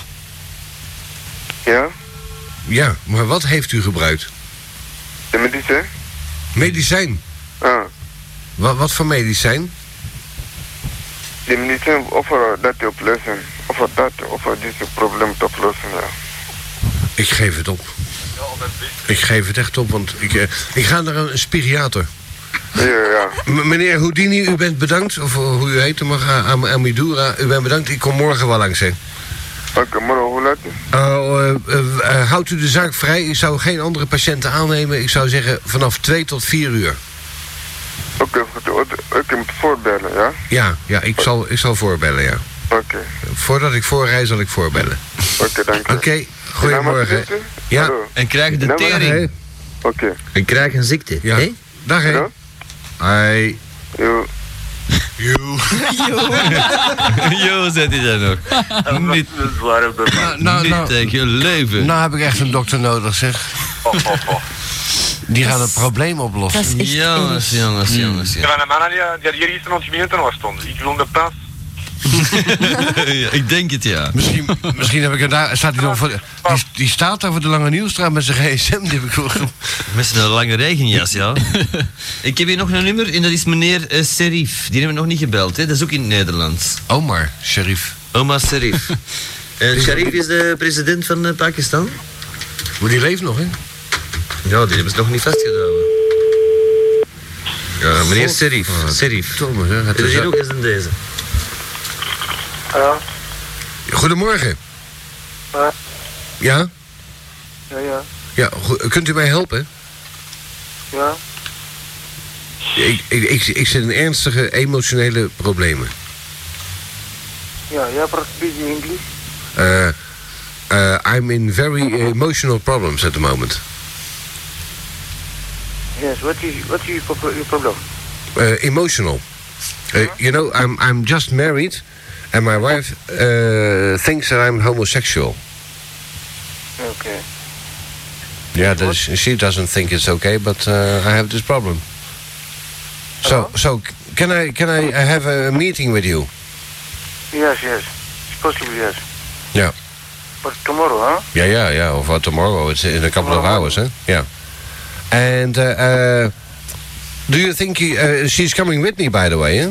Ja,
Ja, maar wat heeft u gebruikt?
de medicijn?
Medicijn.
Ah,
Wat, wat voor medicijn?
de medicijn over dat te oplossen. Over dat, over dit probleem te oplossen, ja.
Ik geef het op. Ik geef het echt op, want ik, eh, ik ga naar een spiriater.
Ja, ja.
M- meneer Houdini, u bent bedankt, of eh, hoe u heet mag, eh, Am Amidura, u bent bedankt. Ik kom morgen wel langs, hè.
Oké, morgen hoe laat?
Oh, eh, eh, eh, houdt u de zaak vrij? Ik zou geen andere patiënten aannemen. Ik zou zeggen vanaf 2 tot 4 uur.
Oké, goed, goed. ik moet voorbellen, ja?
Ja, ja ik, zal, ik zal voorbellen, ja.
Oké,
Voordat ik voorrij, zal ik voorbellen.
oké, dank je.
Oké, goedemorgen. Ja.
En krijg de tering.
Oké.
En krijg een ziekte.
Ja. Dag, hè. Hoi.
Yo.
Yo.
Yo, zet hij daar nog. Niet
nou,
niet
nou.
tegen je leven.
Nou heb ik echt een dokter nodig, zeg. Die gaat het probleem oplossen.
Jongens, jongens,
Hmm.
jongens.
Ja, van de mannen die, die hier gisteren ons gemeente stonden. Ik wil de pas.
ja, ik denk het ja.
Misschien, misschien heb ik er daar. Staat die, nog voor, die, die staat daar voor de Lange Nieuwstraat met zijn gsm. Die heb ik wel ge-
Met een lange regenjas, ja. ik heb hier nog een nummer en dat is meneer eh, Serif. Die hebben we nog niet gebeld, hè? dat is ook in het Nederlands.
Omar Sharif.
Omar Serif. Eh Sharif is de president van eh, Pakistan.
Maar die leeft nog, hè?
Ja, die hebben ze nog niet vastgedaan. Ja, meneer
Oh.
Serif.
Oh,
Serif.
Oh, Thomas, hè. gaat
Er
er
zit
zo-
ook eens in deze.
Ja,
Goedemorgen.
ja,
Ja?
ja, ja.
Ja, goe- kunt u mij helpen?
ja.
Ik, ik, ik, ik zit in ernstige emotionele problemen.
Ja, ja, precies in Engels.
Eh, eh, I'm in very emotional problems at the moment.
Yes, what is what is your pro- your problem?
uh, emotional. Uh, you know, I'm I'm just married, and my wife uh, thinks that I'm homosexual.
Okay.
Yeah, that is- she doesn't think it's okay, but uh, I have this problem. So so c- can I can I uh, have a meeting with you?
Yes, yes. It's possible, yes.
Yeah.
But tomorrow, huh?
Yeah, yeah, yeah. Of uh, tomorrow? It's in a couple of hours, huh? Yeah. And uh, uh, do you think you, uh, she's coming with me? By the way, yeah.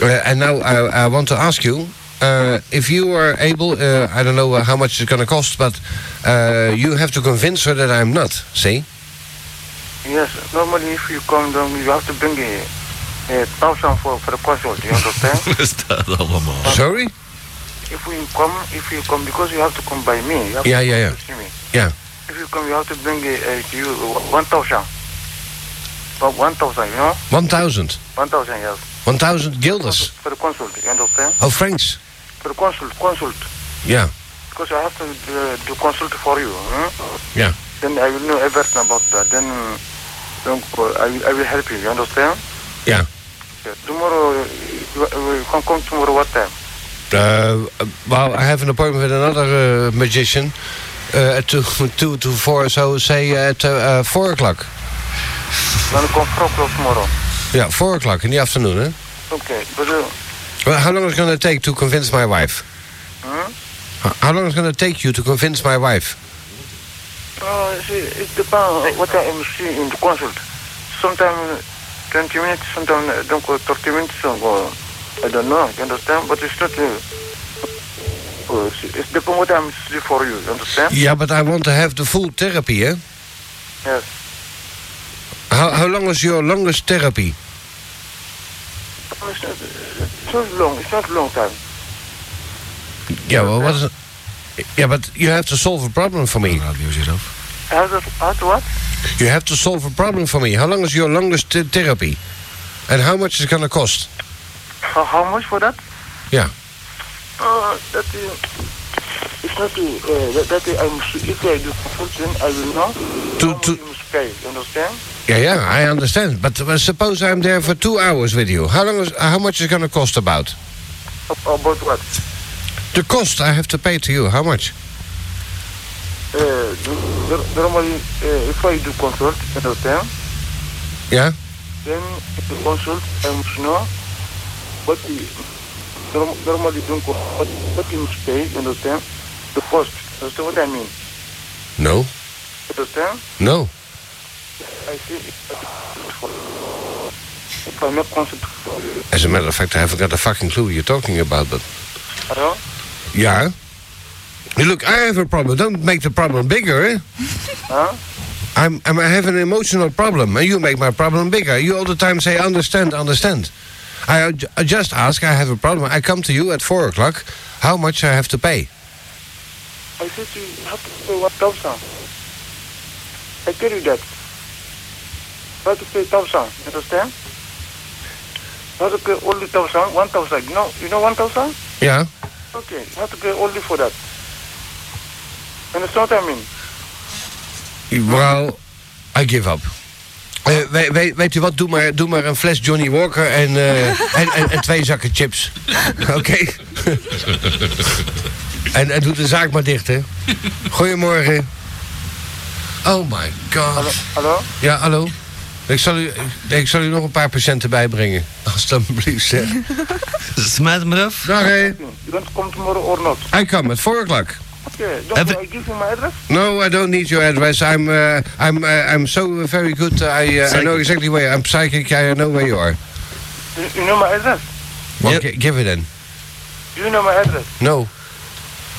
Uh, and now I, I want to ask you uh, if you are able, uh, I don't know uh, how much it's going to cost, but uh, you have to convince her that I'm not. See?
Yes. Normally, if you come down, you have to bring a, a thousand for for the consult. You understand?
Wat staat dat allemaal?
Sorry?
if you come, if you come, because you have to come by me. You have
Yeah,
to
yeah,
come
yeah.
to see me.
Yeah.
If you come, you have to bring a, a to you uh, one thousand. But one thousand, you know,
1,000.
one thousand, yes.
1,000 guilders.
For the consult, you understand?
Oh, francs.
For the consult, consult.
Yeah.
Because I have to uh, do consult for you. Hmm?
Yeah.
Then I will know everything about that. Then don't call. I, will- I will help you. You understand?
Yeah.
Yeah. Tomorrow, uh, you, uh, you can come tomorrow what time?
Uh, well, I have an appointment with another uh, magician uh, at two, two to four, so say at uh, uh, four o'clock.
Then come four o'clock tomorrow.
Yeah, four o'clock in the afternoon, eh?
Okay. But uh,
Well, how long is it going to take to convince my wife?
hmm?
H- How long is it going to take you to convince my wife?
Oh, see, it depends what I am seeing in the consult. Sometimes 20 minutes, sometimes uh, don't go 30 minutes, or go, I don't know, you understand? But it's not, uh, uh, it depends what I'm seeing for you, you understand?
Yeah, but I want to have the full therapy, eh?
Yes.
How, how long is your longest therapy?
Oh, It's not, it's not long, it's not long time.
Yeah, well, what is it? Yeah, but you have to solve a problem for me.
How to, how to what?
You have to solve a problem for me. How long is your longest th- therapy? And how much is it going to cost?
How, how much for that?
Yeah.
Uh, that, uh, Ik snap je, eh, dat, dat I must, if I do something, I will know.
To, to,
You must pay, you understand?
yeah, yeah, I understand. But uh, suppose I'm there for two hours with you. How long? Is, how much is it going to cost about?
About what?
The cost I have to pay to you. How much?
Eh, do- normally, eh, if I do consult, you understand?
Yeah.
Then, if you consult, I must know. But normally, don't go, but, but you must pay, you understand? The cost, understand what I mean?
No.
Understand?
No.
I see. If I'm not consult,
As a matter of fact, I haven't got a fucking clue what you're talking about. But
hello?
yeah. Hey, Look, I have a problem. Don't make the problem bigger. Eh?
Huh?
I'm, I'm, I have an emotional problem, and you make my problem bigger. You all the time say, understand, understand. I, ju- I just ask, I have a problem. I come to you at 4 o'clock, how much I have to pay.
I said to you, you have to pay 1,000. I tell you that. You have to pay 1,000, you understand? You have to pay only 1,000, 1,000. You know, you know 1,000?
Yeah?
Okay, you have to pay only for that. You understand what I mean?
Well, I give up. Eh, we- we- weet u wat, doe maar, doe maar een fles Johnny Walker en, eh, en, en, en twee zakken chips. Oké? en, en doe de zaak maar dicht, hè. Goedemorgen. Oh my god.
Hallo?
Ja, hallo. Ik zal u, ik zal u nog een paar patiënten bijbrengen. Alsjeblieft, zeg.
Smijt me af.
Dag, hè.
You want to come tomorrow or not?
I come at 4 o'clock.
Okay, don't worry, I give you my address.
No, I don't need your address. I'm, uh, I'm, uh, I'm so very good. I, uh, I know exactly where I'm psychic. I know where you are.
You, you know my address?
Well, gi- give it in.
Do you know my address?
No.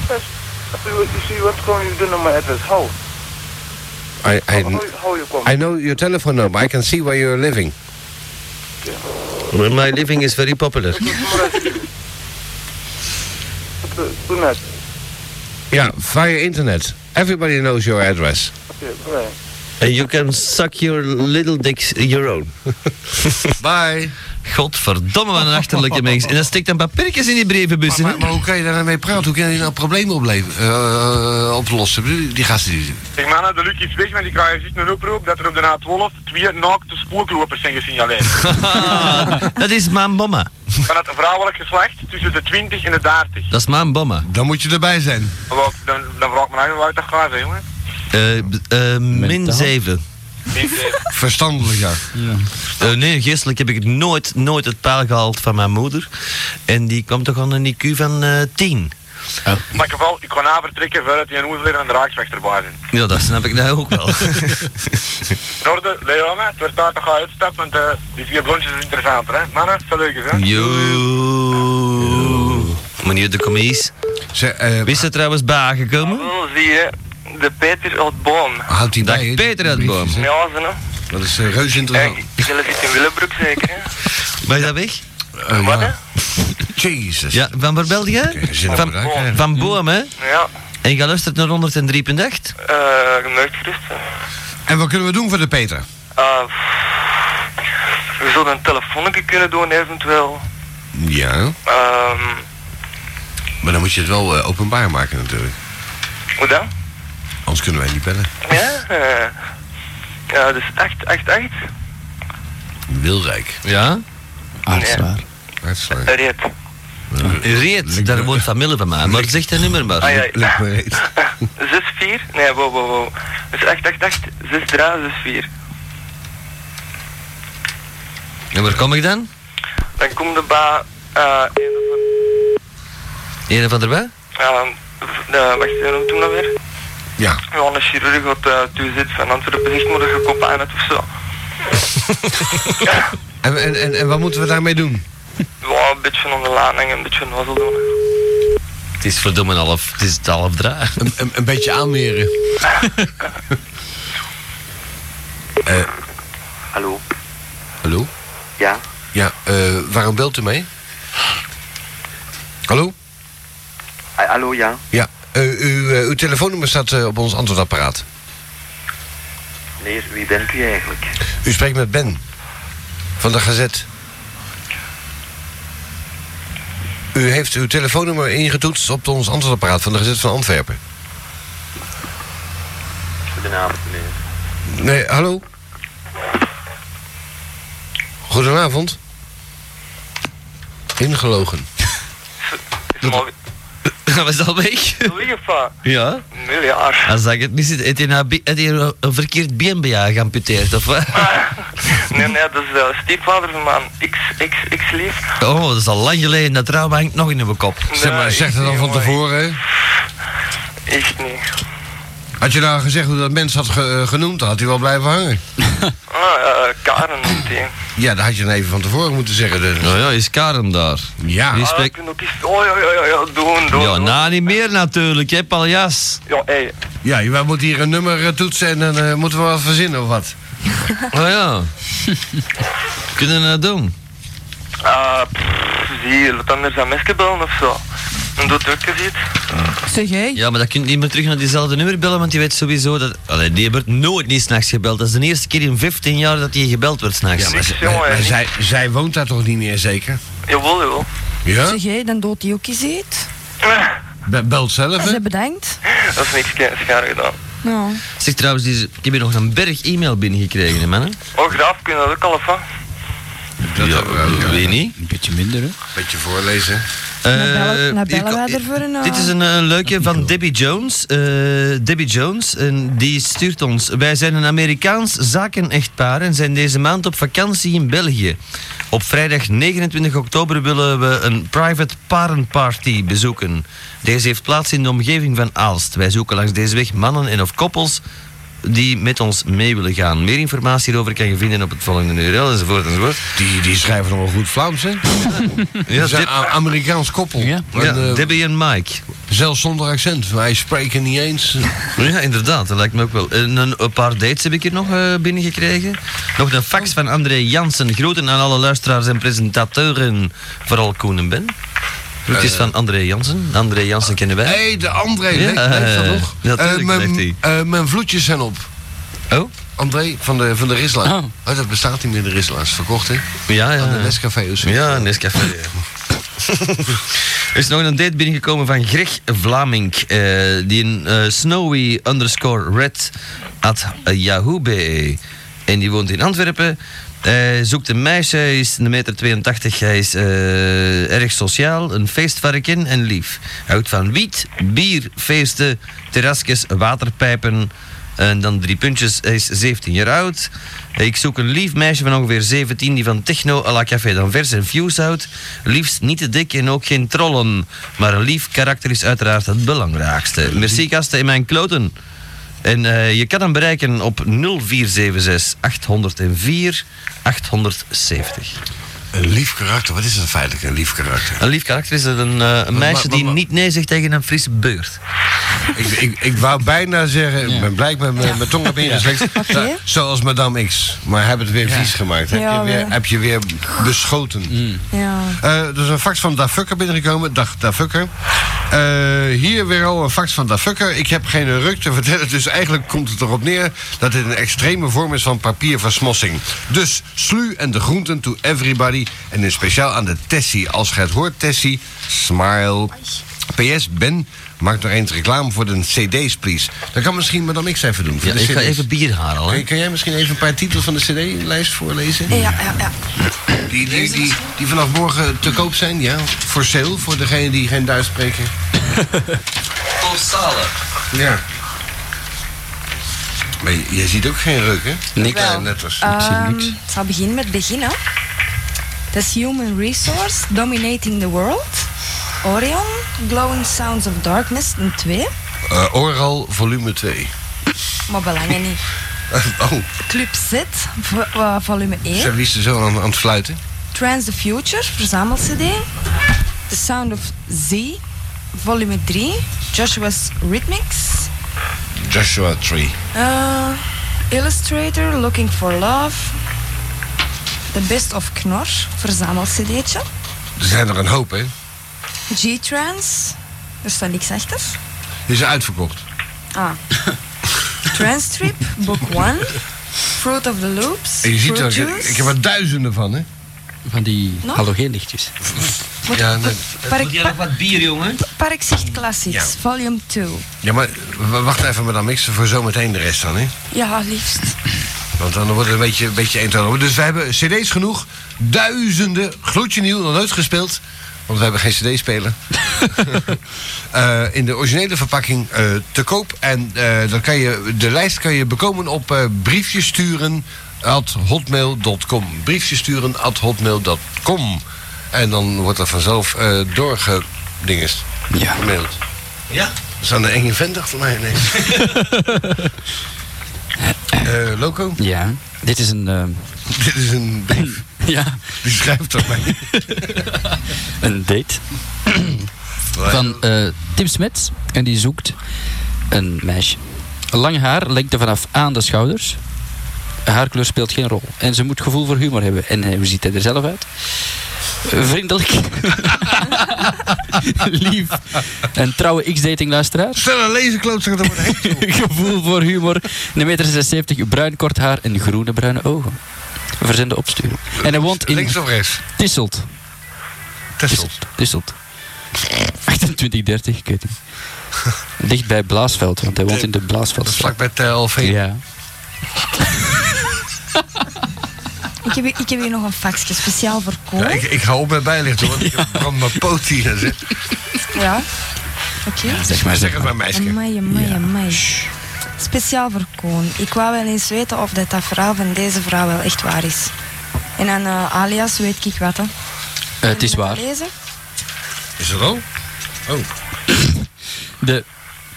Yes. You, you see, you want to come, you don't know my address. How?
I,
How,
I,
how you come?
I know your telephone number. I can see where you're living.
Well, my living is very popular.
Do not.
Yeah, via internet. Everybody knows your address.
Okay, bye.
And you can suck your little dicks your own.
Bye.
Godverdomme, wat een achterlijke mens. En dan steekt een papiertjes in die brevenbus.
Maar, maar hoe kan je daar nou mee praten? Hoe kan je nou problemen opleveren, eh, eh, oplossen? Ik bedoel, Die gasten die...
Zeg maar, nou, de Luc is weg, maar ik krijg juist een oproep dat er op de A12 twee naakte spooklopers zijn gesignaleerd.
dat is mijn bomma.
Van het vrouwelijk geslacht tussen de 20 en de 30.
Dat is mijn bomma.
Dan moet je erbij zijn.
Wat, Dan, dan vraag ik me eigenlijk waar dat gaat, hè, jongen.
Eh, b- eh, min
Mentaal?
7.
eh,
Verstandelijk, ja.
Eh, nee, geestelijk heb ik het nooit, nooit het paal gehaald van mijn moeder. En die kwam toch aan een IQ van eh 10.
Maar in geval, ik ga na vertrekken voordat die een leren aan de raaksvechter bij zijn.
Ja, dat snap ik nou ook wel.
In orde, Leona, het wordt tijd dat ga uitstappen, want eh, die vier blondjes is interessanter, hè. Mannen, veel leuk hè.
Yo. Meneer de commies.
eh,
Wist je trouwens bij aangekomen?
Wel Oh, zie je, de Peter uit Boom.
Houdt die
Dag
bij, hè?
Peter uit Boom.
Ja, ze, hè.
Dat is eh, reuze interessant.
Jullie zitten in Willebroek zeker, hè?
Ben je dat weg?
Eh, ja. Jezus.
Ja, van waar belde jij?
geen zin in
Van,
bereik, hè?
van Boom, hè?
Ja,
En je luistert naar 103.8?
eh, gemerkt gerust. hè.
En wat kunnen we doen voor de Peter?
Eh, we zouden een telefoonnetje kunnen doen eventueel.
Ja,
Ehm,
maar dan moet je het wel eh, openbaar maken natuurlijk.
hoe dan?
Anders kunnen wij niet bellen.
Ja, eh, ja, dus 888.
Wilrijk.
Ja?
Aartswaar.
Hartstikke.
Red.
Reet, daar woont familie van mij. Maar zeg dat nummer maar.
Ah, ja.
Leuk maar heet.
64? Nee, wow, wow, wow. Dus 888, 6364.
En waar kom ik dan?
Dan komt de ba... eh,
Een van erbij?
eh, de, wacht, hoe noemt hem dat weer?
Ja.
Ja, een chirurg wat eh toe zit van Antwerpen zegt moet je kop aan het of zo.
En, en, en, en wat moeten we daarmee doen?
Ja, een beetje van onderlading en een beetje nozel doen. hè.
Het is verdomme half, het is het half draai.
Een, een, een beetje aanmeren. Eh,
Hallo?
hallo?
Ja?
Ja, eh, waarom belt u mee? Hallo?
Ah, hallo, ja?
Ja, eh, uw, eh, uw telefoonnummer staat eh, op ons antwoordapparaat.
Nee, wie bent u eigenlijk?
U spreekt met Ben. Van de Gazet. U heeft uw telefoonnummer ingetoetst op ons antwoordapparaat van de Gezet van Antwerpen.
Goedenavond, meneer.
Nee, hallo? Goedenavond. Ingelogen.
Dat was al weg.
Lieve,
Ja?
miljard.
Als ik het niet zit, heeft hij nou bi- heeft hij een een verkeerd been bij jou geamputeerd, of wat?
Nee, nee, dat is de stiefvader van mijn ex-lief.
Oh, dat is al lang geleden. Dat trauma hangt nog in mijn kop.
Zeg maar, Nee, zeg ik-
dat dan van tevoren, hè?
Echt niet.
Had je nou gezegd hoe dat mens had ge- eh, genoemd, dan had hij wel blijven hangen.
Ah, eh, Karen meteen.
Ja, dat had je dan even van tevoren moeten zeggen. Dus.
Nou ja, is Karen daar?
Ja.
Die
Ah,
spreekt...
ik ben ook eens... Oh, ja, ja, ja, ja, doen, doen.
Ja, nou niet meer natuurlijk, hè, paljas.
Ja, hé.
Ja, wij moeten hier een nummer eh, toetsen en dan eh, moeten we wat verzinnen of wat.
Oh ja. Kunnen we dat doen?
Ah, pff, zie, laat anders aan mensen bellen of zo. En doet ook eens iets.
Zeg jij? Ja, maar dat kun je niet meer terug naar diezelfde nummer bellen, want je weet sowieso dat... Allee, die wordt nooit niet s'nachts gebeld. Dat is de eerste keer in 15 jaar dat je gebeld wordt s'nachts.
Ja, maar, ze- maar- maar zij, zij woont daar toch niet meer zeker?
Jawel, jawel.
Ja?
Zeg jij, dan dood die ook eens eet.
Be- belt zelf, hè?
Ze bedankt.
Dat is niks schaar gedaan.
Nou,
Zeg trouwens, die- ik heb hier nog een berg e-mail binnengekregen, hè, mannen.
Oh, graaf, kun je dat ook al van?
Dat ja,
eh,
weet niet. Een beetje minder, hè.
Beetje voorlezen.
bellen- nou bellen wij ervoor een, eh,
Eh, Dit is een eh, leuke van Debbie Jones. Eh, Debbie Jones, en die stuurt ons. Wij zijn een Amerikaans zakenechtpaar en zijn deze maand op vakantie in België. Op vrijdag 29 oktober willen we een private parenparty bezoeken. Deze heeft plaats in de omgeving van Aalst. Wij zoeken langs deze weg mannen en of koppels die met ons mee willen gaan. Meer informatie hierover kan je vinden op het volgende URL enzovoort enzovoort.
Die, die schrijven nog wel goed Vlaams, hè?
Ja,
Ze zijn
Deb-
A- Amerikaans koppel. Ja,
ja, Debbie en Mike.
eh, Zelfs zonder accent. Wij spreken niet eens.
Ja, inderdaad, dat lijkt me ook wel. En een, een paar dates heb ik hier nog eh, binnengekregen. Nog een fax van André Jansen. Groeten aan alle luisteraars en presentatoren. Vooral Koen en Ben. Groetjes
Eh.
van André Jansen. André Jansen kennen wij.
Hé, hey, de André,
Ja,
weet, weet dat
eh,
nog?
ja, tuurlijk,
Eh, mijn,
zegt hij.
eh, mijn vloedjes zijn op.
Oh?
André van de, van de Risla. Oh. dat bestaat niet meer, de Risla. Is verkocht, hè?
Ja, ja.
Aan de Nescafé. of zo.
Ja, Nescafé. dus. Er is nog een date binnengekomen van Greg Vlamink. eh, die een eh, snowy underscore red at yahoo.be. En die woont in Antwerpen. Hij zoekt een meisje, hij is een meter 82, hij is eh, erg sociaal, een feestvarken en lief. Hij houdt van wiet, bier, feesten, terrasjes, waterpijpen en dan drie puntjes. Hij is 17 jaar oud. Ik zoek een lief meisje van ongeveer 17 die van techno à la café d'Anvers en views houdt. Liefst niet te dik en ook geen trollen. Maar een lief karakter is uiteraard het belangrijkste. Merci gasten in mijn kloten. En eh, je kan hem bereiken op 0476 804 870.
Een lief karakter. Wat is dat feitelijk, een lief karakter?
Een lief karakter is dat een, eh, een meisje die niet nee zegt tegen een frisse beurt.
ik, ik, ik wou bijna zeggen, ik ben blijkbaar met mijn tong heb ingeslikt. Nou, Zoals Madame X. Maar hebben het weer vies gemaakt. Heb,
Ja,
je weer,
wel.
heb je weer beschoten.
Mm.
ja.
Eh, er is een fax van Dafucker binnengekomen. Dag Dafucker. Eh, hier weer al een fax van Dafucker. Ik heb geen ruk te vertellen, dus eigenlijk komt het erop neer dat dit een extreme vorm is van papierversmossing. Dus slu en de groenten to everybody. En in speciaal aan de Tessie. Als je het hoort, Tessie, smile. PS, Ben, maak nog eens reclame voor de CD's, please. Dat kan misschien Madame X even doen. Voor
Ja,
de
ik ga
CD's.
even bier halen. hè.
Kan, kan jij misschien even een paar titels van de CD-lijst voorlezen? Ja,
ja, ja.
Die, die, die, die vanaf morgen te koop zijn, ja. Voor sale, voor degene die geen Duits spreken.
Postalen.
Ja. Maar je, je ziet ook geen reuk, hè?
Niks.
Kleine letters.
Ehm, ik zal beginnen met beginnen. Dat is Human Resource, Dominating the World. Orion, Glowing Sounds of Darkness, een 2.
Eh, Oral, volume 2.
Maar belangen niet.
oh,
Club Z, vo- eh, volume 1.
ze wisten zo aan, aan het fluiten.
Trans the Future, verzamel-cd. The Sound of Z, volume 3. Joshua's Rhythmics.
Joshua 3.
Eh, Illustrator, Looking for Love. The Best of Knor, verzamel-cd'tje.
Er zijn er een hoop, hè?
G-Trans, er staat niks achter.
Die zijn uitverkocht.
Ah. Transtrip, Book 1. Fruit of the Loops.
En je ziet
Fruit
dat, ik,
Juice.
ik heb er duizenden van, hè?
van die
Nog?
halogeenlichtjes.
Ja, nee. Park- Wil jij nog
wat bier, jongen?
Parkzicht Classics,
Ja.
volume 2.
Ja, maar w- wacht even, madame Mix, voor zometeen de rest dan, hè?
Ja, liefst.
Want dan wordt het een beetje, een beetje eentonig. Dus we hebben cd's genoeg. Duizenden, gloedje nieuw, nog nooit gespeeld. Want we hebben geen cd-speler. Eh, in de originele verpakking eh, te koop. En eh, dan kan je, de lijst kan je bekomen op eh briefjes sturen at hotmail.com. Briefjes sturen at hotmail.com. En dan wordt dat vanzelf eh doorgedingest. Ja. Gemaild. Ja. Dat is aan de enge vent achter mij ineens. Eh, Loco?
Ja, dit is een... ehm,
Dit is een brief.
ja.
Die schrijft op mij.
een date. Van eh, Tim Smets. En die zoekt een meisje. Lang haar, lengte vanaf aan de schouders. Haarkleur speelt geen rol. En ze moet gevoel voor humor hebben. En eh, hoe ziet hij er zelf uit? Eh, Vriendelijk. Lief. En trouwe X-dating luisteraar.
Stel een lezenklootzakken, dat wordt
Gevoel voor humor. 1,76 meter, 76, bruin kort haar en groene bruine ogen. Verzenden opsturen. En hij woont in...
Links of rechts?
Tisselt.
Tisselt.
Tisselt. 28, 30, ik weet niet. Dicht bij Blaasveld, want hij woont in de Blaasveld.
Vlak bij TLV.
Ja.
Ik heb, hier- ik heb hier nog een faxje speciaal voor Koen.
Ja, ik, ik hou op met bijlichten, want ik brand mijn poot hier. Zeg,
Ja. Oké.
zeg maar,
zeg het maar, meisje.
Amai, amai, amai. Speciaal voor Koen. Ik wou wel eens weten of dat, dat verhaal van deze vrouw wel echt waar is. En aan eh, alias weet ik wat, hè.
Eh, het is waar.
Lezen?
Is dat al? Oh.
De...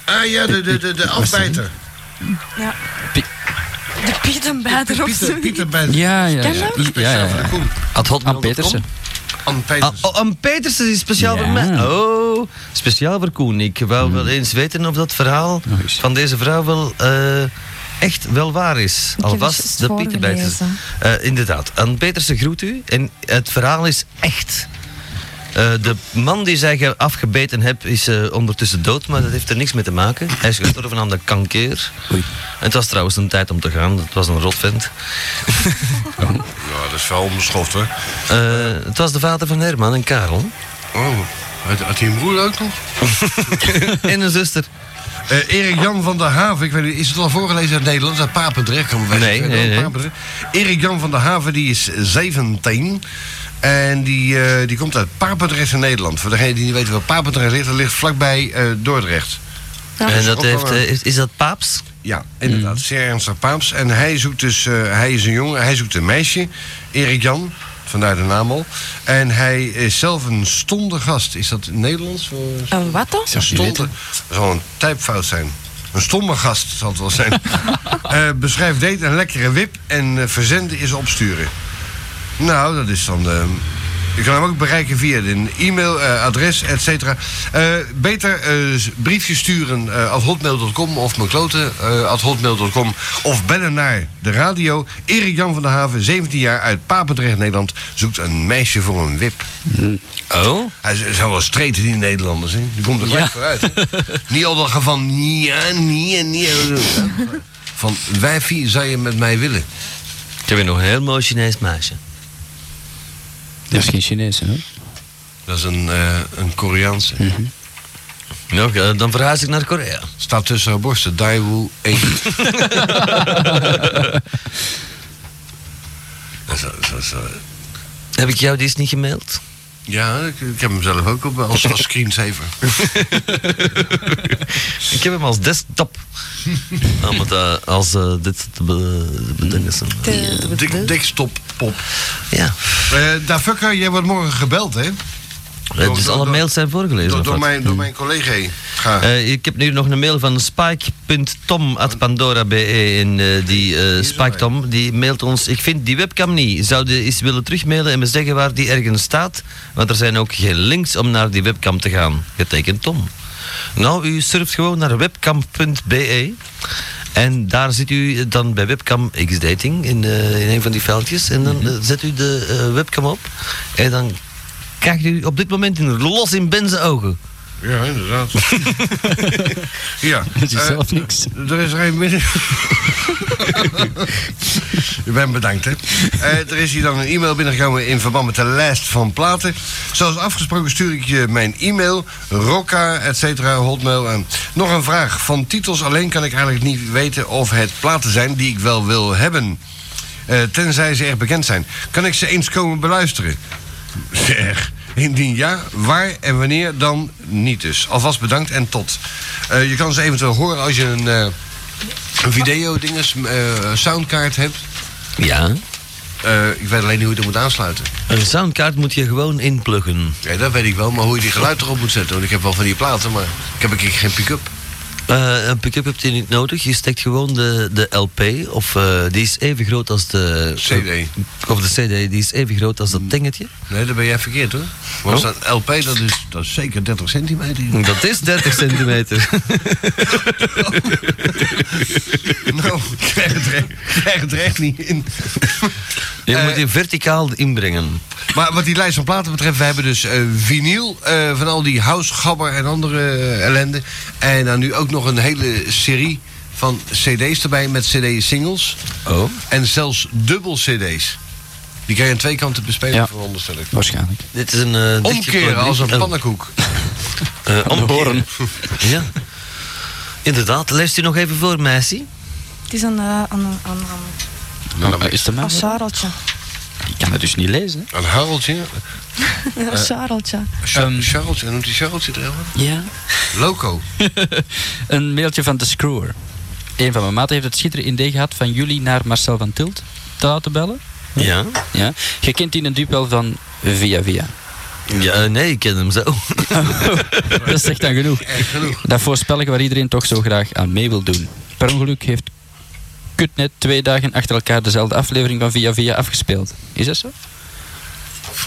Ah ja, de, de, de, de afbijter.
Ja. De Pietenbijter of
Pieter,
zo.
Pieter bij de...
Ja, ja.
Ken
ja.
je
ja, ja, ja.
Ad
Aan Petersen.
Ann Peters.
Oh, Ann Petersen is speciaal voor
Ja.
mij. Oh, speciaal voor Koen. Ik wou wel eens weten of dat verhaal van deze vrouw wel eh, echt wel waar is.
heb het
Alvast
juist
de Pieter
voorgelezen.
Eh, inderdaad. Ann Petersen groet u. En het verhaal is echt. Eh, de man die zij ge- afgebeten heeft is eh, ondertussen dood, maar dat heeft er niks mee te maken. Hij is gestorven aan de kanker. Het was trouwens een tijd om te gaan, het was een rotvent.
Ja, dat is wel onbeschoft hoor.
Eh, het was de vader van Herman en Karel.
Oh, had, had hij een broer ook nog?
en een zuster.
Eh, Erik Jan van der Haven, ik weet niet, is het al voorgelezen uit Nederland? Uit Papendrecht kan we
Nee, nee, nee.
Erik Jan van der Haven, die is 17. En die, eh, die komt uit Papendrecht in Nederland. Voor degene die niet weten waar Papendrecht ligt, dat ligt vlakbij eh, Dordrecht.
En
Dus
dat
ook wel
heeft,
een-
eh, is, is dat paaps? Hmm.
Ja, inderdaad. Zeer ernstig Paaps. En hij zoekt dus, eh, hij is een jongen, hij zoekt een meisje. Erik Jan, vandaar de naam al. En hij is zelf een stonde gast. Is dat Nederlands? voor-
Een wat dan?
Een stonde. Dat zal een typfout zijn. Een stomme gast zal het wel zijn. Eh beschrijf date een lekkere wip en eh, verzenden is opsturen. Nou, dat is dan. eh, je kan hem ook bereiken via een e-mail, eh, adres, et cetera. Eh, beter eh, s- briefje sturen eh at hotmail.com of mijn kloten eh, at hotmail.com. Of bellen naar de radio. Erik Jan van der Haven, 17 jaar, uit Papendrecht, Nederland... zoekt een meisje voor een wip.
Hm.
Oh?
Hij z- zijn wel streten, die Nederlanders. Hè? Die komt er gelijk vooruit. hè. Niet al dat van... Ja, nee, nee. Van wijfie zou je met mij willen.
Ik heb hier nog een heel mooi Chinees meisje.
Dat is geen Chinees, hè?
Dat is een, eh, een Koreaanse.
Nou, oké, Mhm. dan verhuis ik naar Korea.
Staat tussen haar borsten. Daewoo 1. Dat is- dat is-
Heb ik jou dit niet gemaild?
Ja, ik, ik heb hem zelf ook op eh, als, als screensaver.
Ik heb hem als desktop. Ah, maar dat- als eh, dit te be- bedenken.
Dik, dekstop pop.
Ja.
Eh daar fucker, jij wordt morgen gebeld, hè?
Eh, Dus alle mails zijn voorgelezen.
Door,
of
door,
wat? Mm.
mijn, door mijn collega. Ga.
Eh, ik heb nu nog een mail van spike.tom.pandora.be en eh, die eh Spike Tom die mailt ons, ik vind die webcam niet, zou je eens willen terugmailen en me zeggen waar die ergens staat, want er zijn ook geen links om naar die webcam te gaan, getekend Tom. Nou, u surft gewoon naar webcam.be en daar zit u dan bij webcam X-dating in, eh, in een van die veldjes en
Mhm.
dan eh, zet u de eh, webcam op en dan krijgt u op dit moment een los in benzen ogen.
Ja, inderdaad. ja.
Dat is
eh,
zelf niks.
Er is er een binnen. U bent bedankt, hè. Eh, er is hier dan een e-mail binnengekomen in verband met de lijst van platen. Zoals afgesproken stuur ik je mijn e-mail, rocca, et cetera, hotmail. En nog een vraag. Van titels alleen kan ik eigenlijk niet weten of het platen zijn die ik wel wil hebben. Eh, tenzij ze erg bekend zijn. Kan ik ze eens komen beluisteren? Zeg. Indien ja, waar en wanneer dan niet dus. Alvast bedankt en tot. Eh, je kan ze eventueel horen als je een, eh, een video-dinges, eh, soundkaart hebt.
Ja.
Eh, ik weet alleen niet hoe je dat moet aansluiten.
Een soundkaart moet je gewoon inpluggen.
Ja, dat weet ik wel, maar hoe je die geluid erop moet zetten. Want ik heb wel van die platen, maar ik heb een keer geen pick-up.
Eh, een pick-up heb je niet nodig. Je steekt gewoon de, de LP, of eh, die is even groot als de... eh,
CD.
Of de CD, die is even groot als dat
Mm.
dingetje.
Nee, dat ben jij verkeerd hoor. Want
Oh.
dat LP, dat is, dat is zeker 30 centimeter.
Dat is 30 centimeter.
nou, ik krijg het, recht- Eh, ik krijg het recht niet in.
Je moet je verticaal inbrengen.
Maar wat die lijst van platen betreft, we hebben dus eh, vinyl eh, van al die house, gabber en andere eh, ellende. En dan nu ook nog een hele serie van cd's erbij met cd-singles.
Oh.
En zelfs dubbel cd's. Die kan je aan twee kanten bespelen,
Ja.
veronderstel ik.
Waarschijnlijk.
Dit is een... eh, dichtje
Omkeren als een
plastic- oh,
pannenkoek.
eh, omkeren. ja. Inderdaad, leest u nog even voor, meisje?
Het is een, eh, een, een, een,
Eh, is de
een
man?
scharreltje.
Ik kan het dus niet lezen. hè.
Een harreltje.
Eh.
Een scharreltje.
Een Charlesje, noemt die Charlesje er helemaal?
Ja.
Loco.
Een mailtje van de Screwer. Een van mijn maten heeft het schitterend idee gehad van jullie naar Marcel van Tilt te laten bellen.
Ja.
Ja. Je kent die natuurlijk wel van Via Via.
Ja, eh, nee, ik ken hem zo.
Dat is echt dan genoeg.
Echt genoeg.
Dat voorspelling waar iedereen toch zo graag aan mee wil doen. Per ongeluk heeft Kutnet twee dagen achter elkaar dezelfde aflevering van Via Via afgespeeld. Is dat zo?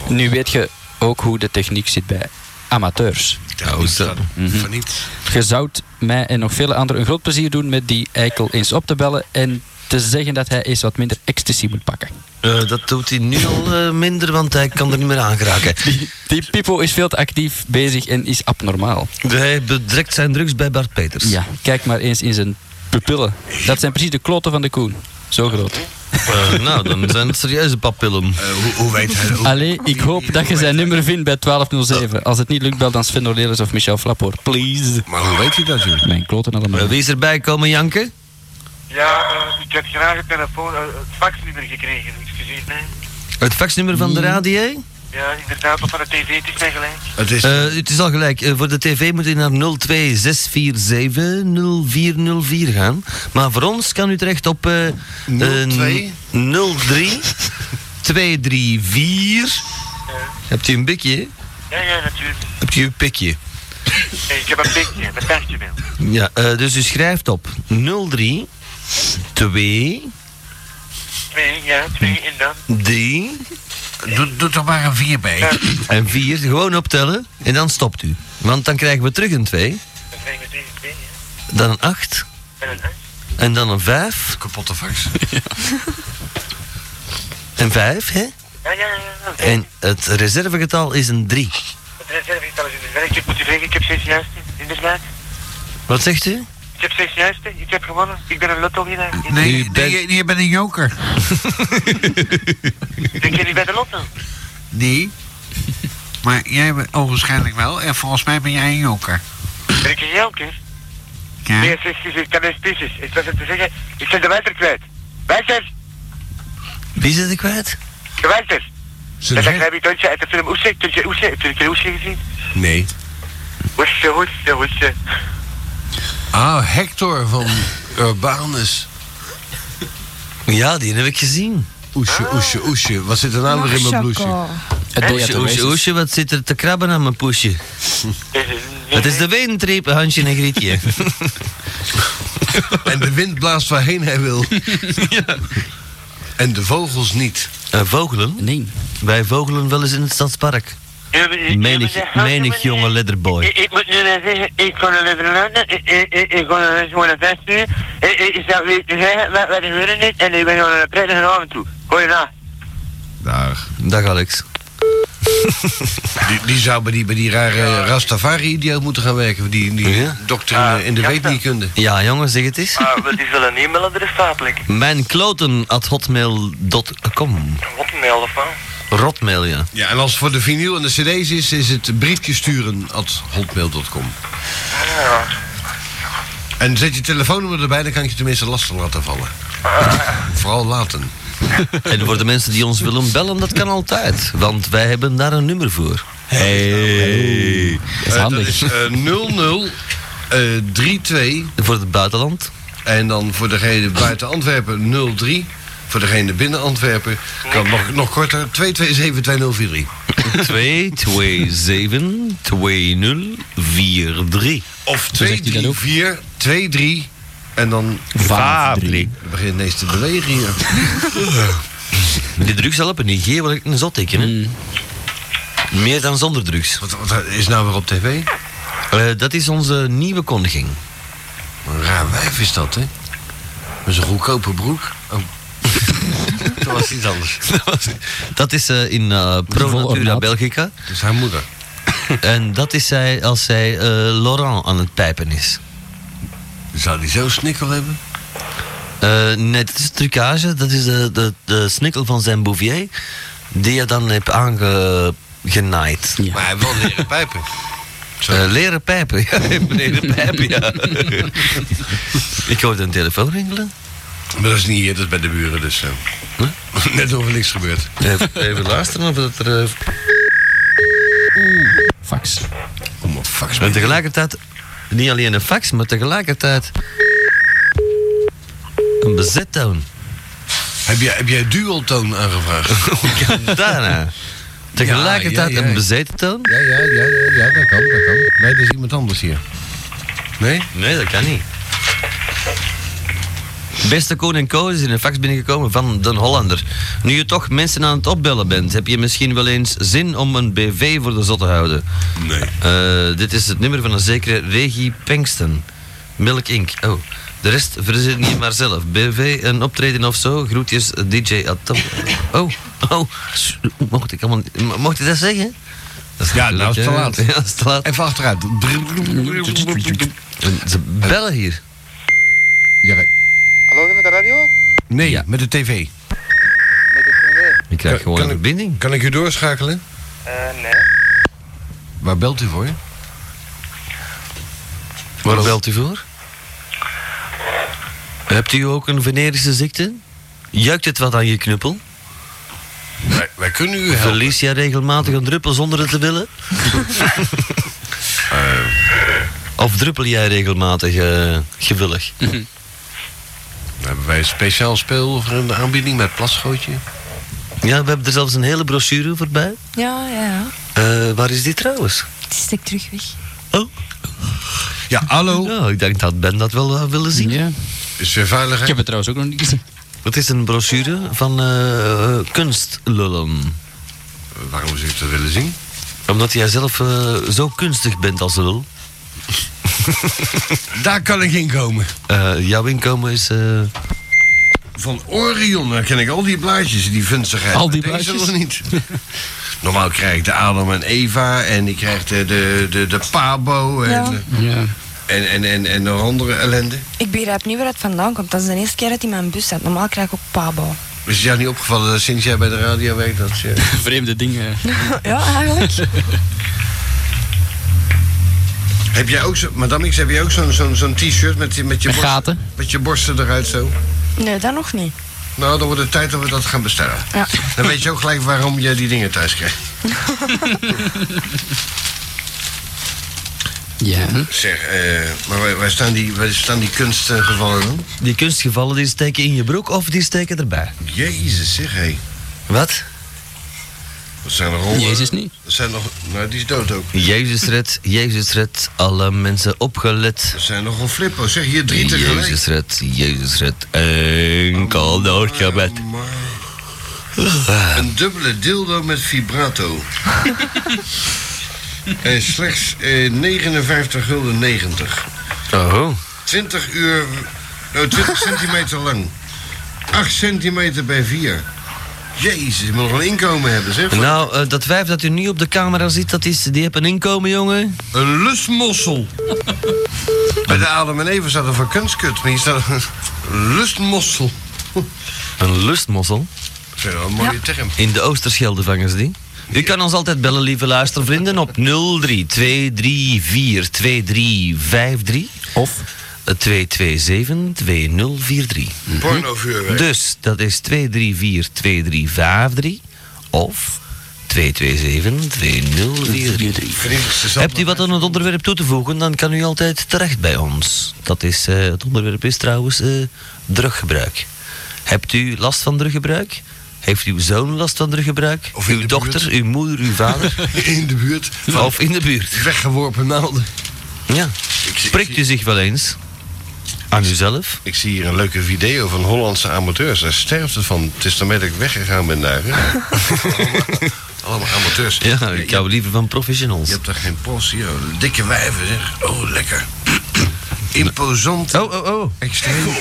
Nu weet je ook hoe de techniek zit bij amateurs.
Oh, zo.
Mhm.
Van niets.
Je zou mij en nog vele anderen een groot plezier doen met die eikel eens op te bellen en te zeggen dat hij eens wat minder ecstasy moet pakken.
Eh, dat doet hij nu al eh, minder, want hij kan er niet meer aan geraken.
Die Pipo is veel te actief bezig en is abnormaal.
Dus Hij bedrekt zijn drugs bij Bart Peters.
Ja, kijk maar eens in zijn pupillen. Dat zijn precies de kloten van de koen. Zo groot.
Eh, nou, dan zijn het serieuze papillen.
Eh, hoe, hoe weet hij hoe-
Allee, ik hoop dat je zijn nummer vindt bij 1207. Als het niet lukt, bel dan Sven Orlelis of Michel Flappoort. Please.
Maar hoe weet hij dat, joh?
Mijn kloten allemaal.
Eh, wie is erbij komen janken?
Ja, eh, ik heb graag het telefoon, eh, het faxnummer gekregen, excuseer mij.
Het faxnummer van de radio?
Ja, inderdaad, op van de tv, het is mij gelijk.
Het is...
Eh, het is al gelijk. Eh, voor de tv moet u naar 026470404 gaan. Maar voor ons kan u terecht op eh, eh,
02?
03 234. Hebt u een bikje? hè?
Ja, ja, natuurlijk.
Hebt u een pikje?
Hey, ik heb een beetje, dat dacht je wel.
Ja, eh, dus u schrijft op 03 2
Twee, ja, twee en dan.
3
Doe, doe toch maar een vier bij.
Eh. en 4. Gewoon optellen en dan stopt u. Want dan krijgen we terug een 2,
Dan krijgen we tegen twee, ja.
dan een 8
En een acht.
en dan een 5
Kapotte fax.
en 5, hè?
Ja, ja, ja. ja.
En het reservegetal is een 3.
Het reservegetal is inderdaad. Ik moet u zeggen, ik heb zes juiste. Inderdaad.
Wat zegt u?
Ik heb zes juiste. Ik heb gewonnen. Ik ben een lotto winnaar.
U
Nee, je
bent-
nee, je bent een joker.
Denk je niet bij de lotto?
Nee. Maar jij bent onwaarschijnlijk wel. En volgens mij ben jij een joker.
Ben ik een joker?
Ja.
Nee, zeg, zeg, ik kan eens pieces. Ik was het te zeggen, ik zet de wijzer kwijt. Wijzer!
Wie zit ik kwijt?
De wijzer!
Zullen
Dat
we-
heb ik Duntje uit de film Oesje. Duntje Oesje. Heb je de keer Oesje gezien?
Nee.
Oesje, Oesje, Oesje.
Ah, Hector van Urbanus.
Ja, die heb ik gezien.
Ah.
Oesje, oesje, oesje. Wat zit er nou weer in mijn bloesje?
Het deed
Oesje,
dat
oesje,
wel eens.
oesje, wat zit er te krabben aan mijn poesje?
Eh,
Het is de windreep, Hansje en Grietje.
En de wind blaast waarheen hij wil. En de vogels niet.
Eh, vogelen?
Nee.
Wij vogelen wel eens in het stadspark.
nee, nee, nee, nee,
Menig,
nee,
menig
nee,
jonge
nee.
letterboy.
Ik, ik moet nu net zeggen, ik kon een letter laten, ik, ik, ik, ik kon een gewoon een vest nu. Ik, ik, ik zou weten zeggen wat, wat gebeurde niet en ik ben gewoon een prettige avond toe. Goeiedag.
Daar.
Dag Alex.
Die, die zou bij die, bij die rare Rastafari-idioot moeten gaan werken. Die, die dokter in, de- in de
Ah, ja,
weetniekunde.
Ja, jongen, zeg het eens.
Ah, wel, die zullen een e-mailadres stapelen.
Mijn kloten at hotmail.com.
Wat een mail of wel?
Rotmail, ja.
Ja, en als het voor de vinyl en de cd's is, is het briefje sturen at hotmail.com.
Ja.
En zet je telefoonnummer erbij, dan kan ik je tenminste lastig laten vallen. Vooral laten.
En voor de mensen die ons willen bellen, dat kan altijd. Want wij hebben daar een nummer voor. Hey.
Eh, is eh, 00 eh, 32.
Voor het buitenland.
En dan voor degene buiten Antwerpen 03. Voor degene binnen Antwerpen kan nog, nog korter 2272043.
227-2043.
Of 234 23 en dan
Fabri.
Het begint ineens te bewegen hier.
Die drugs helpen niet. Geen wat ik een zot teken, hè. Meer dan zonder drugs.
Wat, wat is nou weer op tv?
Eh, dat is onze nieuwe kondiging.
Een raar wijf is dat, hè? Met zo'n goedkope broek. Oh. dat was iets anders.
Dat is eh, in eh, Pro Natura Belgica.
Dat is haar moeder.
En dat is zij als zij eh, Laurent aan het pijpen is.
Zou die zo snikkel hebben?
Eh, nee, dat is trucage. Dat is de, de, de snikkel van zijn bouvier. Die je dan hebt aangenaaid.
Maar hij wil leren pijpen.
Eh, leren pijpen. Ja, hij heeft leren pijpen, ja. Ik hoorde een telefoon rinkelen.
Maar dat is niet hier, dat is bij de buren, dus... eh, Net of er niks gebeurt.
Even, even luisteren of dat er... eh,
Fax.
Kom op, fax.
En tegelijkertijd, niet alleen een fax, maar tegelijkertijd... Een bezettoon.
Heb jij, heb jij dualtoon aangevraagd?
Daarna. Tegelijkertijd
Ja, ja, ja.
een bezeten toon?
Ja, ja, ja, ja, ja, dat kan, dat kan. Nee, dat is iemand anders hier. Nee?
Nee, dat kan niet. Beste Koen en Co is in een fax binnengekomen van Den Hollander. Nu je toch mensen aan het opbellen bent, heb je misschien wel eens zin om een BV voor de zot te houden?
Nee.
Eh, dit is het nummer van een zekere Regie Pengsten. Milk Inc. Oh, de rest verzin je maar zelf. BV, een optreden of zo. Groetjes, DJ Atom. Oh, oh, s- mocht ik, allemaal, niet- mocht ik dat zeggen? Dat is
Ja, nou is het te laat.
natuurlijk, hè. Ja, dat is te laat.
Even achteruit.
En Ze bellen hier.
Ja, nee.
Hallo, met de radio?
nee, met de tv.
Met de TV?
Ik krijg gewoon een
ik-
verbinding.
Kan ik u doorschakelen?
Eh, nee.
Waar belt u voor?
Waar belt u voor? Hebt u ook een venerische ziekte? Juikt het wat aan je knuppel?
Wij, wij kunnen u helpen.
Verlies jij regelmatig een druppel zonder het te willen?
Eh.
Of druppel jij regelmatig eh, gewillig?
Mhm.
Dan hebben wij een speciaal speel of een aanbieding met plasgootje.
Ja, we hebben er zelfs een hele brochure voorbij.
Ja, ja, ja.
Eh, waar is die trouwens?
Het steekt terug weg.
Ja, hallo.
Nou, ik denk dat Ben dat wel wil willen zien.
Ja.
Is weer
Ik
veiligheid?
heb het trouwens ook nog niet gezien.
Het is een brochure van eh, eh, kunstlullen.
Waarom zou u dat willen zien?
Omdat jij zelf eh, zo kunstig bent als lul.
Daar kan ik in komen.
Eh, jouw inkomen is... eh,
Van Orion, daar ken ik al die blaadjes, die vunzigheid.
Al die
Maar deze
blaadjes?
nog niet. Normaal krijg ik de Adam en Eva en ik krijg de, de, de, de Pabo en, eh,
Ja.
Ja.
en, en, en, en nog andere ellende.
Ik begrijp niet waar het vandaan komt. Dat is de eerste keer dat hij in mijn bus staat. Normaal krijg ik ook pabo.
Is het jou niet opgevallen dat sinds jij bij de radio werkt dat je...
Vreemde dingen.
ja, eigenlijk.
Heb jij ook zo, Madame X, heb jij ook zo'n zo'n zo'n t-shirt met, die- met, je
Met
borst-
gaten.
met je borsten eruit zo?
Nee, dat nog niet.
Nou, dan wordt het tijd dat we dat gaan bestellen.
Ja.
Dan weet je ook gelijk waarom je die dingen thuis krijgt.
Ja.
Zeg, eh, maar waar, waar staan die, waar staan die kunstgevallen dan?
Die kunstgevallen die steken in je broek of die steken erbij.
Jezus, zeg hé.
Wat?
Dat zijn eh, er rollen.
Jezus niet.
Dat zijn nog, nou, die is dood ook.
Jezus red, Jezus red, alle mensen opgelet.
Dat zijn nogal flippers. Zeg, hier drie tegelijk.
Jezus red, Jezus red, enkel doorgebed.
Amai.
Ah.
Een dubbele dildo met vibrato. en slechts eh 59 gulden 90.
Oh.
20 uur... nou, 20 centimeter lang. 8 centimeter bij 4. Jezus, je moet nog een inkomen hebben, zeg.
Nou, eh, dat wijf dat u nu op de camera ziet, dat is, die heeft een inkomen, jongen.
Een lustmossel. Bij de Adam en Eva staat er van kunstkut, maar hier staat een lustmossel.
Een lustmossel?
Dat is wel een mooie
Ja.
term.
In de Oosterschelde vangen ze die. U kan ons altijd bellen, lieve luistervrienden, op 03-234-2353 of Eh, 227-2043.
Pornovuurwerk.
Dus dat is 234-2353 of 227-2043. Hebt u wat aan het onderwerp toe te voegen, dan kan u altijd terecht bij ons. Dat is, eh, het onderwerp is trouwens eh, druggebruik. Hebt u last van druggebruik? Heeft uw zoon last van druggebruik? Of uw dochter, uw moeder, uw vader?
In de buurt.
Of in de buurt.
Weggeworpen naalden.
Ja. Prikt u zich wel eens? Aan uzelf?
Ik zie hier een leuke video van Hollandse amateurs. Daar sterft het van. Het is daarmee dat ik weggegaan ben daar. hè. Allemaal amateurs.
Ja, ik hou liever van professionals.
Je hebt daar geen post hier. oh. Dikke wijven, zeg. Oh, lekker. Imposant.
Oh, oh, oh.
Extreem.